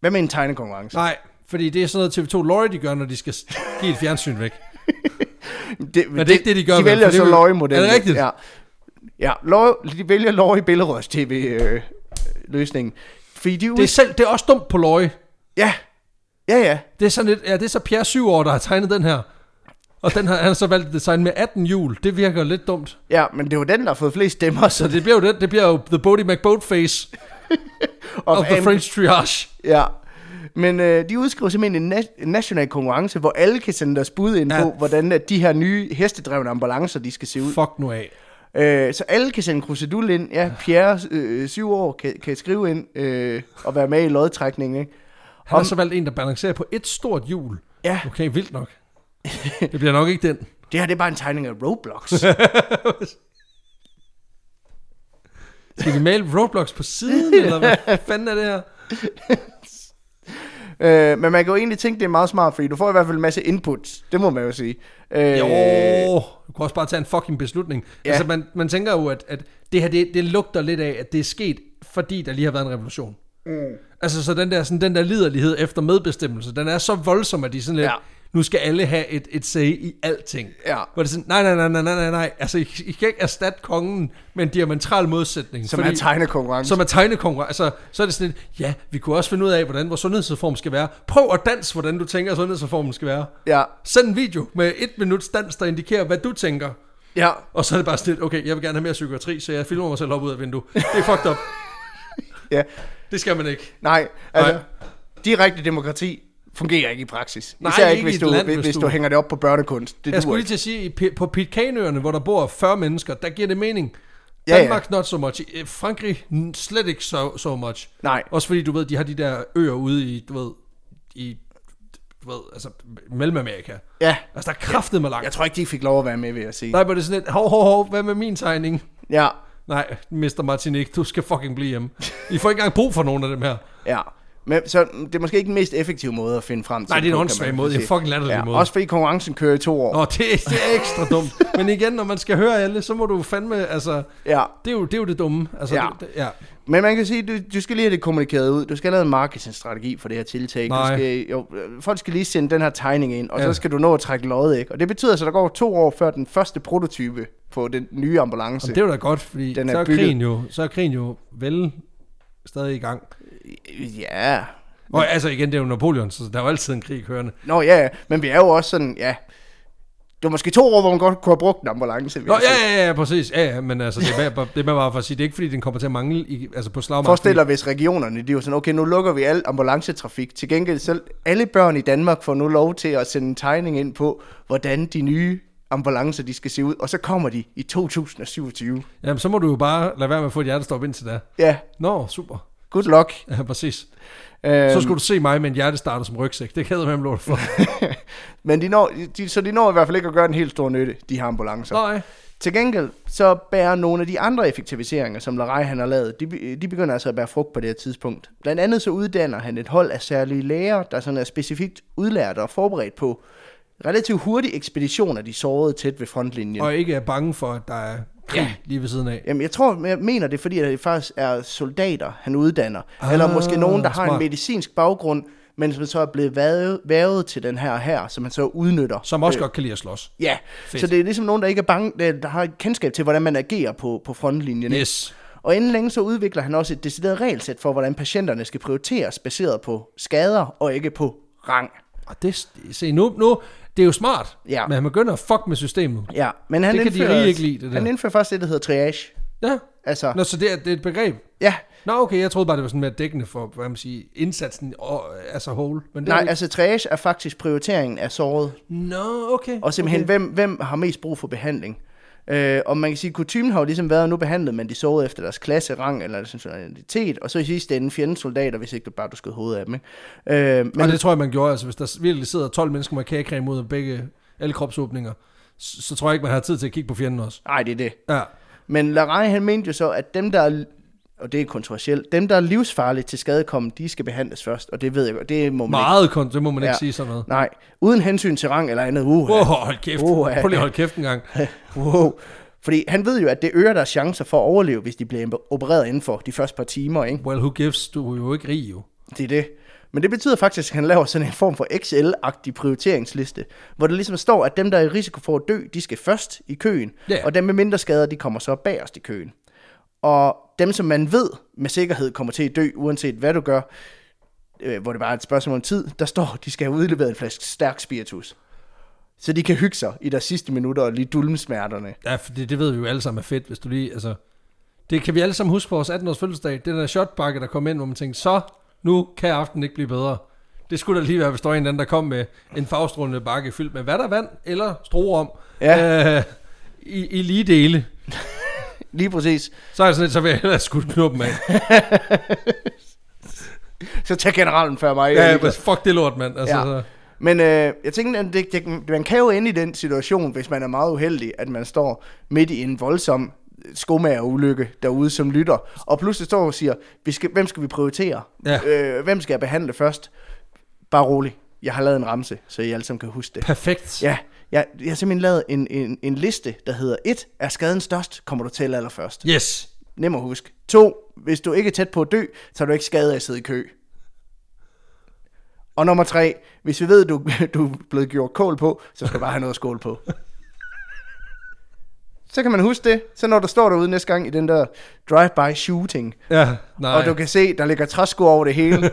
S2: Hvad med en tegnekonkurrence?
S1: Nej, fordi det er sådan noget TV2 Lorry, de gør, når de skal s- give et fjernsyn væk.
S2: Det,
S1: Men det er ikke det, de gør, vel?
S2: De vælger
S1: For det
S2: så
S1: vil-
S2: løje-modellen.
S1: Er det rigtigt?
S2: Ja. ja løje, de vælger løje billedrørs tv-løsningen. øh, Fordi de er
S1: Det er,
S2: ude...
S1: selv, det er også dumt på Lorry.
S2: Ja. Ja, ja.
S1: Det er sådan lidt, ja, det er så Pierre 7 år, der har tegnet den her. Og den har, han har så valgt et design med 18 hjul. Det virker lidt dumt.
S2: Ja, men det er jo den, der har fået flest stemmer, så
S1: Så
S2: det
S1: det bliver jo det, det bliver jo The Bodie McBoatface
S2: og
S1: of the French Triage.
S2: Ja. Men øh, de udskriver simpelthen en, na- en national konkurrence, hvor alle kan sende deres bud ind
S1: Ja.
S2: ja. på, hvordan at de her nye hestedrevne ambulancer, de skal se ud.
S1: Fuck nu af.
S2: Øh, så alle kan sende krusedul ind. Ja, Pierre, øh, syv år, kan, kan skrive ind øh, og være med i lodtrækningen. Ikke?
S1: Han har så valgt en, der balancerer på et stort hjul.
S2: Ja,
S1: Okay, vildt nok. Det bliver nok ikke den.
S2: det her det er bare en tegning af Roblox.
S1: Skal vi male Roblox på siden, eller hvad fanden er det her?
S2: øh, men man kan jo egentlig tænke, det er meget smart, fordi du får i hvert fald en masse inputs. Det må man jo sige. Øh,
S1: Jo, du kan også bare tage en fucking beslutning. Ja.
S2: Ja.
S1: Altså, man, man tænker jo, at, at det her, det, det lugter lidt af, at det er sket, fordi der lige har været en revolution. Mm. Altså, så den der, sådan, den der liderlighed efter medbestemmelse, den er så voldsom, at de sådan lidt, ja.
S2: Ja.
S1: nu skal alle have et, et say i alting.
S2: Ja.
S1: Hvor det er sådan, nej, nej, nej, nej, nej, nej, nej. Altså, I, I kan ikke erstatte kongen med en diametral modsætning.
S2: Som er tegnekonkurrence.
S1: Som er tegnekonkurrence. Altså, så er det sådan lidt, ja, vi kunne også finde ud af, hvordan vores sundhedsreform skal være. Prøv at dans, hvordan du tænker, sundhedsreformen skal være.
S2: Ja,
S1: Send en video med et minuts dans, der indikerer, hvad du tænker.
S2: ja.
S1: Og så er det bare sådan lidt, okay, jeg vil gerne have mere psykiatri, så jeg filmer mig selv op ud af vinduet. Det er fucked up.
S2: ja.
S1: Det skal man ikke.
S2: Nej, altså,
S1: Nej.
S2: Nej. direkte demokrati fungerer ikke i praksis.
S1: Nej,
S2: Især
S1: ikke
S2: ikke,
S1: i
S2: hvis
S1: et
S2: du,
S1: land,
S2: hvis,
S1: hvis
S2: hvis
S1: du-
S2: du hænger det op på børnekunst. Det
S1: Jeg
S2: duer
S1: skulle lige
S2: ikke.
S1: til at sige, i P- på Pitcaneøerne, hvor der bor 40 mennesker, der giver det mening.
S2: Ja, ja.
S1: Danmark not so much. I- Frankrig n- slet ikke so, so much.
S2: Nej,
S1: Også fordi, du ved, de har de der øer ude i, du ved, i, du ved, altså, Mellemamerika.
S2: ja.
S1: Altså, der er kraftet med langt.
S2: Jeg tror ikke, de fik lov at være med, vil jeg sige.
S1: Nej, men det er sådan lidt, hov, hov, hov, hvad med min tegning?
S2: Ja,
S1: Nej, Mr. Martinique, du skal fucking blive hjemme. I får ikke engang brug for nogen af dem her.
S2: ja. Men, så mm, det er måske ikke den mest effektive måde at finde frem til.
S1: Nej, det er en
S2: på, kan
S1: åndssvag
S2: man
S1: måde.
S2: sige.
S1: Det er fucking latterlig
S2: ja,
S1: måde.
S2: Også fordi konkurrencen kører i to år.
S1: Nå, det, er- det er ekstra dumt. Men igen, når man skal høre alle, så må du fandme, altså...
S2: Ja.
S1: Det er jo det, er jo det dumme. Altså,
S2: Ja.
S1: Det, det, ja.
S2: Men man kan sige, du, du skal lige have det kommunikeret ud. Du skal have lavet en marketingstrategi for det her tiltag.
S1: Nej.
S2: Du skal, jo, øh, folk skal lige sende den her tegning ind, og
S1: Ja.
S2: så skal du nå at trække løjet, ikke? Og det betyder så, at der går to år før den første prototype på den nye ambulance.
S1: Jamen, det er jo da godt, fordi
S2: Den er
S1: så, er
S2: bygget.
S1: krigen jo, så er krigen jo vel stadig i gang.
S2: Ja.
S1: Og altså igen, det er jo Napoleon, så der er jo altid en krig kørende.
S2: Nå ja, ja. men vi er jo også sådan, ja... Det var måske to år, hvor man godt kunne have brugt en ambulance. vil
S1: Nå,
S2: jeg sige.
S1: ja, ja, ja, præcis. Ja, ja, men altså, det er bare, det er bare for at sige, det er ikke fordi, den kommer til at mangle i, altså på slagmarken.
S2: Forestil dig, hvis regionerne, de var sådan, okay, nu lukker vi al ambulancetrafik. Til gengæld, selv alle børn i Danmark får nu lov til at sende en tegning ind på, hvordan de nye ambulancer, de skal se ud. Og så kommer de i 2027.
S1: Jamen, så må du jo bare lade være med at få et hjertestop indtil da.
S2: Ja,
S1: Nå, super.
S2: good luck.
S1: Ja, præcis.
S2: Øhm,
S1: Så skulle du se mig med en hjertestarter som rygsæk. Det kæder man lort for.
S2: Øhm, men de når, de, så de når i hvert fald ikke at gøre en helt stor nytte, de her ambulancer.
S1: Nej.
S2: Til gengæld, så bærer nogle af de andre effektiviseringer, som Larej han har lavet, de, be- de begynder altså at bære frugt på det her tidspunkt. Blandt andet så uddanner han et hold af særlige læger, der sådan er specifikt udlært og forberedt på relativt hurtige ekspeditioner, de sårede tæt ved frontlinjen.
S1: Og ikke er bange for, at der er krig ja. lige ved siden af.
S2: Jamen, jeg tror, jeg mener det, er, fordi at det faktisk er soldater, han uddanner. Ah, Eller måske nogen, der har
S1: smart.
S2: en medicinsk baggrund, men som så er blevet værvet, værvet til den her her, som han så udnytter.
S1: Som også øh. godt kan lide at slås.
S2: Ja,
S1: Fedt.
S2: Fedt. så det er ligesom nogen, der ikke er bange, der, der har et kendskab til, hvordan man agerer på, på frontlinjen. ikke?
S1: Yes.
S2: Og inden længe så udvikler han også et decideret regelsæt for, hvordan patienterne skal prioriteres baseret på skader og ikke på rang.
S1: Og det, se, nu, nu, det er jo smart,
S2: Ja.
S1: men han begynder at fuck med systemet.
S2: Ja, men han
S1: Det kan de
S2: indfører,
S1: rige ikke lide, det der.
S2: Han indfører først det, der hedder triage.
S1: Ja.
S2: Altså,
S1: Nå, så det er, det er et begreb.
S2: ja,
S1: Nå, okay, jeg troede bare, det var sådan mere dækkende for, hvad man siger, indsatsen og, altså whole. Men det er
S2: nej,
S1: jo ikke-
S2: altså triage er faktisk prioriteringen af såret.
S1: Nå, okay.
S2: Og simpelthen,
S1: okay.
S2: okay. hvem, hvem har mest brug for behandling? Øh, og man kan sige, at kutumen har jo ligesom været, at nu behandlede man de sårede efter deres klasse, rang eller deres nationalitet, og så i sidste ende fjendesoldater, hvis ikke du bare du skød hovedet af dem. Ikke? Øh, men
S1: Og det tror jeg, man gjorde. Altså, hvis der virkelig sidder 12 mennesker med kagecreme ud af begge, alle kropsåbninger, så, så tror jeg ikke, man har tid til at kigge på fjenden også.
S2: Nej, det er det.
S1: Ja.
S2: Men Larej, han mente jo så, at dem, der og det er kontroversielt, dem, der er livsfarligt til skadekommen, de skal behandles først, og det ved jeg godt, det må man
S1: Meget kun, det må man ikke
S2: Ja.
S1: sige sådan noget.
S2: ikke. Nej, uden hensyn til rang eller andet. Uh,
S1: Wow, hold kæft.
S2: Wow.
S1: Prøv lige at holde kæft en gang.
S2: wow. Fordi han ved jo, at det øger deres chancer for at overleve, hvis de bliver opereret inden for de første par timer, ikke?
S1: Well, who gives? Du er jo ikke rig, jo.
S2: Det er det. Men det betyder faktisk, at han laver sådan en form for XL-agtig prioriteringsliste, hvor der ligesom står, at dem, der er i risiko for at dø, de skal først i køen,
S1: Ja.
S2: og dem med mindre skader, de kommer så bagerst i køen. Og dem, som man ved med sikkerhed kommer til at dø, uanset hvad du gør, øh, hvor det bare er et spørgsmål om tid, der står, at de skal have udleveret en flaske stærk spiritus. Så de kan hygge sig i deres sidste minutter og lige dulme smerterne.
S1: Ja, for det, det ved vi jo alle sammen er fedt, hvis du lige, altså... Det kan vi alle sammen huske fra vores 18-års fødselsdag. Det der shotbakke, der kom ind, hvor man tænkte, så nu kan aftenen ikke blive bedre. Det skulle da lige være, hvis der var en eller anden, der kom med en farvestrålende bakke fyldt med vand eller strorum
S2: Ja.
S1: øh, i, i lige dele.
S2: Lige præcis.
S1: Så er jeg sådan lidt, så vil jeg hellere skudt knuppen af.
S2: Så tag generalen før mig. jeg er
S1: Ja,
S2: ligeglad.
S1: ja, fuck det lort, mand. Altså,
S2: Ja.
S1: ja. så,
S2: Men øh, jeg tænker, at det, det, man kan jo ende i den situation, hvis man er meget uheldig, at man står midt i en voldsom skomagerulykke derude som lytter, og pludselig står og siger, vi skal, hvem skal vi prioritere?
S1: Ja.
S2: Øh, hvem skal jeg behandle først? Bare rolig, jeg har lavet en ramse, så I alle sammen kan huske det.
S1: perfekt. Ja.
S2: Ja, jeg, jeg har simpelthen lavet en, en, en liste, der hedder 1. Er skaden størst, kommer du til allerførst.
S1: Yes.
S2: Nem at huske. 2. Hvis du ikke er tæt på at dø, så er du ikke skadet af at sidde i kø. Og nummer 3. Hvis vi ved, at du, du er blevet gjort kål på, så skal du bare have noget at skåle på. Så kan man huske det. Så når du står derude næste gang i den der drive-by shooting,
S1: Ja, nej.
S2: og du kan se, der ligger træsko over det hele,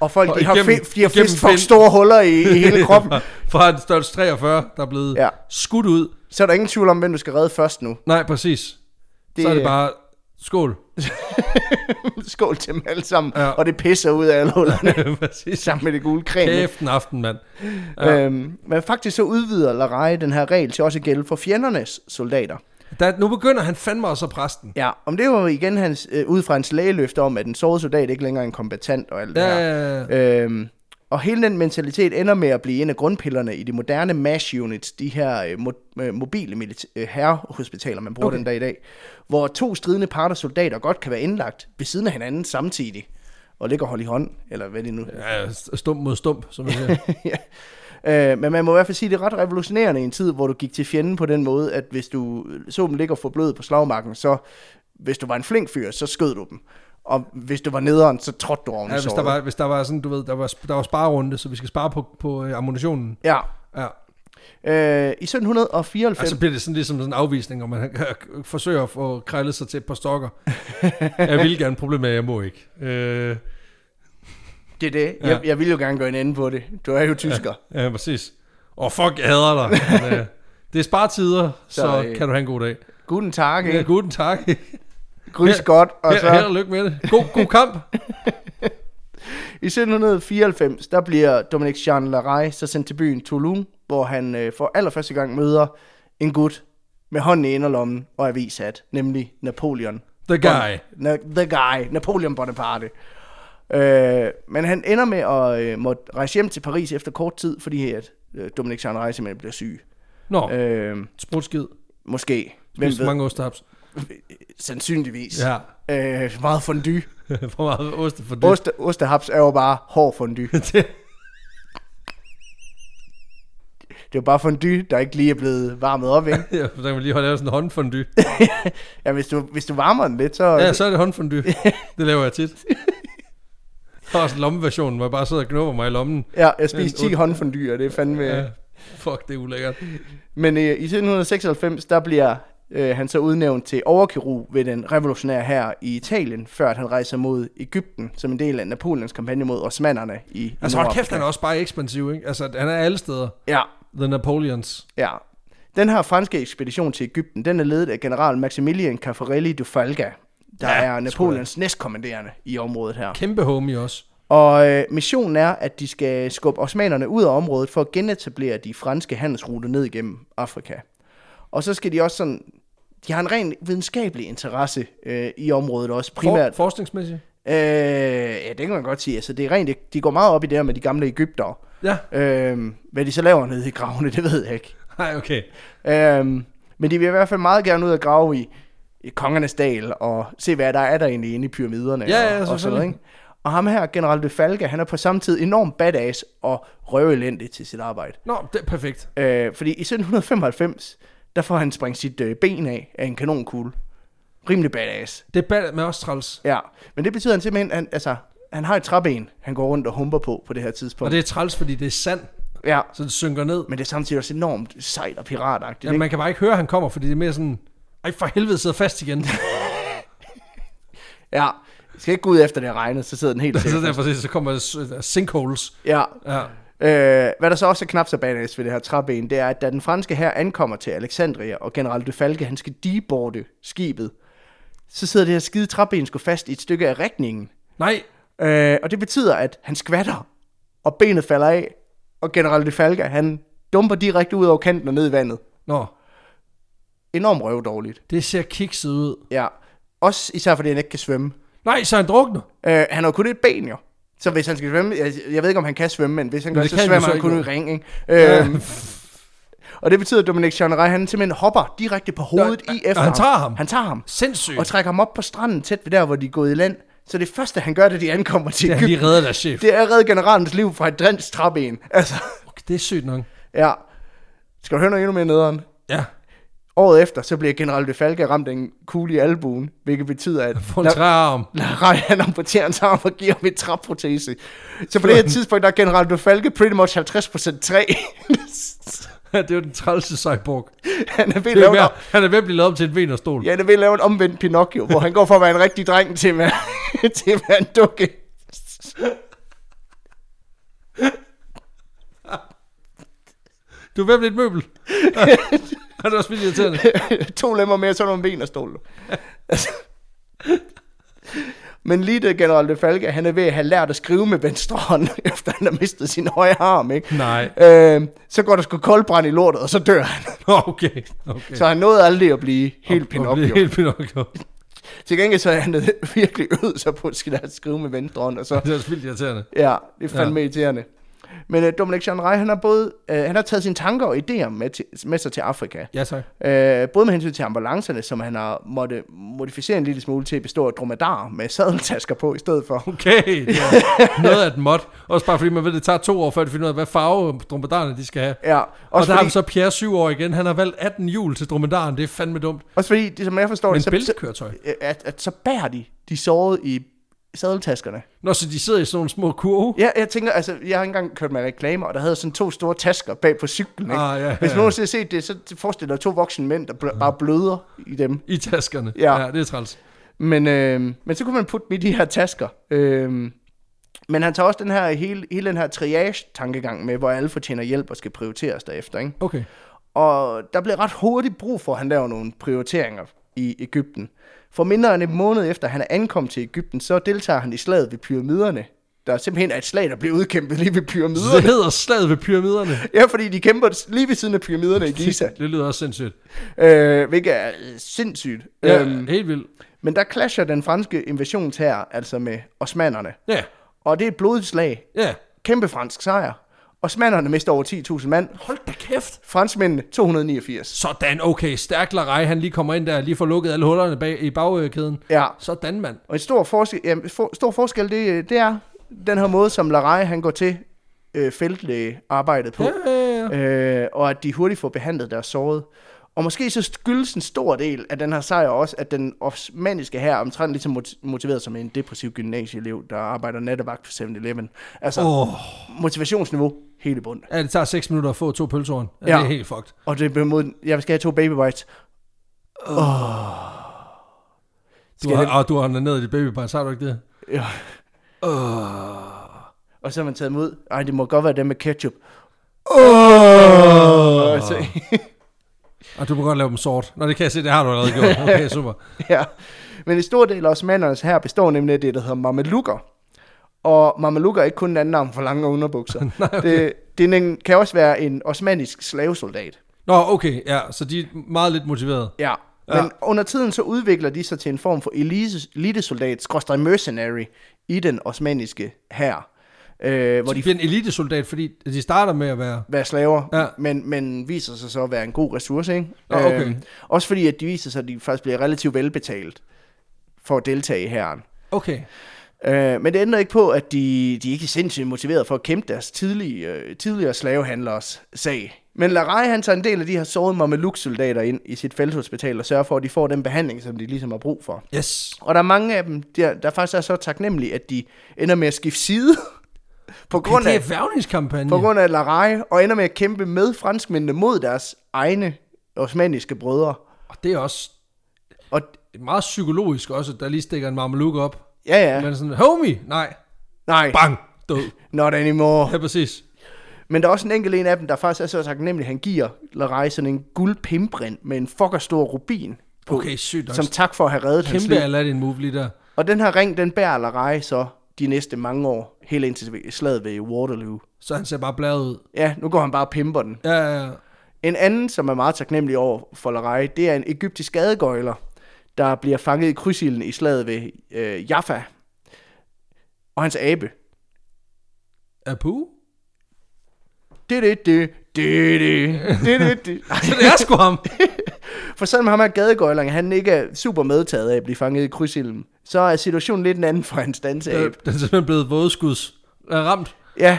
S2: og folk
S1: Og
S2: de har,
S1: igennem-
S2: fi, de har
S1: igennem
S2: fisk for
S1: ben.
S2: store huller i, i hele kroppen,
S1: Fra en størrelse 43, der er blevet
S2: Ja.
S1: ja. skudt ud.
S2: så er der ingen tvivl om, hvem du skal redde først nu.
S1: Nej, præcis. Det... Så er det bare, skål.
S2: Skål til dem alle sammen, ja.
S1: Ja.
S2: og det pisser ud af alle hullerne,
S1: præcis.
S2: sammen med det gule creme.
S1: Kæft en aften, mand.
S2: Ja. Øhm, men faktisk så udvider Larai den her regel til også at gælde for fjendernes soldater.
S1: Der, nu begynder han fandme også at presse den.
S2: Ja, om det var igen hans, øh, ud fra hans lægeløfte om, at en såret soldat ikke længere er en kombatant og alt det
S1: Ja,
S2: her.
S1: ja, ja.
S2: Øhm, og hele den mentalitet ender med at blive en af grundpillerne i de moderne MASH units, de her øh, mo- øh, mobile milita- øh, herrehospitaler, man bruger okay.
S1: Okay.
S2: den dag i dag, hvor to stridende parter soldater godt kan være indlagt ved siden af hinanden samtidig, og ligger hold i hånd, eller hvad det nu
S1: ja st- stump mod stump, som vi siger.
S2: ja. øh, men man må i hvert fald sige, at det er ret revolutionerende i en tid, hvor du gik til fjenden på den måde, at hvis du øh, så dem ligge og få blød på slagmarken, så hvis du var en flink fyr, så skød du dem. Og hvis du var nederen, så trådte du oven i
S1: Ja, hvis, der
S2: såret.
S1: var, hvis der var sådan, du ved, der var, der var sparerunde, så vi skal spare på, på øh, ammunitionen.
S2: Ja.
S1: Ja.
S2: Øh, I 1794...
S1: Og så bliver det sådan ligesom sådan en afvisning, hvor man øh, forsøger at få krællet sig til et par stokker. jeg vil gerne problemer, jeg må ikke. Øh,
S2: Det er det. Jeg, jeg vil jo gerne gøre en ende på det. Du er jo tysker.
S1: Altså, ja, præcis. Åh, oh, fuck, jeg hader dig. Men, øh, det er sparetider, så,
S2: Så, øh,
S1: kan du have en god dag.
S2: Guten Tag,
S1: Ja,
S2: ikke?
S1: guten tak.
S2: Grys
S1: her-
S2: godt. Og
S1: Her,
S2: så
S1: her, lykke med det. God, god kamp.
S2: i 1794, der bliver Dominique Jean Larrey så sendt til byen Toulon, hvor han øh, for allerførste gang møder en gut med hånden i inderlommen og avishat, nemlig Napoleon.
S1: The guy.
S2: Na- the guy. Napoleon Bonaparte. Øh, men han ender med at øh, måtte rejse hjem til Paris efter kort tid, fordi at øh, Dominique Jean Larrey simpelthen bliver syg.
S1: Nå, øh,
S2: Øh,
S1: sprutskid.
S2: måske. Hvem
S1: Spis
S2: ved?
S1: mange ostaps.
S2: Sandsynligvis.
S1: Ja,
S2: Øh, meget fondue.
S1: for meget ost for dyrt.
S2: Oste, ostehaps er jo bare hård fondue.
S1: Det-
S2: Det er jo bare fondue, der ikke lige er blevet varmet op, ikke?
S1: ja, så kan man lige holde lavet sådan en håndfondue.
S2: Ja, hvis du, hvis du varmer den lidt, så...
S1: Ja, så er det håndfondue. Det laver jeg tit. Der er også en lommeversion, hvor jeg bare sidder og knupper mig i lommen.
S2: ja jeg spiste
S1: en
S2: 10 håndfondue, og det er fandme...
S1: Ja. Fuck, det er ulækkert.
S2: Men øh, i 1796, der bliver øh, han så udnævnt til overkirurg ved den revolutionære her i Italien, før at han rejser mod Ægypten, som en del af Napoleons kampagne mod osmanderne i, i
S1: Altså hold kæft,
S2: Nordafrika.
S1: han er også bare ekspansiv, ikke? Altså, han er alle steder.
S2: Ja,
S1: The Napoleons.
S2: ja. Den her franske ekspedition til Ægypten, den er ledet af general Maximilien Caffarelli du Falga, der
S1: Ja,
S2: er Napoleons næstkommanderende i området her.
S1: Kæmpe homie også.
S2: Og øh, missionen er, at de skal skubbe osmanerne ud af området for at genetablere de franske handelsruter ned igennem Afrika. Og så skal de også sådan... De har en ren videnskabelig interesse øh, i området også, primært.
S1: For, forskningsmæssigt.
S2: Øh, ja, det kan man godt sige. Altså, det er rent, de går meget op i det her med de gamle Ægyptere.
S1: Ja,
S2: Øh, hvad de så laver nede i gravene, det ved jeg ikke.
S1: nej, okay.
S2: Øhm, men de vil i hvert fald meget gerne ud og grave i i Kongernes Dal, og se, hvad der er der egentlig inde i pyramiderne.
S1: Ja, ja,
S2: og, og sådan noget,
S1: selvfølgelig.
S2: ikke? Og ham her, General de Falke, han er på samme tid enormt badass og røvelendig til sit arbejde.
S1: Nå, det er perfekt.
S2: Øh, fordi i 1795, der får han sprængt sit øh, ben af af en kanonkugle. Rimelig badass.
S1: Det er bad med os træls.
S2: Ja, men det betyder han simpelthen, han, altså, han har et træben, han går rundt og humper på på det her tidspunkt.
S1: Og det er træls, fordi det er sand,
S2: Ja,
S1: så det synker ned.
S2: men det er samtidig også enormt sejt og piratagtigt.
S1: Ja, man kan bare ikke høre, at han kommer, fordi det er mere sådan... Ej, for helvede, sidder fast igen.
S2: ikke? ja. Jeg skal ikke gå ud efter det har regnet, så sidder den helt
S1: så
S2: sikkert.
S1: derfor så kommer der s- der sinkholes.
S2: Ja.
S1: Ja.
S2: Øh, hvad der så også er knap så badass ved det her træben, det er, at da den franske her ankommer til Alexandria, og general de Falke, han skal deborde skibet, så sidder det her skide træben sgu fast i et stykke af rækningen.
S1: Nej,
S2: Øh, og det betyder, at han skvatter, og benet falder af, og general de Falke, han dumper direkte ud over kanten og ned i vandet.
S1: nå,
S2: Enormt røvdårligt.
S1: det ser kikset ud.
S2: Ja. Også især fordi han ikke kan svømme.
S1: Nej, så han drukner.
S2: Øh, han har jo kun et ben jo. Så hvis han skal svømme, jeg, jeg ved ikke om han kan svømme, men hvis han
S1: Men
S2: gør,
S1: det
S2: så
S1: kan han jo
S2: svømmer
S1: så ikke jo.
S2: han kun ud i ring, ikke?
S1: Ja.
S2: Øhm, og det betyder, at Dominic Jean han simpelthen hopper direkte på hovedet
S1: Nå,
S2: i
S1: og
S2: efter
S1: han tager ham?
S2: Han tager ham.
S1: Sindssygt.
S2: Og trækker ham op på stranden tæt ved der, hvor de er gået i land. Så det første, han gør, da de ankommer til
S1: Det har
S2: Egypten,
S1: lige reddet deres chef.
S2: det er at redde generalens liv fra et drengs træben. Altså,
S1: Det er sygt nok.
S2: ja. Skal du høre noget endnu mere nederen?
S1: Ja,
S2: Året efter, så bliver general de Falke ramt af en kugle i albuen, hvilket betyder, at
S1: få en træarm.
S2: Nej, han amputerer hans arm og giver ham en træprotese. Så på det her tidspunkt, der er General Du Falke pretty much 50% træ.
S1: det er jo den trælse cyborg.
S2: han er ved at
S1: Det er
S2: lave,
S1: mere,
S2: en-
S1: han er ved at blive lavet om til en venerstol.
S2: ja, han er ved at lave en omvendt Pinocchio, hvor han går fra at være en rigtig dreng til at være, til at være en dukke.
S1: Du er ved at blive et møbel. Han er også vildt irriterende.
S2: to lemmer mere, så er der en ben og stol. Altså. Men lige det general de Falke, han er ved at have lært at skrive med venstre hånd, efter han har mistet sin højre arm, ikke?
S1: Nej.
S2: Øh, så går der sgu koldbrand i lortet, og så dør han.
S1: Nå, okay. okay.
S2: Så han nåede aldrig at blive helt Pinocchio.
S1: Helt Pinocchio.
S2: Til gengæld så er han virkelig øvet sig på, at skal der skrive med venstre hånd, og så,
S1: Det er også vildt irriterende.
S2: ja, det er fandme ja. irriterende. Men uh, Dominic Jean Rey, han har både, uh, han har taget sine tanker og idéer med, til, med sig til Afrika.
S1: Ja, tak.
S2: Uh, både med hensyn til ambulancerne, som han har måtte modificere en lille smule til at bestå af dromedar med sadeltasker på i stedet for.
S1: Okay, det er noget af et mod. Også bare fordi man ved, det tager to år, før de finder ud af, hvad farve dromedarerne de skal have.
S2: Ja,
S1: Og
S2: også,
S1: der har
S2: fordi,
S1: vi så Pierre syv år igen. Han har valgt 18 hjul til dromedaren. Det er fandme dumt.
S2: også fordi, det, som jeg forstår
S1: Men
S2: det, så,
S1: bæltekøretøj.
S2: så, at, at, så bærer de de sårede i sadeltaskerne.
S1: Nå, så de sidder i sådan nogle små kurve.
S2: Ja, jeg tænker, altså, jeg har ikke engang kørt med reklamer, og der havde sådan to store tasker bag på cyklen, ikke?
S1: Ah, ja,
S2: Hvis
S1: ja.
S2: man nogensinde har set det, så forestil dig to voksne mænd, der bl- bare bløder i dem.
S1: I taskerne.
S2: Ja.
S1: ja det er træls.
S2: Men, øh, men så kunne man putte dem i de her tasker. Øh, men han tager også den her, hele, hele den her triage-tankegang med, hvor alle fortjener hjælp og skal prioriteres derefter, ikke?
S1: Okay.
S2: Og der blev ret hurtigt brug for, at han laver nogle prioriteringer i Ægypten. For mindre end en måned efter, han er ankommet til Ægypten, så deltager han i slaget ved pyramiderne. Der simpelthen er et slag, der bliver udkæmpet lige ved
S1: Så
S2: pyramiderne.
S1: det hedder slaget ved pyramiderne.
S2: Ja, fordi de kæmper lige ved siden af pyramiderne i Giza,
S1: Det lyder også sindssygt.
S2: øh, hvilket er øh, sindssygt.
S1: Ja,
S2: Øhm,
S1: helt vildt.
S2: men der clasher den franske invasionshær altså med osmanderne.
S1: Ja,
S2: Og det er et blodigt slag.
S1: ja.
S2: Kæmpe fransk sejr. Osmanderne mister over 10.000 mand.
S1: Hold da kæft.
S2: Franskmændene 289.
S1: Sådan, okay. Stærk Larej, han lige kommer ind der, lige får lukket alle hullerne bag, i bagkæden.
S2: Ja,
S1: Sådan, mand.
S2: og en stor forskel, ja, for, stor forskel det, det er den her måde, som Larej han går til øh, feltlægearbejdet på.
S1: Ja, ja, ja.
S2: øh, og at de hurtigt får behandlet deres sårede. Og måske så skyldes en stor del af den her sejr også, at den osmaniske her omtrent lige så mot- motiveret som en depressiv gymnasieelev, der arbejder nattevagt på 7-Eleven. Altså, oh.
S1: Åh,
S2: motivationsniveau helt i bund.
S1: ja, det tager 6 minutter at få to pølsehorn. Ja,
S2: Ja.
S1: Det er helt fucked.
S2: Og det er mod, jeg skal have to baby bites.
S1: Du
S2: Skal
S1: har,
S2: jeg-
S1: og du har ned i dit babybar, så har du ikke det?
S2: Ja. Og så har man taget dem ud. Ej, det må godt være dem med ketchup.
S1: Oh.
S2: Og så,
S1: Og du må godt lave dem sort. Nå, det kan jeg se, det har du allerede gjort. Okay, super.
S2: ja. Men en stor del af osmandernes her består nemlig af det, der hedder mamelukker. Og mamelukker er ikke kun en anden navn for lange underbukser. Nej, okay. det, det er en, kan også være en osmanisk slavesoldat.
S1: Nå, okay, ja, så de er meget lidt motiveret.
S2: Ja. Men ja. under tiden så udvikler de sig til en form for elite- elitesoldat, skråstrej mercenary, i den osmaniske hær. Øh,
S1: Hvor
S2: hvor
S1: de
S2: de
S1: bliver en elitesoldat, fordi de starter med at være...
S2: være slaver,
S1: Ja.
S2: ja. Ah, men, men viser sig så at være en god ressource. Ikke? Øh,
S1: Nå, okay.
S2: også fordi, at de viser sig, at de faktisk bliver relativt velbetalt for at deltage i herren.
S1: Okay.
S2: Øh, men det ændrer ikke på, at de, de er ikke er sindssygt motiveret for at kæmpe deres tidlige, øh, tidligere slavehandlers sag. Men Larai, han tager en del af de her sårede mameluk-soldater ind i sit felthospital og sørger for, at de får den behandling, som de ligesom har brug for.
S1: Yes.
S2: Og der er mange af dem, der, der faktisk er så taknemmelige, at de ender med at skifte side på
S1: Grund
S2: grund
S1: det
S2: af,
S1: er værvningskampagne.
S2: på grund af Larai, og ender med at kæmpe med franskmændene mod deres egne osmaniske brødre.
S1: Og det er også
S2: Og
S1: meget psykologisk også, at der lige stikker en mameluk op.
S2: ja,
S1: Ja.
S2: ja,
S1: Man er sådan, homie, nej,
S2: nej,
S1: bang, død.
S2: not anymore.
S1: Ja, præcis.
S2: Men der er også en enkelt en af dem, der faktisk er så taknemmelig, at han giver Larai sådan en guldpimprint med en fucker stor rubin på,
S1: Okay, sygt nok.
S2: som tak for at have reddet hans
S1: Kæmpe
S2: liv.
S1: Aladdin move lige der.
S2: Og den her ring, den bærer Larai så de næste mange år, helt indtil slaget ved Waterloo.
S1: Så han ser bare bladet ud.
S2: Ja, nu går han bare og pimper den.
S1: Ja, ja, ja.
S2: En anden, som er meget taknemmelig over for Larai, det er en egyptisk gadegøjler, der bliver fanget i krydsilden i slaget ved øh, Jaffa. Og hans abe.
S1: Apu?
S2: Det, det, det, det, det, det, det, det.
S1: Så det er sgu ham.
S2: For selvom ham her gadegøjleren, han ikke er super medtaget af at blive fanget i krydsilden, så er situationen lidt en anden for hans danseabe.
S1: Den er simpelthen blevet vådskuds. Er ramt.
S2: Ja,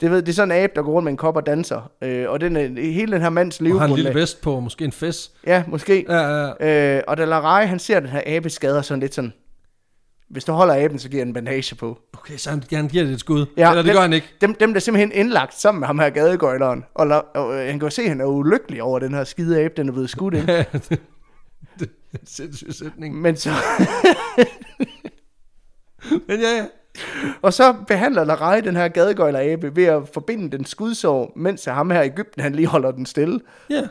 S2: det, ved, det er sådan en abe, der går rundt med en kop og danser. Øh, og den, er- hele den her mands
S1: Og har en lille
S2: levegrundlag.
S1: vest på, og måske en fest.
S2: Ja, måske.
S1: Ja, ja, ja.
S2: Øh, og da Larai, han ser den her abe skader sådan lidt sådan, hvis du holder aben, så giver jeg en bandage på.
S1: Okay, så han, han giver det et skud. Ja,
S2: Ja,
S1: Eller det
S2: men-
S1: gør han ikke.
S2: Dem, dem der er simpelthen indlagt sammen med ham her gadegøjleren. Og, la, og øh, han kan jo se, at han er ulykkelig over den her skide abe, den er blevet skudt ind.
S1: Sindssyg sætning.
S2: Men så,
S1: Men ja, ja.
S2: og så behandler Larai den her gadegøjlerabe ved at forbinde den skudsår, mens ham her i Ægypten, han lige holder den stille.
S1: Ja.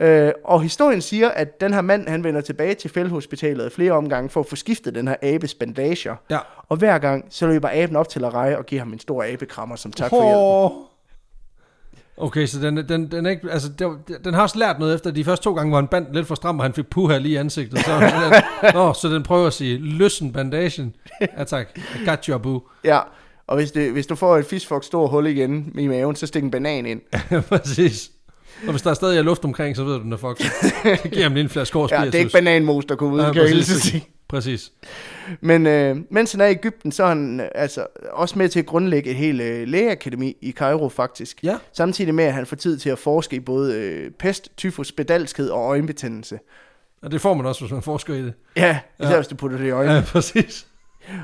S2: Øh, og historien siger, at den her mand, han vender tilbage til fældhospitalet i flere omgange for at få skiftet den her abes bandager.
S1: Ja.
S2: Og hver gang, så løber aben op til Larai og giver ham en stor abekrammer som tak for hjælpen.
S1: Hår. Okay, så den, den, den, er ikke, altså, den, den har også lært noget efter de første to gange, hvor han bandt lidt for stram, og han fik puha lige i ansigtet. Så, så, nå, så den prøver at sige, løsen bandagen. Ja tak, I got your boo.
S2: Ja, og hvis, det, hvis du får et fiskfoks stor hul igen i maven, så stik en banan ind.
S1: Præcis. Og hvis der er stadig er luft omkring, så ved du, den er fucked. Så giver ham lige en flaske over
S2: Ja, det er ikke bananmos, der kunne ud, kan jeg hilse at sige.
S1: Præcis.
S2: Men øh, mens han er i Ægypten, så er han øh, altså, også med til at grundlægge et helt øh, lægeakademi i Kairo faktisk.
S1: Ja.
S2: Samtidig med, at han får tid til at forske i både øh, pest, tyfus, spedalskhed og øjenbetændelse.
S1: Og det får man også, hvis man forsker i det.
S2: Ja, især
S1: Ja.
S2: ja. hvis du putter det i øjnene.
S1: Ja, præcis.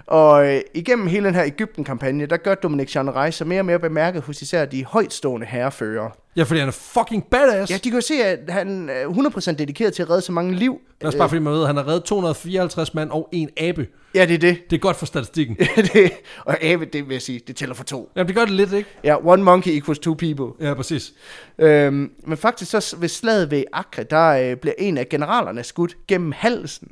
S2: Og øh, igennem hele den her Ægypten-kampagne, der gør Dominik Jean sig mere og mere bemærket hos især de højtstående herrefører.
S1: Ja, fordi han er fucking badass.
S2: Ja, de kan jo se, at han er 100% dedikeret til at redde så mange liv.
S1: Det er også bare fordi, man ved, at han har reddet 254 mand og en abe.
S2: Ja, det er det.
S1: Det er godt for statistikken.
S2: det og Abe, det vil jeg sige, det tæller for to.
S1: Jamen, det gør det lidt, ikke?
S2: Ja, one monkey equals two people.
S1: Ja, præcis.
S2: Øhm, men faktisk så s- ved slaget ved Akre, der øh, bliver en af generalerne skudt gennem halsen.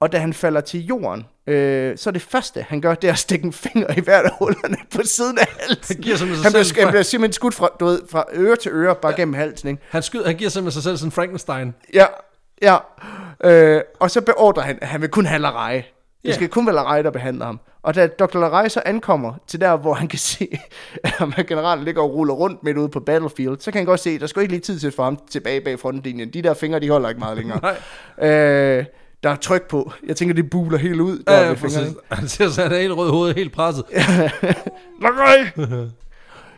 S2: Og da han falder til jorden, øh, så er det første, han gør, det er at stikke en finger i hvert af hullerne på siden af halsen.
S1: Han giver sig med sig
S2: han, bliver,
S1: selv
S2: sk- han
S1: fra-
S2: bliver simpelthen skudt fra, du ved, fra øre til øre, bare ja. gennem halsen, ikke?
S1: Han, skyder, han giver simpelthen sig selv sådan Frankenstein.
S2: Ja, ja. Øh, og så beordrer han, at han vil kun have Larai. Det
S1: Ja.
S2: skal kun være Larai, der behandler ham. Og da Dr. Larai så ankommer til der, hvor han kan se, at ham her generalen ligger og ruller rundt midt ude på battlefield, så kan han godt se, at der skulle ikke lige tid til for ham tilbage bag frontlinjen. De der fingre, de holder ikke meget længere. øh, der er tryk på. Jeg tænker, det buler helt ud. Der
S1: Ja,
S2: ved
S1: ja,
S2: fingrene,
S1: Øh, præcis.
S2: ikke?
S1: Han ser sig, han er helt rød i hovedet, helt presset.
S2: Larai!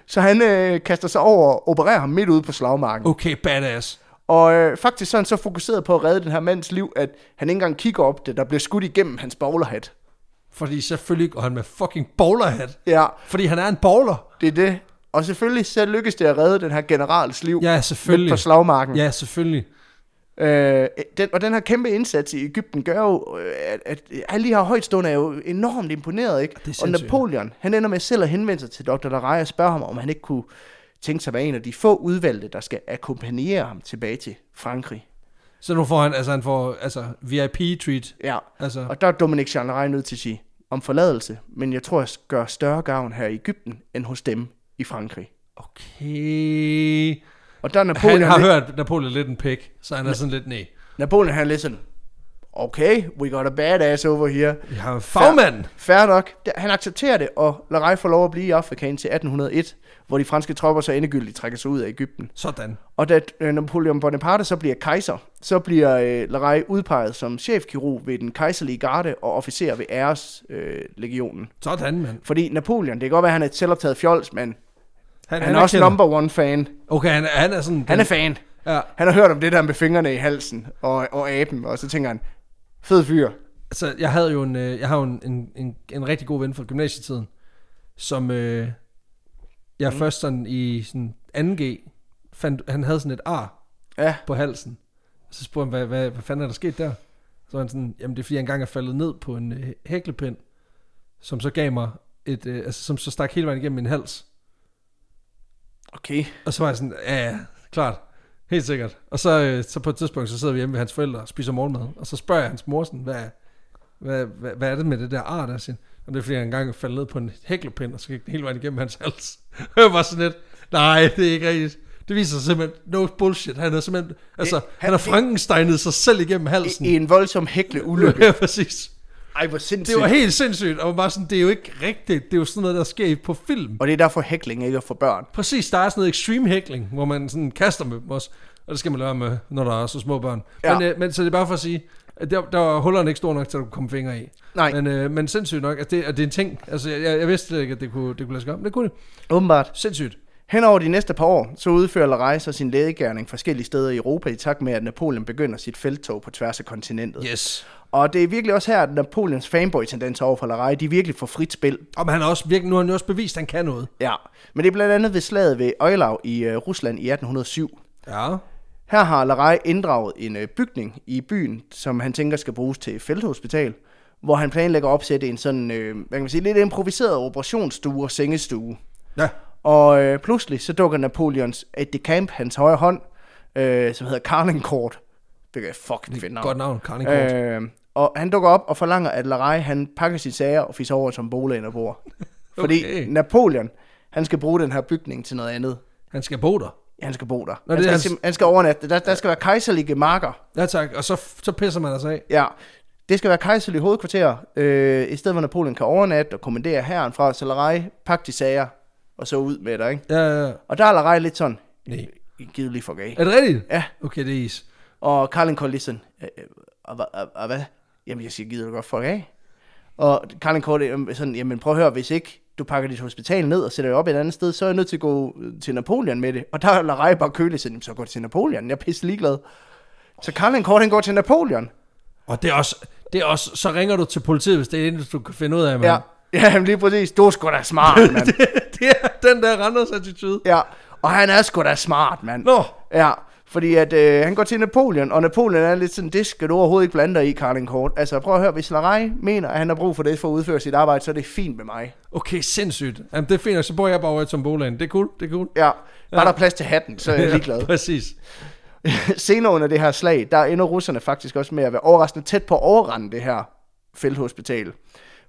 S2: så han øh, kaster sig over og opererer ham midt ude på slagmarken.
S1: Okay, badass.
S2: Og øh, faktisk så er han så fokuseret på at redde den her mands liv, at han ikke engang kigger op det, der bliver skudt igennem hans bowlerhat.
S1: Fordi selvfølgelig, og han med fucking bowlerhat.
S2: Ja,
S1: Fordi han er en bowler.
S2: det er det. Og selvfølgelig så lykkes det at redde den her generals liv
S1: Ja, selvfølgelig.
S2: midt på slagmarken.
S1: Ja, selvfølgelig.
S2: Øh, den, og den her kæmpe indsats i Ægypten gør jo, øh, at, at alle de her højtstående er jo enormt imponeret, ikke?
S1: det er
S2: og
S1: sindssygt.
S2: Napoleon, han ender med selv at henvende sig til Dr. Larai og spørge ham, om han ikke kunne tænke sig at være en af de få udvalgte, der skal akkompagnere ham tilbage til Frankrig.
S1: Så nu får han, altså han får, altså VIP-treat.
S2: Ja,
S1: Altså,
S2: Og der er Dominik Jean nødt til at sige, om forladelse, men jeg tror, jeg gør større gavn her i Ægypten, end hos dem i Frankrig.
S1: okay.
S2: Og der er
S1: Han
S2: Napoleon,
S1: har
S2: han
S1: hørt Napoleon er lidt en pik, så han er sådan lidt, nej.
S2: Napoleon han er lidt sådan, okay, we got a badass over here.
S1: Vi har en fagmand.
S2: Fair nok. Det- Han accepterer det, og Larej får lov at blive i Afrika indtil 1801, hvor de franske tropper så endegyldigt trækker sig ud af Ægypten.
S1: Sådan.
S2: Og da øh, Napoleon Bonaparte så bliver kejser, så bliver øh, Larej udpeget som chefkirurg ved den kejserlige garde og officer ved æreslegionen. Øh, legionen.
S1: Sådan, mand.
S2: Fordi Napoleon, det kan godt være, at han er et selvoptaget fjols, men
S1: Han,
S2: han er også
S1: erkender.
S2: number one fan.
S1: Okay, han, er- han er sådan...
S2: Han er fan.
S1: ja.
S2: Han har hørt om det der med fingrene i halsen og, og aben, og så tænker han, fed fyr.
S1: Altså, jeg havde jo en, øh, jeg har jo en, en, en, en rigtig god ven fra gymnasietiden, som øh, jeg mm. først sådan i sådan 2G fandt, han havde sådan et ar
S2: Ja,
S1: på halsen. Så spurgte han, hvad, hvad, hvad fanden er der sket der? Så var han sådan, jamen det er fordi, jeg engang er faldet ned på en øh, hæklepind, som så gav mig et, øh, altså som så stak hele vejen igennem min hals.
S2: okay.
S1: Og så var jeg sådan, ja, ja, klart. Helt sikkert. Og så, øh, så på et tidspunkt, så sidder vi hjemme ved hans forældre og spiser morgenmad. Og så spørger jeg hans mor sådan, hvad, hvad, hvad, hvad er det med det der ar, der siger, han, Om det er fordi, han engang faldt ned på en hæklepind, og så gik den hele vejen igennem hans hals. jeg var sådan lidt, nej, det er ikke rigtigt. Det viser sig simpelthen, no bullshit. Han er simpelthen, altså,
S2: han-
S1: han har frankensteinet sig selv igennem halsen.
S2: I, i en voldsom hækle ulykke.
S1: ja, præcis.
S2: Ej, hvor sindssygt.
S1: Det var helt sindssygt, og bare sådan, det er jo ikke rigtigt. Det er jo sådan noget, der sker på film.
S2: Og det er derfor hækling ikke er for børn.
S1: Præcis, der er sådan noget extreme hækling, hvor man sådan kaster med dem også. Og det skal man lade være med, når der er så små børn.
S2: Ja.
S1: Ja. Men, øh, men så det er bare for at sige, at der, der var hullerne ikke store nok til, at du kunne komme fingre i.
S2: Nej.
S1: Men, øh, men sindssygt nok, at det, at det er en ting. Altså, jeg, jeg jeg vidste slet ikke, at det kunne, det kunne lade sig gøre, men det kunne det.
S2: Åbenbart.
S1: Sindssygt.
S2: Henover de næste par år, så udfører Larej så sin lægegærning forskellige steder i Europa i takt med, at Napoleon begynder sit felttog på tværs af kontinentet.
S1: Yes.
S2: Og det er virkelig også her, at Napoleons fanboy-tendenser over for Larej, de virkelig får frit spil.
S1: Og men han har også virkelig, nu har han jo også bevist, at han kan noget.
S2: Ja, men det er blandt andet ved slaget ved Øjlav i øh, Rusland i 1807.
S1: Ja.
S2: Her har Larej inddraget en øh, bygning i byen, som han tænker skal bruges til felthospital, hvor han planlægger at opsætte en sådan, øh, hvad kan man sige, lidt improviseret operationsstue og sengestue.
S1: Ja.
S2: Og øh, pludselig så dukker Napoleons et de camp, hans højre hånd, øh, som hedder Carlingcourt. Det kan jeg fucking finde
S1: Godt
S2: navn.
S1: navn, Carling øh.
S2: Øh, og han dukker op og forlanger, at Larej han pakker sine sager og fiser over som bolæn og bor. Fordi
S1: Okay.
S2: Napoleon, han skal bruge den her bygning til noget andet.
S1: Han skal bo der.
S2: Han skal bo der.
S1: Nå,
S2: han,
S1: det er
S2: skal,
S1: hans-
S2: sim- han skal overnatte. Der, der skal være kejserlige marker.
S1: Ja tak, og så, så pisser man altså af.
S2: Ja, det skal være kejserlige hovedkvarter, øh, i stedet hvor Napoleon kan overnatte og kommandere herren fra Salerej, pakke de sager, og så ud med dig, ikke?
S1: Ja, ja, ja.
S2: Og der er Larej lidt sådan,
S1: Nej.
S2: I givet lige fuck af.
S1: Er det rigtigt?
S2: Ja.
S1: Okay, det er is.
S2: Og Carlin Kort lige sådan, "Øh, øh, og hva- og- og hvad? Jamen, jeg siger, gider du godt fuck af? Og Carlin Kort øh, sådan, jamen prøv at høre, hvis ikke du pakker dit hospital ned og sætter det op et andet sted, så er jeg nødt til at gå øh, til Napoleon med det. Og der er Larej bare kølig sådan, "Jamen, så går til Napoleon, jeg er pisse ligeglad. Så Carlin Kort, han går til Napoleon.
S1: Og det er også, det er også, så ringer du til politiet, hvis det er det, eneste, du kan finde ud af, mand.
S2: Ja, ja jamen, lige præcis. Du er sgu da smart, mand.
S1: det er den der Randers attitude.
S2: Ja, og han er sgu da smart, mand.
S1: Nå,
S2: Ja, fordi at øh, han går til Napoleon, og Napoleon er lidt sådan, det skal du overhovedet ikke blande dig i, Carling Kort. Altså prøv at høre, hvis Larej mener, at han har brug for det for at udføre sit arbejde, så er det fint med mig.
S1: okay, sindssygt. Jamen, det er fint, og så bor jeg bare over i tombolaen. Det er cool, det er cool.
S2: Ja, bare der er plads til hatten, så er jeg ligeglad.
S1: Ja, præcis.
S2: Senere under det her slag, der ender russerne faktisk også med at være overraskende tæt på at overrende det her felthospital.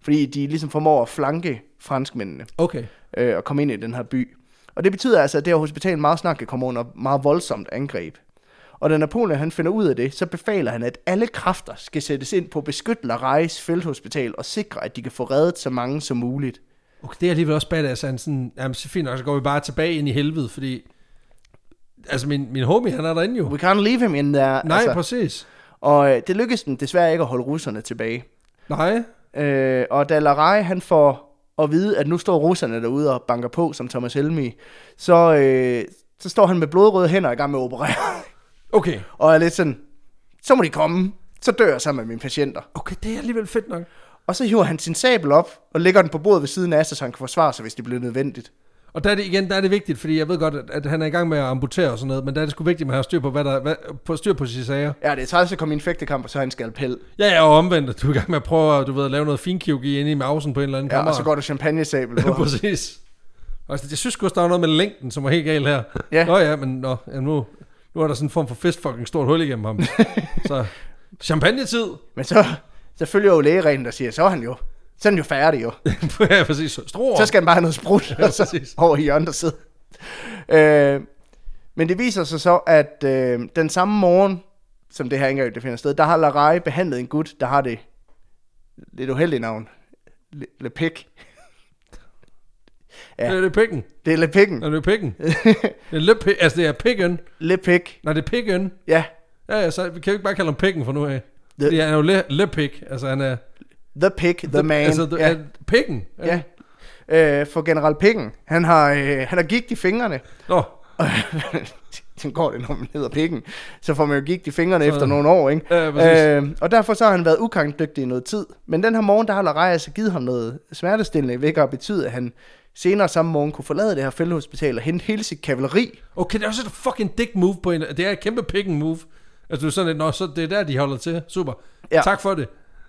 S2: Fordi de ligesom formår at flanke franskmændene.
S1: Okay.
S2: øh, og komme ind i den her by. Og det betyder altså, at det her hospital meget snart kan komme under meget voldsomt angreb. Og da Napoleon han finder ud af det, så befaler han, at alle kræfter skal sættes ind på at beskytte Larejs felthospital og sikre, at de kan få reddet så mange som muligt.
S1: okay. Det er alligevel også badass, at han sådan, jamen, så fint nok, så går vi bare tilbage ind i helvede, fordi, altså, min, min homie, han er derinde jo.
S2: We can't leave him in there.
S1: Nej, altså. præcis.
S2: og øh, det lykkedes dem desværre ikke at holde russerne tilbage.
S1: Nej.
S2: Øh, og da Larej han får at vide, at nu står russerne derude og banker på, som Thomas Helmi, så, øh, så står han med blodrøde hænder i gang med at operere.
S1: Okay.
S2: Og er lidt sådan, så må de komme, så dør jeg sammen med mine patienter.
S1: Okay, det er alligevel fedt nok.
S2: Og så hiver han sin sabel op og lægger den på bordet ved siden af sig, så han kan forsvare sig, hvis det bliver nødvendigt.
S1: Og der er det igen, der er det vigtigt, fordi jeg ved godt, at, at han er i gang med at amputere og sådan noget, men der er det sgu vigtigt, at man har styr på, hvad der, hvad, på styr på sine sager.
S2: Ja, det er træls at komme i en fægtekamp, og så har han en skalpel.
S1: Ja, ja, og omvendt, at du er i gang med at prøve at, du ved, at lave noget finkirurgi inde i mausen på en eller anden
S2: Ja,
S1: kammerat.
S2: og så går der champagnesabel på.
S1: Ja,
S2: ham.
S1: præcis. Altså, jeg synes også, der var noget med længden, som var helt galt her.
S2: Ja.
S1: Nå ja, men nå, ja, nu, nu er der sådan en form for fistfucking stort hul igennem ham. så champagne-tid.
S2: Men så, så følger jo lægereglen, der siger, så er han jo, så er han jo færdig jo.
S1: ja, præcis. Stroer.
S2: Så skal han bare have noget sprut, og så
S1: præcis.
S2: over i hjørnet og sidde. Øh, men det viser sig så, at øh, den samme morgen, som det her angreb det finder sted, der har Larai behandlet en gut, der har det lidt uheldige navn. Le, Le Pic. Ja.
S1: Ja. Det er pikken.
S2: Det er Le Pic'en.
S1: Det er pikken. Det er lidt pik, altså det er pikken.
S2: Le Pic.
S1: Nej, det er pikken.
S2: Ja.
S1: Ja, ja, så vi kan jo ikke bare kalde ham pikken for nu af.
S2: The-
S1: Det, han er jo le, le pik. Altså han er...
S2: The Pic, the, the man.
S1: Altså,
S2: ja.
S1: ja. pikken.
S2: Ja. Øh, for general Pikken, han har, øh, han har gigt i fingrene.
S1: Nå,
S2: Sådan går det, når man hedder Pikken. Så får man jo gigt i fingrene så... efter nogle år, ikke?
S1: Ja, præcis.
S2: øh, og derfor så har han været ukankdygtig i noget tid. Men den her morgen, der har Lareia altså givet ham noget smertestillende, hvilket har betydet, at han senere samme morgen kunne forlade det her fældehospital og hente hele sit kavaleri.
S1: okay, det er også et fucking dick move på en... Det er et kæmpe pikken move. Altså du er sådan lidt, nå, så det er der, de holder til. Super.
S2: Ja.
S1: Ja. Tak for det.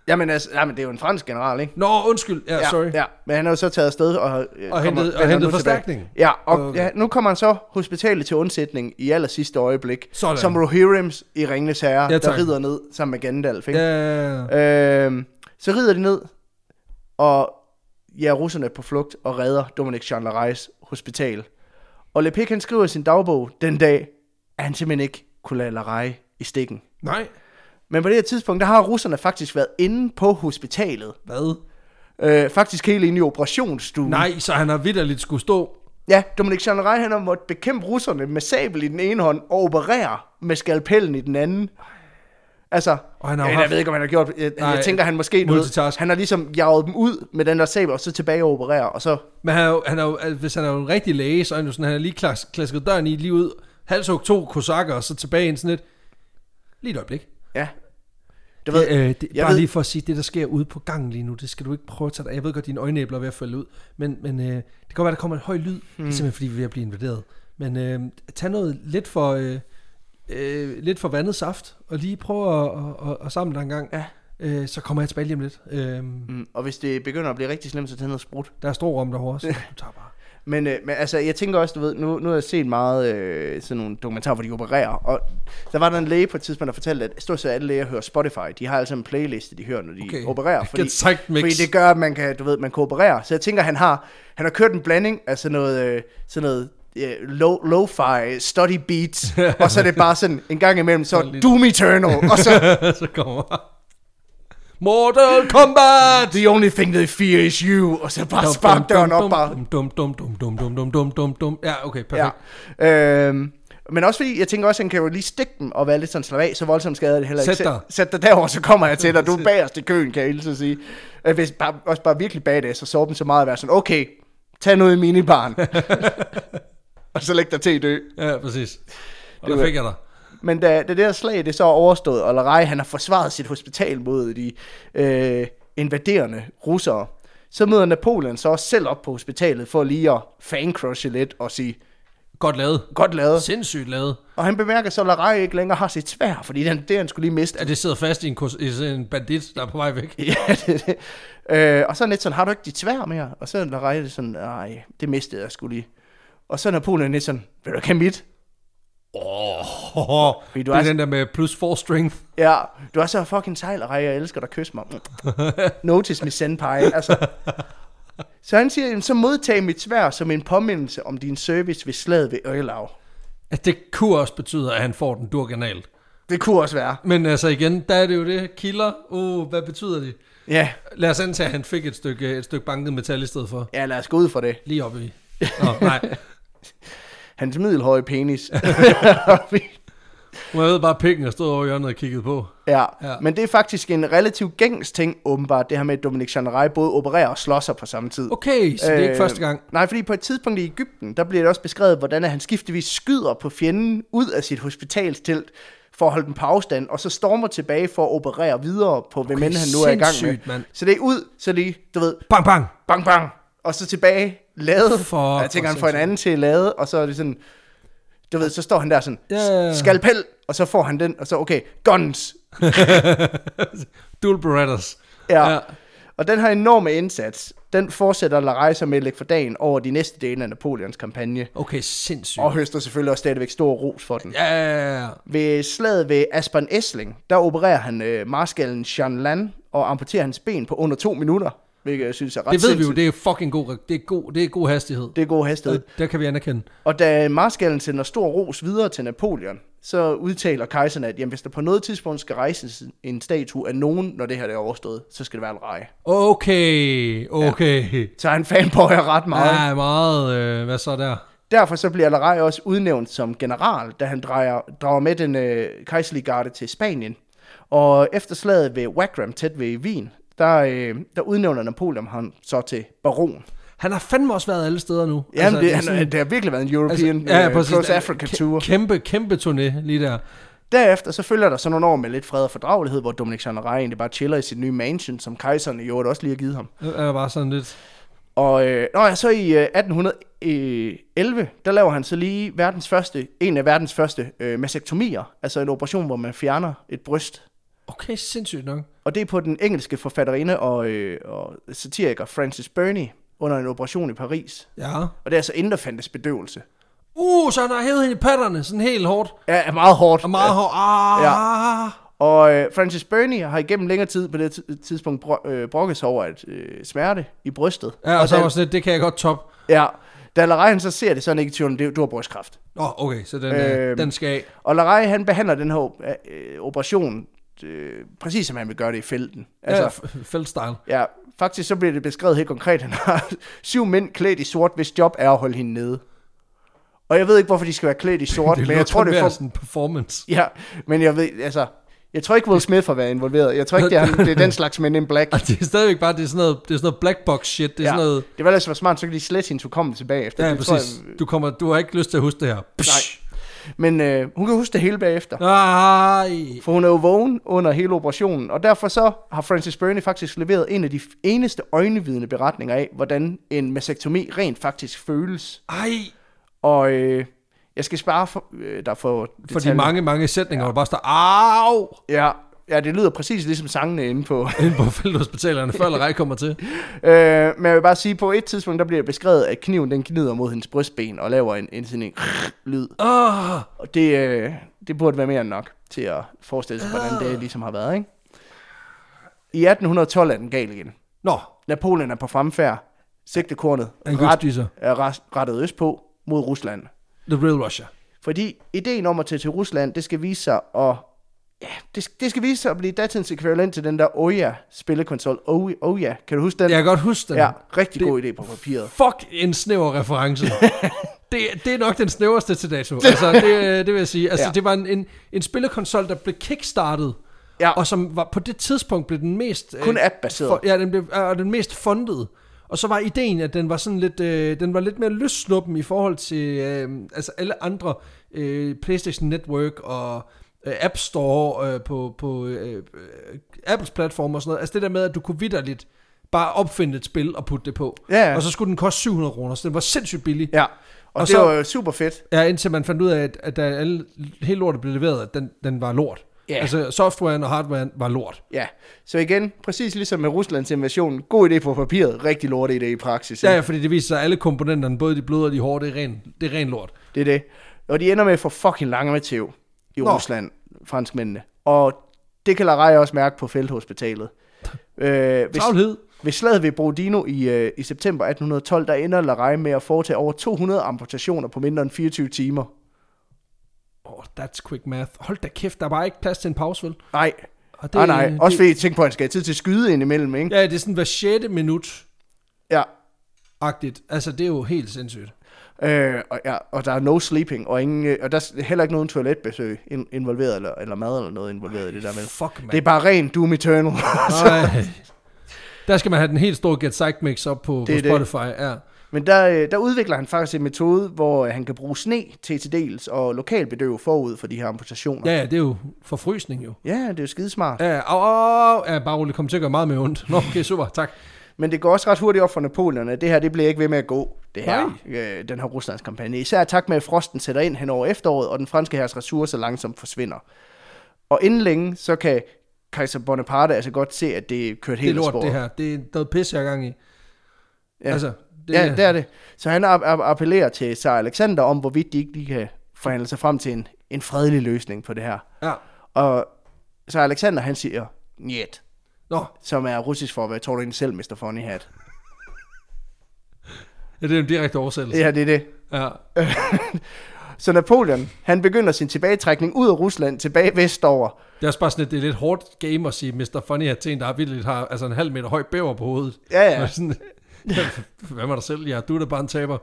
S2: Jamen, altså, jamen, det er jo en fransk general, ikke?
S1: Nå, undskyld. Ja, ja sorry. Ja.
S2: ja. Men han er jo så taget afsted og, øh, kommer-
S1: hentet- og
S2: vender
S1: hentet
S2: nu tilbage.
S1: forstærkning.
S2: Ja, og okay.
S1: Okay.
S2: ja, nu kommer han så hospitalet til undsætning i aller sidste øjeblik.
S1: Sådan.
S2: Som Rohirrims i Ringnes Herre,
S1: Ja,
S2: der
S1: tak.
S2: rider ned sammen med Gandalf. Ikke?
S1: Ja.
S2: Ja. Øhm, så rider de ned, og ja, russerne er på flugt og redder Dominic Chandlerais hospital. Og Lepik han skriver i sin dagbog den dag, at han simpelthen ikke kunne lade Larej i stikken.
S1: Nej.
S2: Men på det her tidspunkt, der har russerne faktisk været inde på hospitalet.
S1: Hvad?
S2: Øh, faktisk helt inde i operationsstuen.
S1: Nej, så han har vidderligt skulle stå.
S2: Ja, Dominik Chandray, han har måttet bekæmpe russerne med sabel i den ene hånd og operere med skalpellen i den anden. Altså,
S1: Og han har jo
S2: jeg, jeg
S1: haft-
S2: ved ikke, om han har gjort... Jeg, Nej,
S1: Nej,
S2: jeg tænker, han måske... du ved,
S1: multitask.
S2: Han har ligesom jaget dem ud med den der sabel, og så tilbage og operere, og så...
S1: Men han er jo, han er jo, altså, hvis han er jo en rigtig læge, så er han jo sådan, han er lige klas, klasket døren i, lige ud, halshug to kosakker, og så tilbage ind sådan lidt. Lige et øjeblik.
S2: Ja. Du
S1: Det, øh, det,
S2: jeg
S1: bare
S2: ved-
S1: ved... lige for at sige, det der sker ude på gangen lige nu, det skal du ikke prøve at tage dig. af. Jeg ved godt, dine øjenæbler er ved at falde ud, men, men øh, det kan godt være, der kommer en høj lyd. Mm. Det
S2: Hmm.
S1: er simpelthen, fordi vi er ved at blive invaderet. Men øh, tag noget lidt for, øh, øh, lidt for vandet saft, og lige prøv at, at, at, at samle dig en gang.
S2: Ja.
S1: Øh, så kommer jeg tilbage lige om lidt. Øh, mm.
S2: Mm, og hvis det begynder at blive rigtig slemt, så tager noget sprut.
S1: Der er stor rum derovre, så du tager bare.
S2: Men, øh, men altså, jeg tænker også, du ved, nu, nu har jeg set meget øh, sådan nogle dokumentarer, hvor de opererer, og der var der en læge på et tidspunkt, der fortalte, at stort set alle læger hører Spotify. De har altså en playliste, de hører, når de okay.
S1: Okay.
S2: opererer,
S1: Get
S2: fordi,
S1: psyched mix.
S2: fordi det gør, at man kan, du ved, man kan operere. Så jeg tænker, han har, han har kørt en blanding af sådan noget, øh, sådan noget øh, lo- lo-fi, study beats, og så er det bare sådan, en gang imellem, så Doom Eternal, og så
S1: så kommer Mortal Kombat!
S2: The only thing they fear is you, og så bare spark døren op, bare
S1: Dum, dum, dum, dum, dum, dum, dum, dum, dum, dum. Ja, okay,
S2: Ja.
S1: perfekt.
S2: Øhm, men også fordi, jeg tænker også, at han kan jo lige stikke dem og være lidt sådan slap af, så voldsomt skader det heller ikke.
S1: Sæt dig.
S2: Sæt, sæt dig derover, så kommer jeg til dig. Du er bagerst i køen, kan jeg hilse at sige. Øh, Hvis bare, også bare virkelig badass og sove dem så meget at være sådan, okay, tag noget i minibaren. og så læg dig til i dø.
S1: Ja, ja præcis. Og
S2: Det
S1: det
S2: var-
S1: der fik jeg dig.
S2: Men da, da det der slag, det så er overstået, og Larej, han har forsvaret sit hospital mod de øh, invaderende russere, så møder Napoleon så også selv op på hospitalet for lige at fancrushe lidt og sige,
S1: Godt lavet.
S2: godt lavet.
S1: Sindssygt lavet.
S2: Og han bemærker så, at Larej ikke længere har sit svær, fordi den, det, han skulle lige miste.
S1: At det sidder fast i en, kurs, i sådan en bandit, der er på vej væk.
S2: Ja, det, er det. Øh, og så er han lidt sådan, har du ikke dit svær mere? Og så er Larej lidt sådan, nej, det mistede jeg skulle lige. Og så er Napoleon lidt sådan, vil du ikke have mit?
S1: Åh, oh,
S2: Fordi du
S1: det er
S2: er-
S1: den der med plus 4 strength.
S2: Ja, du er så fucking sejl, Larej, jeg elsker dig, kys mig. Notice me senpai, altså. Så han siger, "Jamen, så modtag mit svær som en påmindelse om din service ved slaget ved Øjelav.
S1: At det kunne også betyde, at han får den durkanal.
S2: Det kunne også være.
S1: Men altså igen, der er det jo det. Kilder, uh, hvad betyder det?
S2: Ja,
S1: Lad os antage, at han fik et stykke, et stykke banket metal i stedet for.
S2: ja lad os gå ud for det.
S1: Lige oppe i. Nå, nej.
S2: Hans middelhøje penis.
S1: Hun havde bare pikken og stod over i hjørnet og kiggede på.
S2: Ja, ja,
S1: Ja.
S2: men det er faktisk en relativt gængs ting, åbenbart, det her med, at Dominic Chandray både opererer og slår sig på samme tid.
S1: Okay, så det er
S2: Øh,
S1: ikke første gang.
S2: Nej, fordi på et tidspunkt i Ægypten, der bliver det også beskrevet, hvordan at han skiftevis skyder på fjenden ud af sit hospitalstelt for at holde dem på afstand, og så stormer tilbage for at operere videre på, hvem end han nu er i gang med.
S1: sindssygt, mand.
S2: Så det er ud, så lige, du ved,
S1: Bang, bang!
S2: bang, bang, og så tilbage, lade,
S1: For-
S2: og jeg tænker,
S1: for
S2: han får en
S1: sindssygt.
S2: anden til at lade, og så er det sådan, du ved, så står han der sådan,
S1: Ja, ja, ja.
S2: skalpel, og så får han den, og så, okay, guns,
S1: Dual Berettas.
S2: Ja. ja.
S1: Ja.
S2: Og den her enorme indsats, den fortsætter Larej som med at lægge for dagen over de næste dele af Napoleons kampagne.
S1: Okay, sindssygt.
S2: Og høster selvfølgelig også stadigvæk stor ros for den. Ja.
S1: Ja, ja, ja.
S2: Ved slaget ved Aspen Essling, der opererer han øh, marskallen Jean Lan og amputerer hans ben på under to minutter. hvilket jeg synes er ret
S1: Det ved vi jo,
S2: sindssygt.
S1: det er fucking god, det er god, det er god hastighed.
S2: Det er god hastighed.
S1: Det, der kan vi anerkende.
S2: Og da marskallen sender stor ros videre til Napoleon, så udtaler kejseren, at jamen, hvis der på noget tidspunkt skal rejses en statue af nogen, når det her er overstået, så skal det være en reje.
S1: Okay, okay.
S2: Så han fanboyer ret meget.
S1: Ja, meget, øh, hvad så der?
S2: Derfor så bliver Larej også udnævnt som general, da han drejer, drager med den øh, kejserlige garde til Spanien. Og efter slaget ved Wagram, tæt ved Wien, der, øh, der udnævner Napoleon ham så til baron.
S1: Han har fandme også været alle steder nu.
S2: Jamen, altså, det,
S1: er
S2: han,
S1: sådan-
S2: det har virkelig været en European altså,
S1: ja,
S2: ja,
S1: præcis.
S2: Close
S1: Den
S2: Africa Tour.
S1: Kæmpe, kæmpe turné lige der.
S2: Derefter så følger der så nogle år med lidt fred og fordragelighed, hvor Dominik Jean egentlig bare chiller i sit nye mansion, som kejseren i øvrigt også lige har givet ham.
S1: Det Øh, er bare sådan lidt...
S2: Og øh, nå, ja, så i øh, 1811, der laver han så lige verdens første, en af verdens første øh, mastektomier, altså en operation, hvor man fjerner et bryst.
S1: Okay, sindssygt nok.
S2: Og det er på den engelske forfatterinde og, øh, og satiriker Frances Burney under en operation i Paris.
S1: Ja.
S2: Og det er altså inden der fandtes bedøvelse.
S1: Uh, så han har hævet hende i patterne, sådan helt hårdt.
S2: Ja, er meget hårdt.
S1: Og meget hårdt. Ah.
S2: Ja.
S1: Ja.
S2: Og øh, Francis Burney har igennem længere tid på det ti- tidspunkt bro- øh, brokket sig over et øh, smerte i brystet.
S1: Ja, og så
S2: da,
S1: var sådan lidt, det kan jeg godt top.
S2: ja, da Larej han så ser det, så er han ikke i tvivl, om, det du har brystkræft.
S1: Nå, oh, okay, så den, øh,
S2: Øhm.
S1: den skal af.
S2: Og Larej han behandler den her op- øh, operation øh, præcis som han vil gøre det i felten.
S1: Altså,
S2: Altså,
S1: ja, feltstyle.
S2: ja. ja, faktisk så bliver det beskrevet helt konkret. Han har syv mænd klædt i sort, hvis job er at holde hende nede. Og jeg ved ikke, hvorfor de skal være klædt i sort,
S1: Det
S2: men jeg tror, det er for...
S1: for... sådan en performance.
S2: Ja, men jeg ved, altså... Jeg tror ikke, Will Smith har været involveret. Jeg tror ikke, det er, det er den slags Men in Black.
S1: Og det er stadigvæk bare, det er sådan noget, det er sådan noget black box shit. Det er ja. sådan noget,
S2: Det var ellers var smart, så kan de slette hendes hukommelse bagefter.
S1: ja,
S2: det
S1: præcis.
S2: Tror jeg,
S1: Du, kommer, du har ikke lyst til at huske det her. Psh.
S2: men øh, hun kan huske det hele bagefter.
S1: Nej.
S2: For hun er jo vågen under hele operationen, og derfor så har Francis Burney faktisk leveret en af de f- eneste øjenvidende beretninger af, hvordan en mastektomi rent faktisk føles.
S1: Ej.
S2: Og øh, jeg skal spare for, øh, dig for,
S1: For de
S2: detaljer.
S1: mange, mange sætninger, ja. hvor der bare står, au.
S2: Ja, ja, det lyder præcis ligesom sangene inde på.
S1: Inde på felthospitalerne, før eller ej kommer til.
S2: øh, men jeg vil bare sige, på et tidspunkt, der bliver det beskrevet, at kniven den gnider mod hendes brystben og laver en, en sådan en lyd.
S1: Åh.
S2: Og det, øh, det burde være mere end nok til at forestille sig, hvordan
S1: Ah.
S2: det ligesom har været, ikke? I 1812 er den gal igen.
S1: Nå,
S2: Napoleon er på fremfærd. Sigtekornet
S1: Han kan ikke sig.
S2: er ret- rettet østpå mod Rusland.
S1: The Real Russia.
S2: Fordi ideen om at tage til Rusland, det skal vise sig at... Ja, det, det skal vise sig at blive datidens ekvivalent til den der Oya-spillekonsol. Oya, Oya, kan du huske den?
S1: Jeg kan godt huske den.
S2: ja rigtig god idé på papiret.
S1: Fuck en snæver reference. det, det er nok den snæverste til dato. Altså, det, det vil jeg sige. Altså, ja.
S2: Ja.
S1: det var en, en, en spillekonsol, der blev kickstartet.
S2: Ja.
S1: Og som var, på det tidspunkt blev den mest... øh,
S2: Kun app-baseret.
S1: for- Ja, den blev, øh, og den mest fundet. Og så var ideen, at den var sådan lidt, øh, den var lidt mere løssluppen i forhold til øh, altså alle andre øh, PlayStation Network og øh, App Store øh, på, på øh, øh, Apples platform og sådan noget. Altså det der med, at du kunne vidderligt bare opfinde et spil og putte det på.
S2: Ja, ja.
S1: Og så skulle den koste 700 kroner, så den var sindssygt billig.
S2: Ja, og,
S1: Og
S2: og det
S1: så-
S2: så, var jo super fedt.
S1: Ja, indtil man fandt ud af, at, at da alle, hele lortet blev leveret, at den, den var lort.
S2: Ja.
S1: Altså softwaren og hardwaren var lort.
S2: Ja, så igen, præcis ligesom med Ruslands invasion, god idé på papiret, rigtig lort idé i praksis.
S1: Ja,
S2: ikke?
S1: ja, fordi det viser sig, at alle komponenterne, både de bløde og de hårde, det er ren, det er ren lort.
S2: Det er det. Og de ender med at få fucking lange med tæv i
S1: Nå.
S2: Nå. Rusland, franskmændene. Og det kan Larej også mærke på felthospitalet. Øh, hvis,
S1: Travlhed.
S2: ved slaget ved Borodino i, øh, i september 1812, der ender Larej med at foretage over 200 amputationer på mindre end 24 timer.
S1: Oh, that's quick math. Hold da kæft, der var ikke plads til en pause, vel?
S2: Nej,
S1: Og
S2: det, ah, nej. Også
S1: det,
S2: fordi jeg tænker på, at han skal have tid til at skyde indimellem, ikke?
S1: Ja, det er sådan hver 6. minut-agtigt.
S2: Ja.
S1: Altså, det er jo helt sindssygt.
S2: Øh, og, ja, og der er no sleeping, og, ingen, øh, og der er heller ikke nogen toiletbesøg in, involveret, eller, eller mad eller noget involveret i det der med.
S1: Fuck, man.
S2: Det er bare ren Doom Eternal.
S1: Ej. Der skal man have den helt store Get Psyched mix op på,
S2: Det
S1: på
S2: er det.
S1: Spotify. Ja.
S2: Men der, øh, der udvikler han faktisk en metode, hvor øh, han kan bruge sne til til dels og lokalbedøve forud for de her amputationer.
S1: ja, ja, det er jo forfrysning jo.
S2: ja det er jo skidesmart.
S1: Ja, au, au, au. ja bare roligt, kom til at gøre meget mere ondt. Nå, okay, super, tak.
S2: Men det går også ret hurtigt op for Napoleon, at det her det bliver ikke ved med at gå, det her,
S1: Nej.
S2: øh, den her Ruslands kampagne. Især tak med, at frosten sætter ind hen over efteråret, og den franske hærs ressourcer langsomt forsvinder. Og inden længe, så kan kejser Bonaparte altså godt se, at det er kørt
S1: Det er
S2: helt af
S1: lort,
S2: sporet.
S1: det her. Det er noget pis, jeg er gang i.
S2: Ja.
S1: Altså, det,
S2: Ja, det er det. Så han app- app- appellerer til Sir Alexander om, hvorvidt de ikke lige kan forhandle sig frem til en, en fredelig løsning på det her.
S1: Ja.
S2: Og så Alexander, han siger, njet.
S1: Nå,
S2: som er russisk for at være tårlig selv, Mr. Funny Hat.
S1: ja, det er en direkte oversættelse.
S2: Ja, det er det.
S1: Ja.
S2: Så Napoleon, han begynder sin tilbagetrækning ud af Rusland, tilbage vestover.
S1: Det er også bare sådan, at det er lidt hårdt game at sige Mr. Funny Hat til en, der virkelig har altså en halv meter høj bæver på hovedet.
S2: Ja, ja.
S1: Og Sådan, hvad med dig selv? Ja, du er da bare en taber.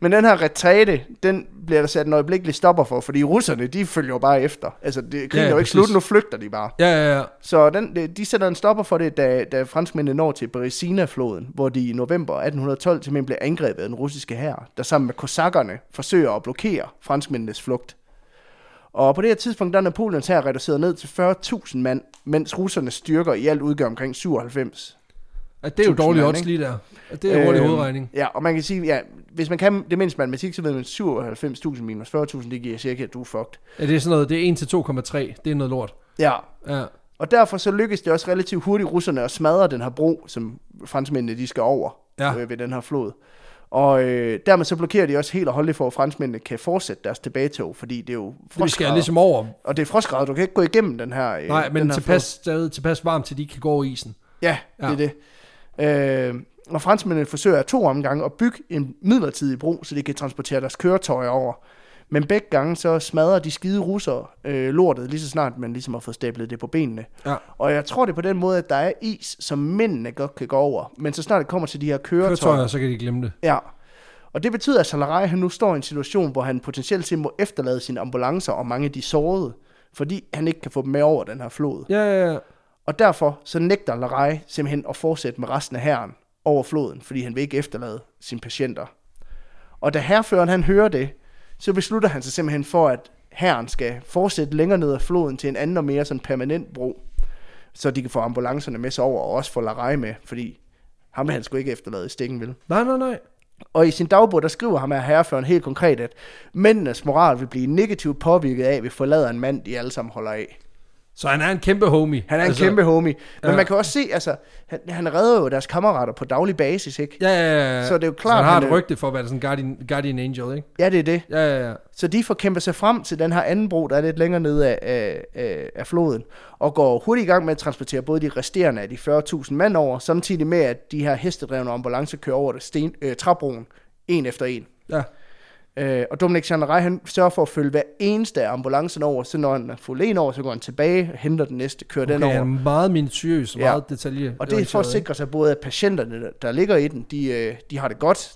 S2: Men den her retræte, den bliver der sat en øjeblikkelig stopper for, fordi russerne, de følger jo bare efter. Altså, det, krigen
S1: Ja,
S2: ja, er jo ikke
S1: præcis.
S2: slut, nu flygter de bare.
S1: Ja, ja, ja.
S2: Så den, de- de sætter en stopper for det, da, da franskmændene når til Beresina-floden, hvor de i november 1812 simpelthen bliver angrebet af den russiske hær, der sammen med kosakkerne forsøger at blokere franskmændenes flugt. Og på det her tidspunkt, der er Napoleons hær reduceret ned til 40.000 mand, mens russernes styrker i alt udgør omkring 97.
S1: At det er jo
S2: Tusind
S1: dårlige
S2: mand,
S1: odds
S2: ikke?
S1: lige der. At det er hurtig
S2: Øhm,
S1: hovedregning.
S2: Ja, og man kan sige, ja, hvis man kan det mindste matematik, så ved man, at 97.000 minus 40.000, det giver cirka, at du er fucked.
S1: Ja, det er sådan noget, det er 1 til 2,3. Det er noget lort.
S2: Ja,
S1: Ja.
S2: og derfor så lykkes det også relativt hurtigt russerne at smadre den her bro, som franskmændene de skal over
S1: Ja.
S2: øh, ved den her flod. Og øh, dermed så blokerer de også helt og holdeligt for, at franskmændene kan fortsætte deres tilbagetog, fordi det er jo
S1: Vi skal
S2: frostgrader.
S1: ligesom over.
S2: Og det er frostgrader, du kan ikke gå igennem den her øh,
S1: Nej,
S2: den
S1: men
S2: her
S1: tilpas, stadig tilpas varmt, til de ikke kan gå over isen.
S2: Ja,
S1: Ja.
S2: ja, det er det. Øh, og franskmændene forsøger af to omgange at bygge en midlertidig bro, så de kan transportere deres køretøjer over. Men begge gange så smadrer de skide russere øh, lortet, lige så snart man ligesom har fået stablet det på benene.
S1: Ja.
S2: Og jeg tror det er på den måde, at der er is, som mændene godt kan gå over. Men så snart det kommer til de her køretøjer...
S1: Køretøjer, så kan de glemme det.
S2: Ja. Og det betyder, at Salarai han nu står i en situation, hvor han potentielt set må efterlade sine ambulancer og mange af de sårede, fordi han ikke kan få dem med over den her flod.
S1: Ja, ja, ja.
S2: Og derfor så nægter Larej simpelthen at fortsætte med resten af herren over floden, fordi han vil ikke efterlade sine patienter. Og da herføren han hører det, så beslutter han sig simpelthen for, at herren skal fortsætte længere ned ad floden til en anden og mere sådan permanent bro, så de kan få ambulancerne med sig over, og også få Larej med, fordi ham vil han skulle ikke efterlade i stikken, vil.
S1: Nej, nej, nej.
S2: Og i sin dagbog, der skriver ham af herreføren helt konkret, at mændenes moral vil blive negativt påvirket af, at vi forlader en mand, de alle sammen holder af.
S1: Så han er en kæmpe homie.
S2: Han er altså, en kæmpe homie. Men
S1: ja.
S2: ja. man kan også se, altså, han, han redder jo deres kammerater på daglig basis, ikke?
S1: Ja, ja, ja, ja.
S2: Så det er jo klart,
S1: så han har
S2: han
S1: et
S2: er-
S1: rygte for at være sådan en guardian, guardian angel, ikke?
S2: Ja, det er det.
S1: Ja, ja, ja.
S2: Så de får kæmpet sig frem til den her anden bro, der er lidt længere nede af, af, af, af floden, og går hurtigt i gang med at transportere både de resterende af de 40.000 mand over, samtidig med, at de her hestedrevne ambulancer kører over det sten, øh, træbroen, en efter en.
S1: Ja,
S2: Øh, og Dominik Chandray, han sørger for at følge hver eneste af ambulancen over, så når han er fuld en over, så går han tilbage, henter den næste, kører
S1: okay,
S2: den over.
S1: han er meget minutiøs,
S2: Ja.
S1: meget detaljeret.
S2: Og det er for at sikre sig både, at patienterne, der- der ligger i den, de, øh, de har det godt,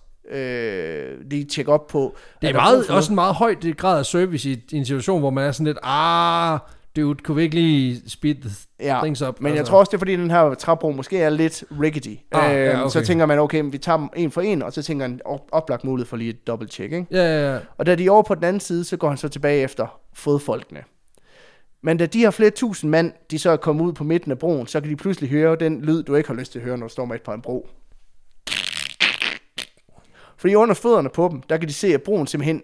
S2: øh, de tjekker op på...
S1: Det er
S2: der brug
S1: meget,
S2: for
S1: også
S2: noget.
S1: en meget høj grad af service i, i en situation, hvor man er sådan lidt, ah, dude, kunne vi ikke lige speed the
S2: Ja,
S1: things up? altså.
S2: men jeg tror også, det er fordi, den her træbro måske er lidt rickety.
S1: Ah, ja,
S2: Øhm,
S1: okay.
S2: Så tænker man, okay, men vi tager dem en for en, og så tænker han, op- oplagt mulighed for lige et dobbelt-check, ikke?
S1: Ja, ja, ja.
S2: Og da de er over på den anden side, så går han så tilbage efter fodfolkene. Men da de her flere tusind mand, de så er kommet ud på midten af broen, så kan de pludselig høre den lyd, du ikke har lyst til at høre, når du står midt på en bro. Fordi under fødderne på dem, der kan de se, at broen simpelthen...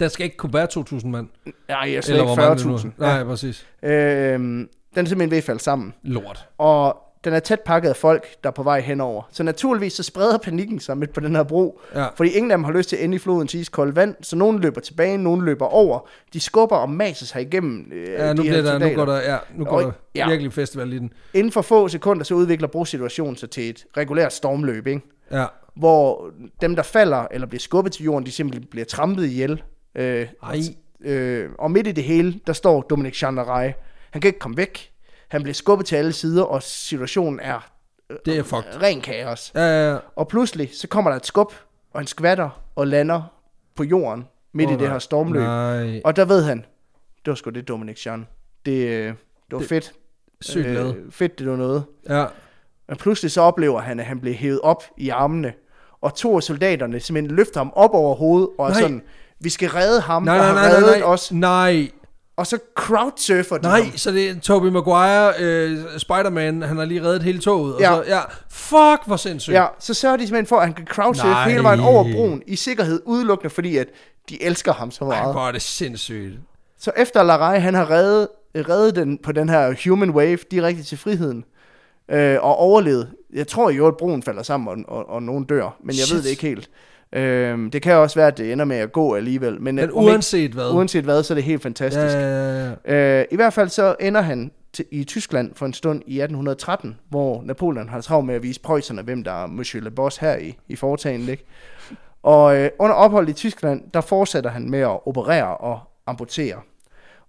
S1: Der skal ikke kunne være 2.000 mand.
S2: Nej, jeg slet
S1: Eller hvor mange det nu
S2: ikke
S1: er.
S2: 40.000.
S1: Nej, præcis.
S2: Øhm, den er simpelthen ved at falde sammen.
S1: Lort.
S2: Og den er tæt pakket af folk, der er på vej henover. Så naturligvis så spreder panikken sig midt på den her bro.
S1: Ja.
S2: Fordi ingen af dem har lyst til at ende i flodens iskoldt vand. Så nogen løber tilbage, nogen løber over. De skubber og maser sig igennem øh,
S1: Ja, nu,
S2: de
S1: bliver
S2: her
S1: der, nu
S2: soldater.
S1: går der, ja, nu går
S2: Og-
S1: der
S2: ja.
S1: virkelig festival i den.
S2: Inden for få sekunder, så udvikler brosituationen sig til et regulært stormløb, ikke?
S1: Ja.
S2: Hvor dem, der falder eller bliver skubbet til jorden, de simpelthen bliver trampet ihjel. Øh,
S1: Ej.
S2: Øh, og midt i det hele, der står Dominik Chandaray. Han kan ikke komme væk. Han bliver skubbet til alle sider, og situationen er
S1: Det er fucked.
S2: ren kaos.
S1: Ja, ja, ja.
S2: Og pludselig, så kommer der et skub, og han skvatter og lander på jorden midt
S1: Åh,
S2: oh, i det
S1: nej.
S2: her stormløb.
S1: Nej.
S2: Øh. Og der ved han, det var sgu det, Dominik Chan. Det, øh, det var det, fedt.
S1: Sygt glad.
S2: Øh, fedt, det var noget.
S1: Ja.
S2: Men pludselig så oplever han, at han bliver hævet op i armene, og to af soldaterne simpelthen løfter ham op over hovedet, og er
S1: Nej.
S2: sådan, vi skal redde ham,
S1: Nej,
S2: der
S1: nej,
S2: har
S1: nej,
S2: reddet
S1: nej, nej.
S2: os.
S1: Nej.
S2: Og så crowdsurfer de
S1: Nej,
S2: ham.
S1: så det er Tobey Maguire, øh, Spider-Man, han har lige reddet hele toget. Og
S2: Ja.
S1: Så, ja. Fuck, hvor sindssygt.
S2: Ja, så sørger de simpelthen for, at han kan crowdsurfe
S1: Nej.
S2: hele vejen over broen i sikkerhed, udelukkende fordi, at de elsker ham så
S1: Ej,
S2: meget.
S1: hvor er det sindssygt.
S2: Så efter Larai, han har reddet, reddet den på den her human wave direkte til friheden, øh, og overlevet. Jeg tror jo, at broen falder sammen, og, og, og nogen dør, men jeg Shit. ved
S1: Shit.
S2: det ikke helt. Øh, det kan også være, at det ender med at gå alligevel. Men,
S1: Men
S2: øh, om
S1: uanset hvad.
S2: ikke, uanset hvad, så er det helt fantastisk.
S1: ja, ja, ja.
S2: Øh, I hvert fald så ender han til, i Tyskland for en stund i 1813, hvor Napoleon har travlt med at vise prøjserne, hvem der er Monsieur Le Boss her i, i foretagendet. Ikke? Og øh, under ophold i Tyskland, der fortsætter han med at operere og amputere.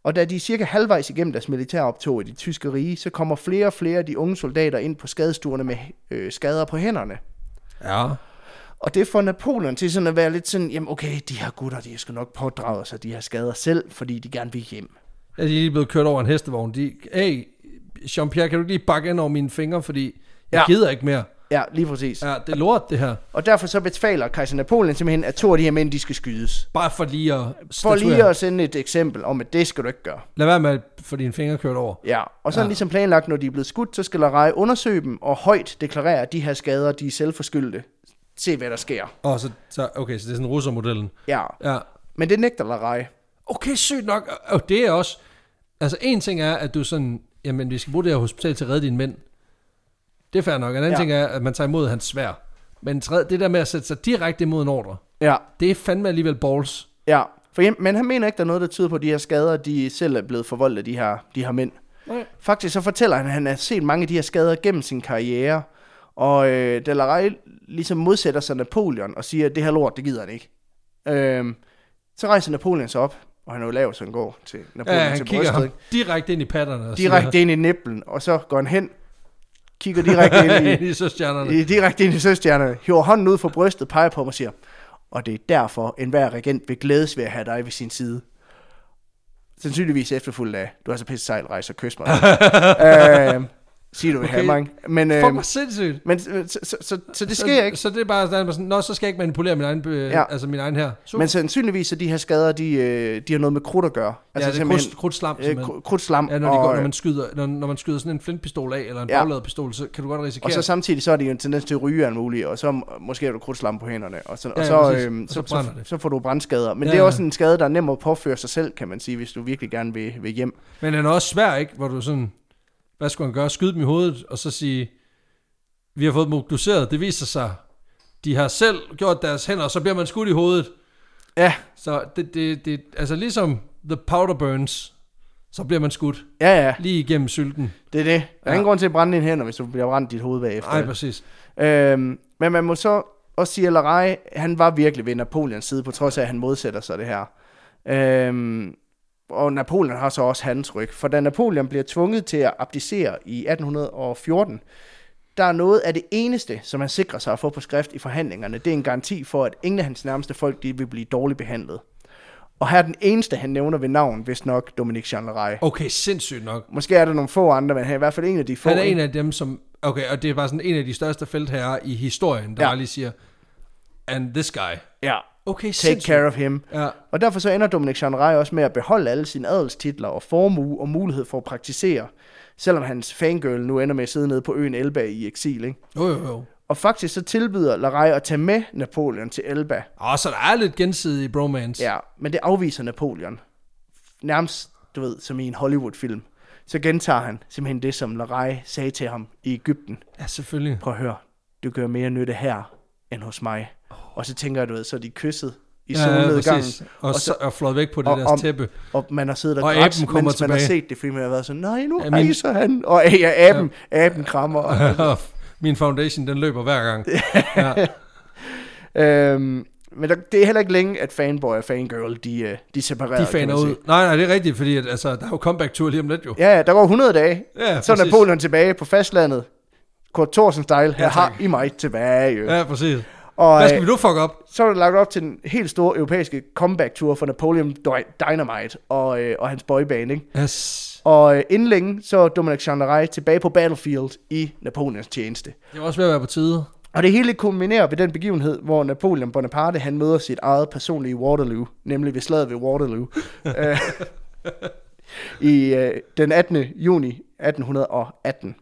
S2: Og da de er cirka halvvejs igennem deres militæroptog i det tyske rige, så kommer flere og flere af de unge soldater ind på skadestuerne med øh, skader på hænderne.
S1: Ja.
S2: Og det får Napoleon til sådan at være lidt sådan, jamen okay, de her gutter, de skal nok pådrage sig de her skader selv, fordi de gerne vil hjem.
S1: Ja, de er lige blevet kørt over en hestevogn. De, hey, Jean-Pierre, kan du ikke lige bakke ind over mine fingre, fordi jeg
S2: Ja.
S1: gider ikke mere.
S2: Ja, lige præcis. Ja.
S1: Ja, det er lort, det her.
S2: Og derfor så betaler kejser Napoleon simpelthen, at to af de her mænd, de skal skydes.
S1: Bare for lige at
S2: For lige
S1: statuere.
S2: at sende et eksempel om, at det skal du ikke gøre.
S1: Lad være med at få dine fingre kørt over.
S2: Ja, og sådan ja. ligesom planlagt, når de er blevet skudt, så skal Larej undersøge dem og højt deklarere, at de her skader, de er selvforskyldte. Se, hvad der sker.
S1: Og så, så, okay, så det er sådan russermodellen.
S2: Ja,
S1: Ja.
S2: men det nægter Larej.
S1: Okay, sygt nok. Og det er også... Altså, en ting er, at du sådan... Jamen, vi skal bruge det her hospital til at redde dine mænd. Det er fair nok. En anden
S2: Ja.
S1: ja. ting er, at man tager imod hans svær. Men tredje, det der med at sætte sig direkte imod en ordre,
S2: Ja,
S1: det er fandme alligevel balls.
S2: ja. For, hjem- men han mener ikke, der er noget, der tyder på, at de her skader, de selv er blevet forvoldt af de her, de her mænd.
S1: Nej.
S2: Faktisk så fortæller han, at han har set mange af de her skader gennem sin karriere. Og øh, da Larej ligesom modsætter sig Napoleon og siger, at det her lort, det gider han ikke. Øhm, så rejser Napoleon sig op, og han er jo lav, så han går til
S1: Ja,
S2: Napoleon til
S1: han kigger
S2: brystet.
S1: ham
S2: ikke?
S1: direkte ind i patterne. og
S2: Direkte ind i nipplen, og så går han hen, kigger direkte ind
S1: siger,
S2: i,
S1: ind i søstjernerne.
S2: i, direkte ind i søstjernerne, hiver hånden ud fra brystet, peger på ham og siger, og det er derfor, enhver regent vil glædes ved at have dig ved sin side. Sandsynligvis efterfulgt af, du har så pisse sejl, rejser, kys mig. øhm, sig du vil okay. have
S1: Okay.
S2: mig. Men,
S1: Fuck,
S2: øhm,
S1: hvor sindssygt.
S2: men så, så, så, så, så det sker ikke.
S1: Så, så det er bare sådan, at man sådan, Nå, så skal jeg ikke manipulere min egen, øh,
S2: Ja.
S1: ja. altså min egen her. Super.
S2: Men
S1: Men,
S2: sandsynligvis så de her skader, de, øh, de har noget med krudt at gøre.
S1: altså, ja, det er
S2: simpelthen,
S1: krudt, krudtslam,
S2: øh,
S1: simpelthen.
S2: kru- krudtslam.
S1: Ja, når, de går,
S2: og,
S1: når, man skyder, når, når man skyder sådan en flintpistol af, eller en
S2: Ja.
S1: ja. pistol, så kan du godt risikere...
S2: Og så samtidig så er det jo en tendens til at ryge alt muligt, og så m- måske har du krudtslam på hænderne, og så, og
S1: Ja,
S2: så,
S1: præcis.
S2: øhm,
S1: Og
S2: så,
S1: så
S2: så,
S1: brænder
S2: så,
S1: det.
S2: så får du brandskader. Men ja.
S1: Ja,
S2: det er
S1: ja.
S2: også en skade, der er nem at påføre sig selv, kan man sige, hvis du virkelig gerne vil, vil hjem.
S1: Men den er også svær, ikke? Hvor du sådan... Hvad skulle han gøre? Skyde dem i hovedet, og så sige... Vi har fået dem obduceret. Det viser sig... De har selv gjort deres hænder, og så bliver man skudt i hovedet.
S2: Ja,
S1: Så det, det, det altså ligesom The Powder Burns, så bliver man skudt
S2: ja, ja,
S1: lige igennem sylten.
S2: det er det. Der er ja.
S1: Ja.
S2: ingen grund til at brænde dine hænder, hvis du bliver brændt i dit hoved bagefter.
S1: Nej, præcis.
S2: Øhm, men man må så også sige, at Larej, han var virkelig ved Napoleons side, på trods af, at han modsætter sig det her. Øhm, og Napoleon har så også hans ryg. For da Napoleon bliver tvunget til at abdicere i 1814, der er noget af det eneste, som han sikrer sig at få på skrift i forhandlingerne, det er en garanti for, at ingen af hans nærmeste folk de vil blive dårligt behandlet. Og her er den eneste, han nævner ved navn, hvis nok Dominique Jean Larej.
S1: Okay, sindssygt nok.
S2: Måske er der nogle få andre, men han er i hvert fald en af de få.
S1: Han er
S2: ikke?
S1: en af dem, som... Okay, og det er bare sådan en af de største feltherrer i historien, der
S2: Ja.
S1: ja. bare lige siger... And this guy.
S2: Ja.
S1: Okay,
S2: Take
S1: sindssygt.
S2: care of him.
S1: Ja.
S2: Og derfor så ender Dominik Chanray også med at beholde alle sine adelstitler og formue og mulighed for at praktisere, selvom hans fangirl nu ender med at sidde nede på øen Elba i eksil. Ikke?
S1: Jo, jo, jo.
S2: Og faktisk så tilbyder Larej at tage med Napoleon til Elba.
S1: Og så der er lidt gensidig bromance.
S2: Ja, men det afviser Napoleon. Nærmest, du ved, som i en Hollywood-film. Så gentager han simpelthen det, som Larej sagde til ham i Ægypten.
S1: Ja, selvfølgelig.
S2: Prøv at høre, du gør mere nytte her end hos mig. Og så tænker jeg, du ved, så er de kysset i solnedgangen.
S1: præcis. Og, og, så, og flået væk på det
S2: og
S1: og, deres
S2: om-
S1: tæppe.
S2: Og man har siddet og,
S1: Og
S2: grædt,
S1: aben kommer
S2: mens man har
S1: tilbage.
S2: set det, fordi man har været sådan, nej, nu
S1: Ja,
S2: ja,
S1: men-
S2: rejser han. Og ja, aben, ja. aben krammer. Og,
S1: Min foundation, den løber hver gang.
S2: øhm, men der, det er heller ikke længe, at fanboy og fangirl, de, øh, de er separeret.
S1: De
S2: kan
S1: faner
S2: man sige.
S1: ud. Nej, nej, det er rigtigt, fordi at, altså, der er jo comeback-tur lige om lidt jo.
S2: Ja, ja, der går 100 dage.
S1: Ja,
S2: så er
S1: præcis.
S2: Napoleon tilbage på fastlandet. Kurt Thorsen-style, ja, jeg
S1: tak.
S2: har I mig tilbage. Jo. Ja.
S1: Ja, præcis.
S2: Og
S1: Hvad
S2: øh,
S1: skal vi nu fuck op?
S2: så er der lagt op til den helt store europæiske comeback-tour for Napoleon Dy- Dynamite og, øh, og hans boyband, ikke?
S1: Yes.
S2: Og øh, inden længe, så er Dominic Chandaray tilbage på battlefield i Napoleons tjeneste.
S1: Det var også ved at være på tide.
S2: Og det hele kulminerer ved den begivenhed, hvor Napoleon Bonaparte han møder sit eget personlige Waterloo, nemlig ved slaget ved Waterloo, øh, i øh, den 18. juni 1818.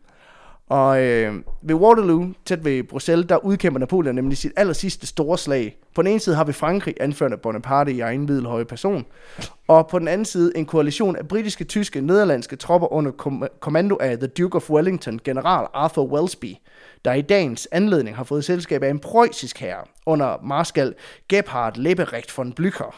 S2: Og øh, ved Waterloo, tæt ved Bruxelles, der udkæmper Napoleon nemlig sit aller sidste store slag. På den ene side har vi Frankrig, anført af Bonaparte i egen middelhøje person, og på den anden side en koalition af britiske, tyske, nederlandske tropper under kom- kommando af The Duke of Wellington, general Arthur Welsby, der i dagens anledning har fået selskab af en preussisk herre under marskal Gebhard Leberecht von Blücher.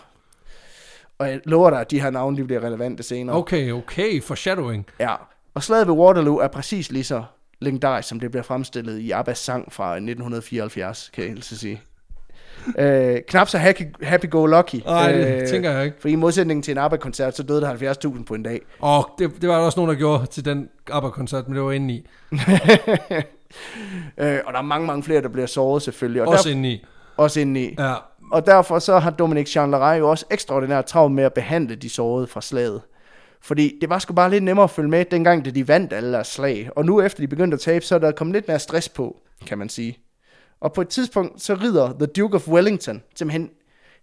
S2: Og jeg lover dig, at de her navne de bliver relevante senere.
S1: Okay, okay, foreshadowing.
S2: Ja. Og slaget ved Waterloo er præcis lige så legendarisk, som det bliver fremstillet i Abbas sang fra 1974, kan jeg helst sige. øh, knap så happy- happy-go-lucky.
S1: Nej, det Øh, tænker jeg ikke.
S2: For i modsætning til en ABBA-koncert, så døde der 70.000 på en dag.
S1: Og det, det var der også nogen, der gjorde til den ABBA-koncert, men det var inde i.
S2: Øh, og der er mange, mange flere, der bliver såret selvfølgelig. Og
S1: Også
S2: derf-
S1: inde i.
S2: også indeni. Ja.
S1: Ja.
S2: Og derfor så har Dominic Chandleray jo også ekstraordinært travlt med at behandle de sårede fra slaget. Fordi det var sgu bare lidt nemmere at følge med, dengang da de vandt alle deres slag. Og nu efter de begyndte at tabe, så er der kommet lidt mere stress på, kan man sige. Og på et tidspunkt, så rider The Duke of Wellington simpelthen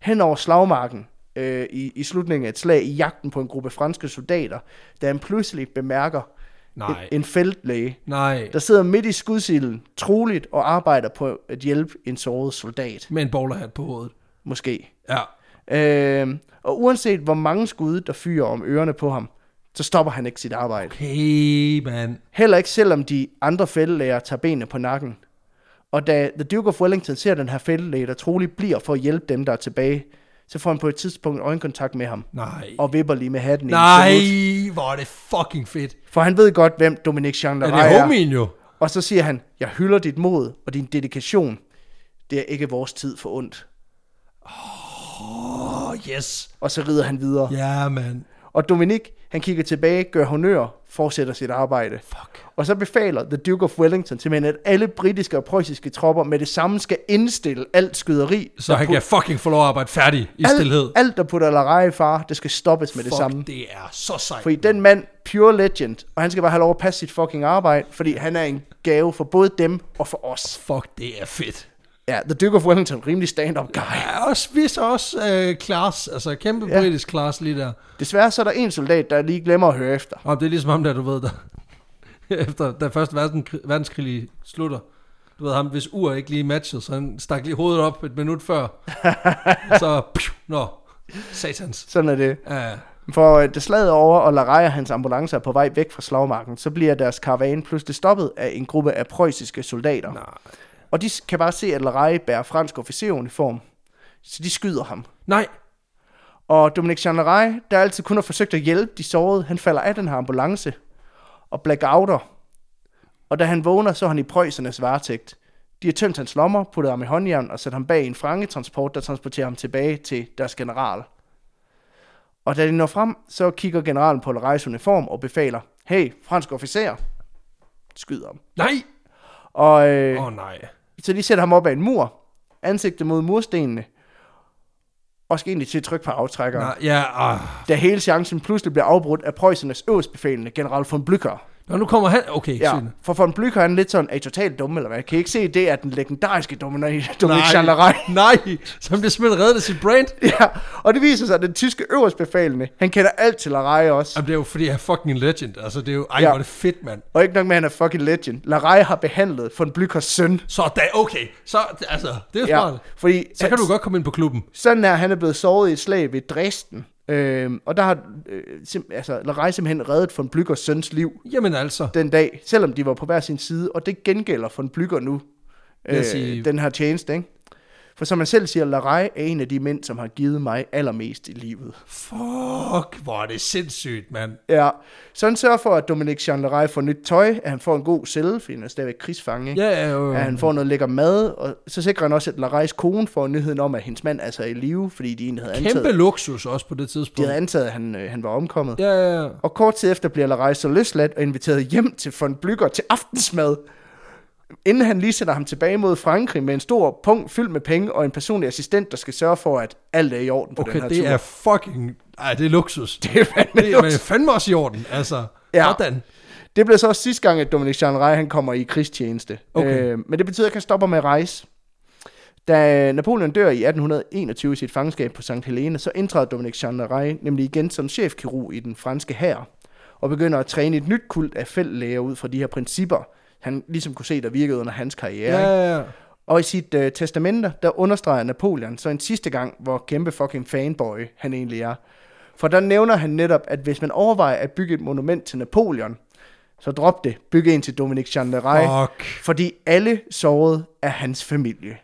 S2: hen over slagmarken øh, i, i slutningen af et slag i jagten på en gruppe franske soldater, da han pludselig bemærker en,
S1: Nej.
S2: en feltlæge,
S1: Nej,
S2: der sidder midt i skudsilden, troligt, og arbejder på at hjælpe en såret soldat,
S1: med en bowlerhat på hovedet.
S2: måske.
S1: Ja.
S2: Øh, og uanset hvor mange skud, der fyrer om ørerne på ham, så stopper han ikke sit arbejde.
S1: Hey, man.
S2: Heller ikke selvom de andre fældelæger tager benene på nakken. Og da The Duke of Wellington ser den her fældelæge, der troligt bliver for at hjælpe dem, der er tilbage, så får han på et tidspunkt øjenkontakt med ham,
S1: Nej.
S2: og vipper lige med hatten i en
S1: Nej,
S2: salut.
S1: hvor er det fucking fedt.
S2: For han ved godt, hvem Dominic Chandler
S1: Er det homien jo?
S2: Og så siger han, jeg hylder dit mod og din dedikation. Det er ikke vores tid for ondt.
S1: Åh, oh, yes.
S2: Og så rider han videre. Yeah.
S1: Ja, man.
S2: Og Dominik, han kigger tilbage, gør honør, fortsætter sit arbejde.
S1: Fuck.
S2: Og så befaler The Duke of Wellington simpelthen, at alle britiske og preussiske tropper med det samme skal indstille alt skyderi.
S1: Så han kan fucking få lov at arbejde færdig i stillhed.
S2: alt, alt, der putter Larai i fare, det skal stoppes med det
S1: Fuck,
S2: samme.
S1: det er så sejt.
S2: Fordi den mand, pure legend, og han skal bare have lov at passe sit fucking arbejde, fordi han er en gave for både dem og for os.
S1: Fuck, det er fedt.
S2: Ja, The Duke of Wellington, rimelig stand-up guy.
S1: Ja, også, viser også øh, class, altså kæmpe
S2: Ja.
S1: ja. britisk class lige der.
S2: Desværre så er der en soldat, der lige glemmer at høre efter.
S1: Og det er ligesom ham der, du ved, der, efter da første verdenskrig, verdenskrig lige slutter. Du ved ham, hvis ur ikke lige matchede, så han stak lige hovedet op et minut før. så, pju, nå, satans.
S2: Sådan er det.
S1: Ja,
S2: For øh, da slaget er over, og Larai og hans ambulance er på vej væk fra slagmarken, så bliver deres karavane pludselig stoppet af en gruppe af preussiske soldater.
S1: nej.
S2: Og de s- kan bare se, at Larai bærer fransk officeruniform. Så de skyder ham.
S1: Nej,
S2: Og Dominic Chandleray, der altid kun har forsøgt at hjælpe de sårede, han falder af den her ambulance og blackouter. Og da han vågner, så er han i prøjsernes varetægt. De har tømt hans lommer, puttet ham i håndjern og sat ham bag i en frangetransport, der transporterer ham tilbage til deres general. Og da de når frem, så kigger generalen på Larejs uniform og befaler, hey, fransk officer, skyd ham.
S1: nej.
S2: Og, øh,
S1: Åh, oh, nej.
S2: så de sætter ham op ad en mur, ansigtet mod murstenene, og skal egentlig til at trykke på aftrækkeren
S1: nej. Ja, ah.
S2: da hele chancen pludselig bliver afbrudt af Preussernes øverstbefalende general von Blücher.
S1: Nå, nu kommer han. Okay,
S2: Ja,
S1: ja. Sine.
S2: for von Blücher han er lidt sådan, er I totalt dumme, eller hvad? Kan I ikke se, det er den legendariske Dominik Dominik Chalaray?
S1: nej, så han bliver simpelthen reddet af sit brand.
S2: Ja, og det viser sig, at den tyske øverstbefalende, han kender alt til Larai også.
S1: Jamen, det er jo fordi, han er fucking en legend. Altså, det er jo, ej,
S2: Ja.
S1: ja. hvor er det fedt, mand.
S2: Og ikke nok med, at han er fucking legend. Larai har behandlet von Blüchers søn.
S1: Så da, okay, så, altså, det er
S2: Ja,
S1: smart. Ja.
S2: fordi
S1: Så kan du godt komme ind på klubben.
S2: Sådan er han er blevet såret i et slag ved Dresden. Øhm, og der har øh, sim- altså, Larai simpelthen reddet von Blüchers søns liv.
S1: Jamen altså.
S2: den dag, selvom de var på hver sin side, og det gengælder von Blücher nu,
S1: Jeg
S2: øh,
S1: siger-
S2: den her tjeneste, ikke? For som man selv siger, Larej er en af de mænd, som har givet mig allermest i livet.
S1: Fuck, hvor er det sindssygt, mand.
S2: Ja, så han sørger for, at Dominic Jean Larej får nyt tøj, at han får en god celle, fordi han er stadigvæk krigsfange, ikke?
S1: Ja, ja, jo.
S2: at han får noget lækker mad, og så sikrer han også, at Larejs kone får nyheden om, at hendes mand altså er i live, fordi de egentlig havde
S1: Kæmpe
S2: antaget,
S1: luksus også på det
S2: de
S1: tidspunkt.
S2: havde antaget at han, øh, han var omkommet.
S1: Ja, ja, ja.
S2: Og kort tid efter bliver Larej så løsladt og inviteret hjem til von Blücher til aftensmad. Inden han lige sender ham tilbage mod Frankrig med en stor punkt fyldt med penge og en personlig assistent, der skal sørge for, at alt er i orden på den
S1: Okay,
S2: her
S1: det
S2: tur.
S1: er fucking... Ej, det er luksus. Det
S2: Det er fandme
S1: er men
S2: luksus.
S1: fandme også i orden, altså.
S2: Ja.
S1: Ja. Sådan.
S2: Det blev så også sidste gang, at Dominic Jean han kommer i krigstjeneste.
S1: Okay.
S2: Øh, men det betyder ikke, at han stopper med at rejse. Da øh, Napoleon dør i 1821 i sit fangenskab på St. Helena, så indtræder Dominic Jean nemlig igen som chefkirurg i den franske hær, og begynder at træne et nyt kult af fældlæger ud fra de her principper, han ligesom kunne se, der virkede under hans karriere.
S1: Ja,
S2: ikke?
S1: ja, ja.
S2: Og i sit øh, testamenter, der understreger Napoleon så en sidste gang, hvor kæmpe fucking fanboy han egentlig er. For der nævner han netop, at hvis man overvejer at bygge et monument til Napoleon, så drop det. Byg en til Dominic Chandleray.
S1: Fuck.
S2: Fordi alle sårede er hans familie.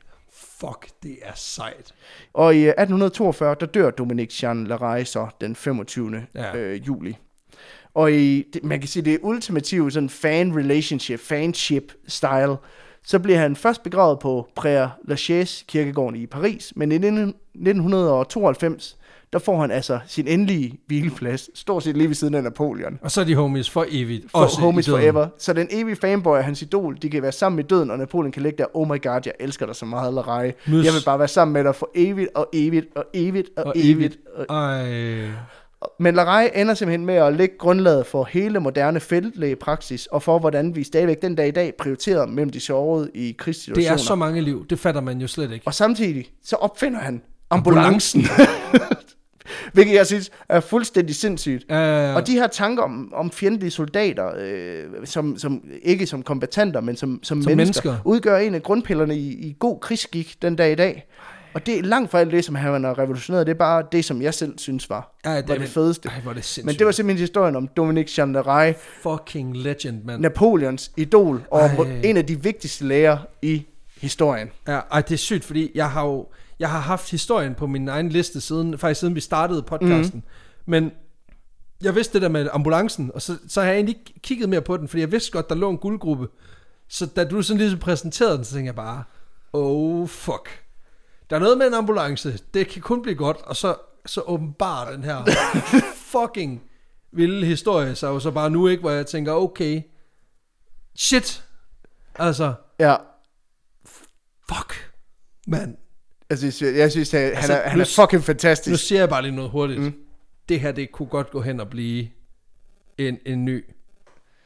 S1: Fuck, det er sejt.
S2: Og i øh, 1842, der dør Dominic Jean Laray så den 25. Ja.
S1: Ja.
S2: Øh, juli. Og i, det, man kan sige, det ultimative sådan fan-relationship, fanship-style, så bliver han først begravet på Père Lachaise kirkegården i Paris, men i 19- 1992, der får han altså sin endelige hvileplads, stort set lige ved siden af Napoleon.
S1: Og så er de homies for evigt.
S2: For
S1: også i
S2: homies
S1: døden.
S2: forever. Så den evige fanboy og hans idol, de kan være sammen i døden, og Napoleon kan ligge der, oh my god, jeg elsker dig så meget allerede.
S1: Møs.
S2: Jeg vil bare være sammen med dig for evigt og evigt og evigt og,
S1: Og
S2: evigt.
S1: evigt.
S2: Og...
S1: Ej.
S2: Men Larej ender simpelthen med at lægge grundlaget for hele moderne feltlægepraksis, og for hvordan vi stadigvæk den dag i dag prioriterer mellem de sårede i
S1: Det
S2: krigssituationer.
S1: er så mange liv. Det fatter man jo slet ikke.
S2: Og samtidig, så opfinder han ambulancen. Hvilket jeg synes er fuldstændig sindssygt.
S1: Uh,
S2: Og de her tanker om, om fjendtlige soldater, øh, som, som, ikke som kombattanter, men som, som, som mennesker, mennesker,
S1: mennesker.
S2: udgør en af grundpillerne i, i god krigsskik den dag i dag. Og det er langt fra alt det, som han har revolutioneret. Det er bare det, som jeg selv synes var,
S1: Ej, det
S2: var
S1: er
S2: det
S1: vel-
S2: fedeste.
S1: ej, hvor er det sindssygt.
S2: Men det var simpelthen historien om Dominique Chandleray,
S1: fucking legend, mand.
S2: Napoleons idol, og
S1: Ej.
S2: en af de vigtigste læger i historien.
S1: Ja, ej, det er sygt, fordi jeg har jo jeg har haft historien på min egen liste siden, faktisk siden vi startede podcasten. Mm. Men jeg vidste det der med ambulancen, og så, så har jeg egentlig ikke kigget mere på den, fordi jeg vidste godt, der lå en guldgruppe. Så da du sådan ligesom præsenterede den, så tænkte jeg bare, oh fuck. Der er noget med en ambulance, det kan kun blive godt, og så, så åbenbart den her fucking vilde historie, så jo så bare nu ikke, hvor jeg tænker, okay, shit, altså,
S2: Ja,
S1: fuck, mand.
S2: jeg synes, jeg, jeg synes han, altså,
S1: Altså,
S2: han, er, han
S1: nu
S2: er
S1: s-
S2: fucking
S1: Nu
S2: fantastisk.
S1: siger jeg bare lige noget hurtigt. Mm. Det her, det kunne godt gå hen og blive en, en ny,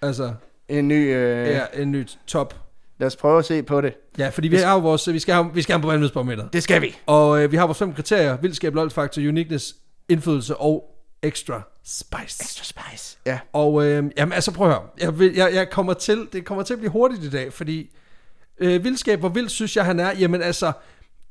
S1: altså,
S2: En ny... Øh,
S1: ja. en ny top.
S2: Lad os prøve at se på det.
S1: Ja, fordi vi har jo vores, vi skal have, vi skal have ham på vanvidsbarometeret.
S2: Det skal vi.
S1: Og øh, vi har vores fem kriterier, vildskab, lol-faktor, uniqueness, indflydelse og extra spice.
S2: Extra spice. Ja.
S1: Og øh, jamen, altså prøv at høre, jeg, vil, jeg, jeg kommer til, det kommer til at blive hurtigt i dag, fordi øh, vildskab, hvor vild synes jeg han er, jamen altså,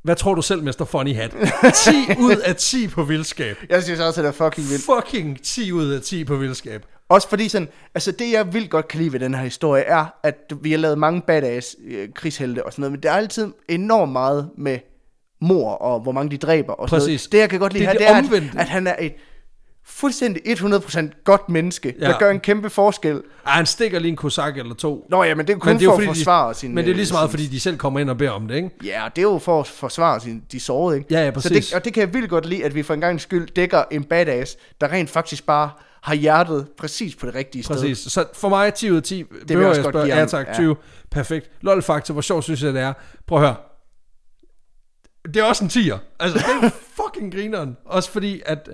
S1: hvad tror du selv, Mr. Funny Hat? 10 ud af 10 på vildskab.
S2: Jeg synes også, at det er fucking vildt.
S1: Fucking 10 ud af 10 på vildskab.
S2: Også fordi sådan, altså det jeg vildt godt kan lide ved den her historie, er, at vi har lavet mange badass øh, krigshelte og sådan noget, men der er altid enormt meget med mor og hvor mange de dræber og sådan
S1: Præcis.
S2: noget. Det jeg kan godt lide
S1: Det er
S2: her,
S1: det
S2: det er, at,
S1: omvendte.
S2: at han er et fuldstændig 100% godt menneske, ja. der
S1: Ja.
S2: gør en kæmpe forskel.
S1: Ej, Ah, han stikker lige en kosak eller to.
S2: Nå ja, men det er kun
S1: men det er jo
S2: for at
S1: fordi,
S2: forsvare
S1: de,
S2: sin...
S1: Men det er lige så
S2: øh,
S1: meget, fordi de selv kommer ind og beder om det, ikke?
S2: Ja, og det er jo for at forsvare sin, de sårede, ikke?
S1: Ja, ja,
S2: Så det,
S1: præcis.
S2: og det kan jeg vildt godt lide, at vi for en gang skyld dækker en badass, der rent faktisk bare har hjertet præcis på det rigtige sted.
S1: Præcis. Så for mig 10 ud af 10. Det behøver
S2: jeg
S1: jeg,
S2: også
S1: jeg
S2: godt
S1: spørge.
S2: give
S1: Ja,
S2: ham.
S1: tak.
S2: Ja.
S1: 20. Perfekt. lol faktor hvor sjovt synes jeg, det er. Prøv at høre. Det er også en 10'er. Altså, det er fucking grineren. Også fordi, at...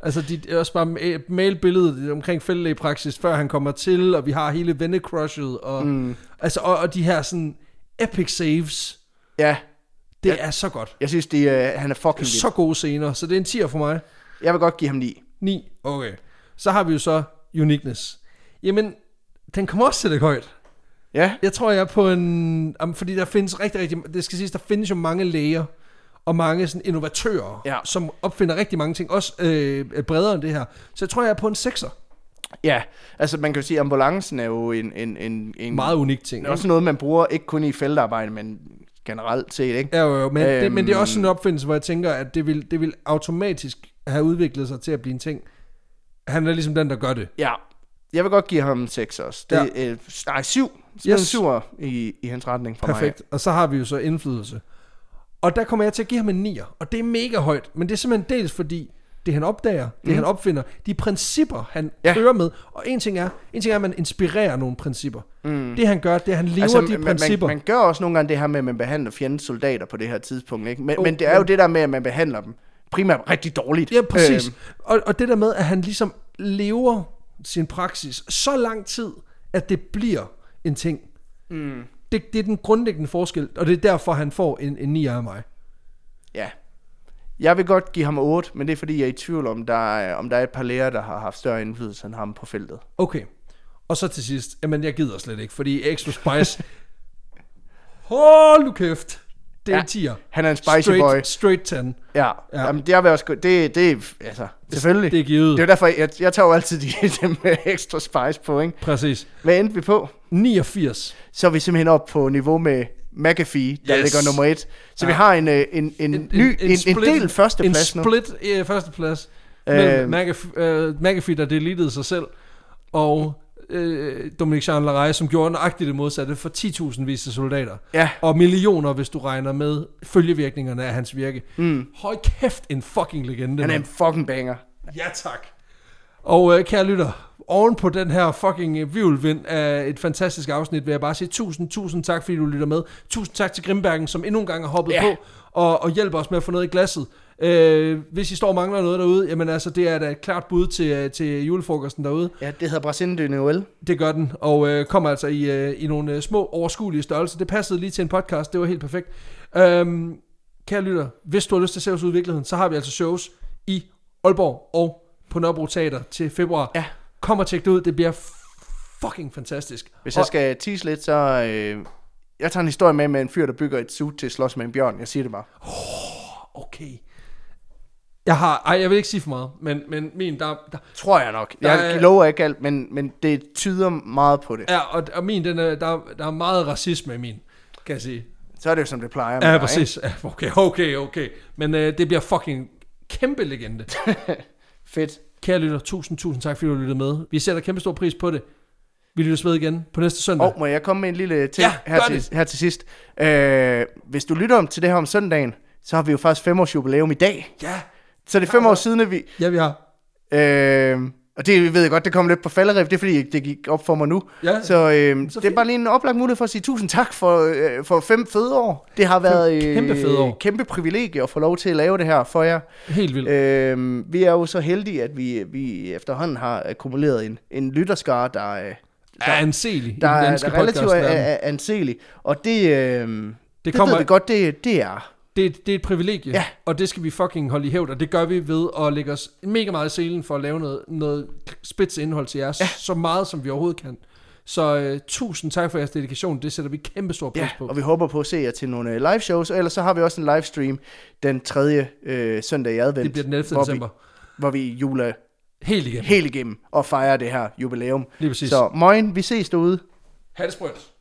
S1: Altså, de er også bare ma- mailbilledet omkring fældelæge praksis, før han kommer til, og vi har hele vennecrushet, og, mm. altså, og, og de her sådan epic saves.
S2: Ja,
S1: Det ja. er så godt.
S2: jeg synes, det, øh, han er fucking vild.
S1: Så gode scener. Så det er en 10'er for mig.
S2: Jeg vil godt give ham 9.
S1: 9. Okay. Så har vi jo så uniqueness. Jamen, den kommer også til det højt.
S2: Ja,
S1: Jeg tror, jeg er på en... Jamen, fordi der findes rigtig, rigtig... Det skal siges, der findes jo mange læger og mange sådan innovatører,
S2: Ja.
S1: som opfinder rigtig mange ting, også øh, bredere end det her. Så jeg tror, jeg er på en 6'er.
S2: ja. Altså, man kan jo sige, at ambulancen er jo en... en, en, en
S1: Meget unik ting.
S2: Det er også noget, man bruger ikke kun i feltarbejde, men generelt set, ikke?
S1: Ja, jo, jo, men, øhm, det, men det er også sådan
S2: Øhm.
S1: en opfindelse, hvor jeg tænker, at det vil, det vil automatisk have udviklet sig til at blive en ting. Han er ligesom den, der gør det.
S2: Ja. Jeg vil godt give ham 6 også. Det, ja. øh, nej, 7. Yes.
S1: Yes.
S2: En 7 i, i hans retning for
S1: Perfekt. Og så har vi jo så indflydelse. Og der kommer jeg til at give ham en 9'er, og det er mega højt, men det er simpelthen dels fordi, det han opdager, det han opfinder, de principper, han
S2: Ja.
S1: Mhm. ja. kører med, og en ting er, en ting er, at man inspirerer nogle principper. Mm. Det han gør, det er, at han lever
S2: mig.
S1: altså, de
S2: man,
S1: principper.
S2: Man, man gør også nogle gange det her med, at man behandler fjendens soldater på det her tidspunkt, ikke? Men, oh,
S1: Oh,
S2: men det er jo det der med, at man behandler dem primært rigtig dårligt.
S1: Ja, præcis. Øhm. Og, og det der med, at han ligesom lever sin praksis så lang tid, at det bliver en ting. Mm. Det, det er den grundlæggende forskel, og det er derfor, han får en, en 9 af mig.
S2: Ja. Jeg vil godt give ham 8, men det er fordi, jeg er i tvivl om, der er, om der er et par lærere, der har haft større indflydelse end ham på feltet.
S1: Okay. Og så til sidst, jamen jeg gider slet ikke, fordi Extra Spice, hold nu kæft, det er
S2: Ja,
S1: ja, en 10'er.
S2: Han er en spicy
S1: straight,
S2: boy.
S1: Straight 10. Det
S2: Ja, ja.
S1: Ja.
S2: Jamen, det vil jeg også... gå- Det, det, altså, selvfølgelig.
S1: er givet.
S2: Det er jo derfor, jeg, jeg tager jo altid de, dem med ekstra spice på, ikke?
S1: Præcis.
S2: Hvad endte vi på?
S1: 89.
S2: Så er vi simpelthen op på niveau med McAfee, der yes.
S1: Yes.
S2: ligger nummer et. Så ja. vi
S1: Ja.
S2: har en, øh, en, en, en, ny, en, en, en
S1: split-
S2: del førsteplads
S1: En
S2: nu.
S1: split øh, førsteplads.
S2: Øh.
S1: Øh, mellem McAfee, øh, McAfee, der deletede sig selv, og øh, Dominic Jean som gjorde nøjagtigt det modsatte for 10.000 vis af soldater.
S2: Ja.
S1: Og millioner, hvis du regner med følgevirkningerne af hans virke. Mm. Hold kæft, en fucking legende.
S2: Han er
S1: mand.
S2: en fucking banger.
S1: Ja tak. Og øh, kære lytter, oven på den her fucking øh, vivlvind af et fantastisk afsnit, vil jeg bare sige tusind, tusind tak, fordi du lytter med. Tusind tak til Grimbergen, som endnu en gang har hoppet
S2: Ja.
S1: ja. på og, og hjælper os med at få noget i glasset. Øh, hvis I står og mangler noget derude, jamen altså, det er da et klart bud til, øh, til julefrokosten derude.
S2: Ja, det hedder Brasil de Noël.
S1: Det gør den, og øh, kommer altså i, øh, i nogle øh, små overskuelige størrelser. Det passede lige til en podcast, det var helt perfekt. Øhm, kære lytter, hvis du har lyst til at se os ud i virkeligheden, så har vi altså shows i Aalborg og på Nørrebro Teater til februar.
S2: Ja.
S1: Kom og tjek det ud, det bliver fucking fantastisk.
S2: Hvis
S1: og,
S2: jeg skal tease lidt, så... Øh, jeg tager en historie med med en fyr, der bygger et suit til at slås med en bjørn. Jeg siger det bare.
S1: Okay. Jeg har, ej, jeg vil ikke sige for meget, men, men min, der, der,
S2: Tror jeg nok.
S1: Der
S2: Jeg
S1: er-
S2: lover ikke alt, men, men det tyder meget på det.
S1: ja, og, og min, den er, der, der er meget racisme i min, kan jeg sige.
S2: Så er det jo, som det plejer. med
S1: Ja,
S2: dig,
S1: præcis. Ja, okay, okay, okay. Men øh, det bliver fucking kæmpe legende.
S2: ikke? Fedt.
S1: Kære lytter, tusind, tusind tak, fordi du lyttede med. Vi sætter kæmpe stor pris på det. Vi lyttes ved igen på næste søndag.
S2: Og må jeg komme med en lille ting
S1: Ja,
S2: her,
S1: gør
S2: til,
S1: det.
S2: her til sidst? Øh, hvis du lytter om til det her om søndagen, så har vi jo faktisk fem års jubilæum i dag.
S1: Ja,
S2: Så det er fem år siden, at vi...
S1: ja vi har.
S2: Øh, og det ved jeg godt, det kom lidt på falderif, det er fordi, det gik op for mig nu.
S1: Ja,
S2: så øh,
S1: så
S2: det er
S1: fint.
S2: bare lige en oplagt mulighed for at sige tusind tak for, øh, for fem fede år. Det har været øh,
S1: kæmpe fede år.
S2: kæmpe privilegie at få lov til at lave det her for jer.
S1: Helt vildt.
S2: Øh, vi er jo så heldige, at vi, vi efterhånden har akkumuleret en, en lytterskare, der, øh,
S1: Der er en sel i den
S2: der, er, der
S1: danske
S2: er relativt er,
S1: podcast.
S2: er anselig. Og det, øh, det, det
S1: kommer-
S2: ved vi godt, det, det er.
S1: Det, det er et privilegie,
S2: Ja.
S1: og det skal vi fucking holde i hævd, og det gør vi ved at lægge os mega meget i selen for at lave noget, noget spids indhold til jer, ja. så meget som vi overhovedet kan. Så øh, tusind tak for jeres dedikation, det sætter vi kæmpe stor pris
S2: Ja,
S1: på.
S2: og vi håber på at se jer til nogle øh, live shows, og ellers så har vi også en livestream den 3. Øh, søndag i advent.
S1: Det bliver den 11.
S2: hvor
S1: december.
S2: Vi, hvor vi juler
S1: Helt igen.
S2: helt igennem og fejrer det her jubilæum.
S1: Lige præcis.
S2: Så morgen, vi ses derude.
S1: Ha' det sprødt.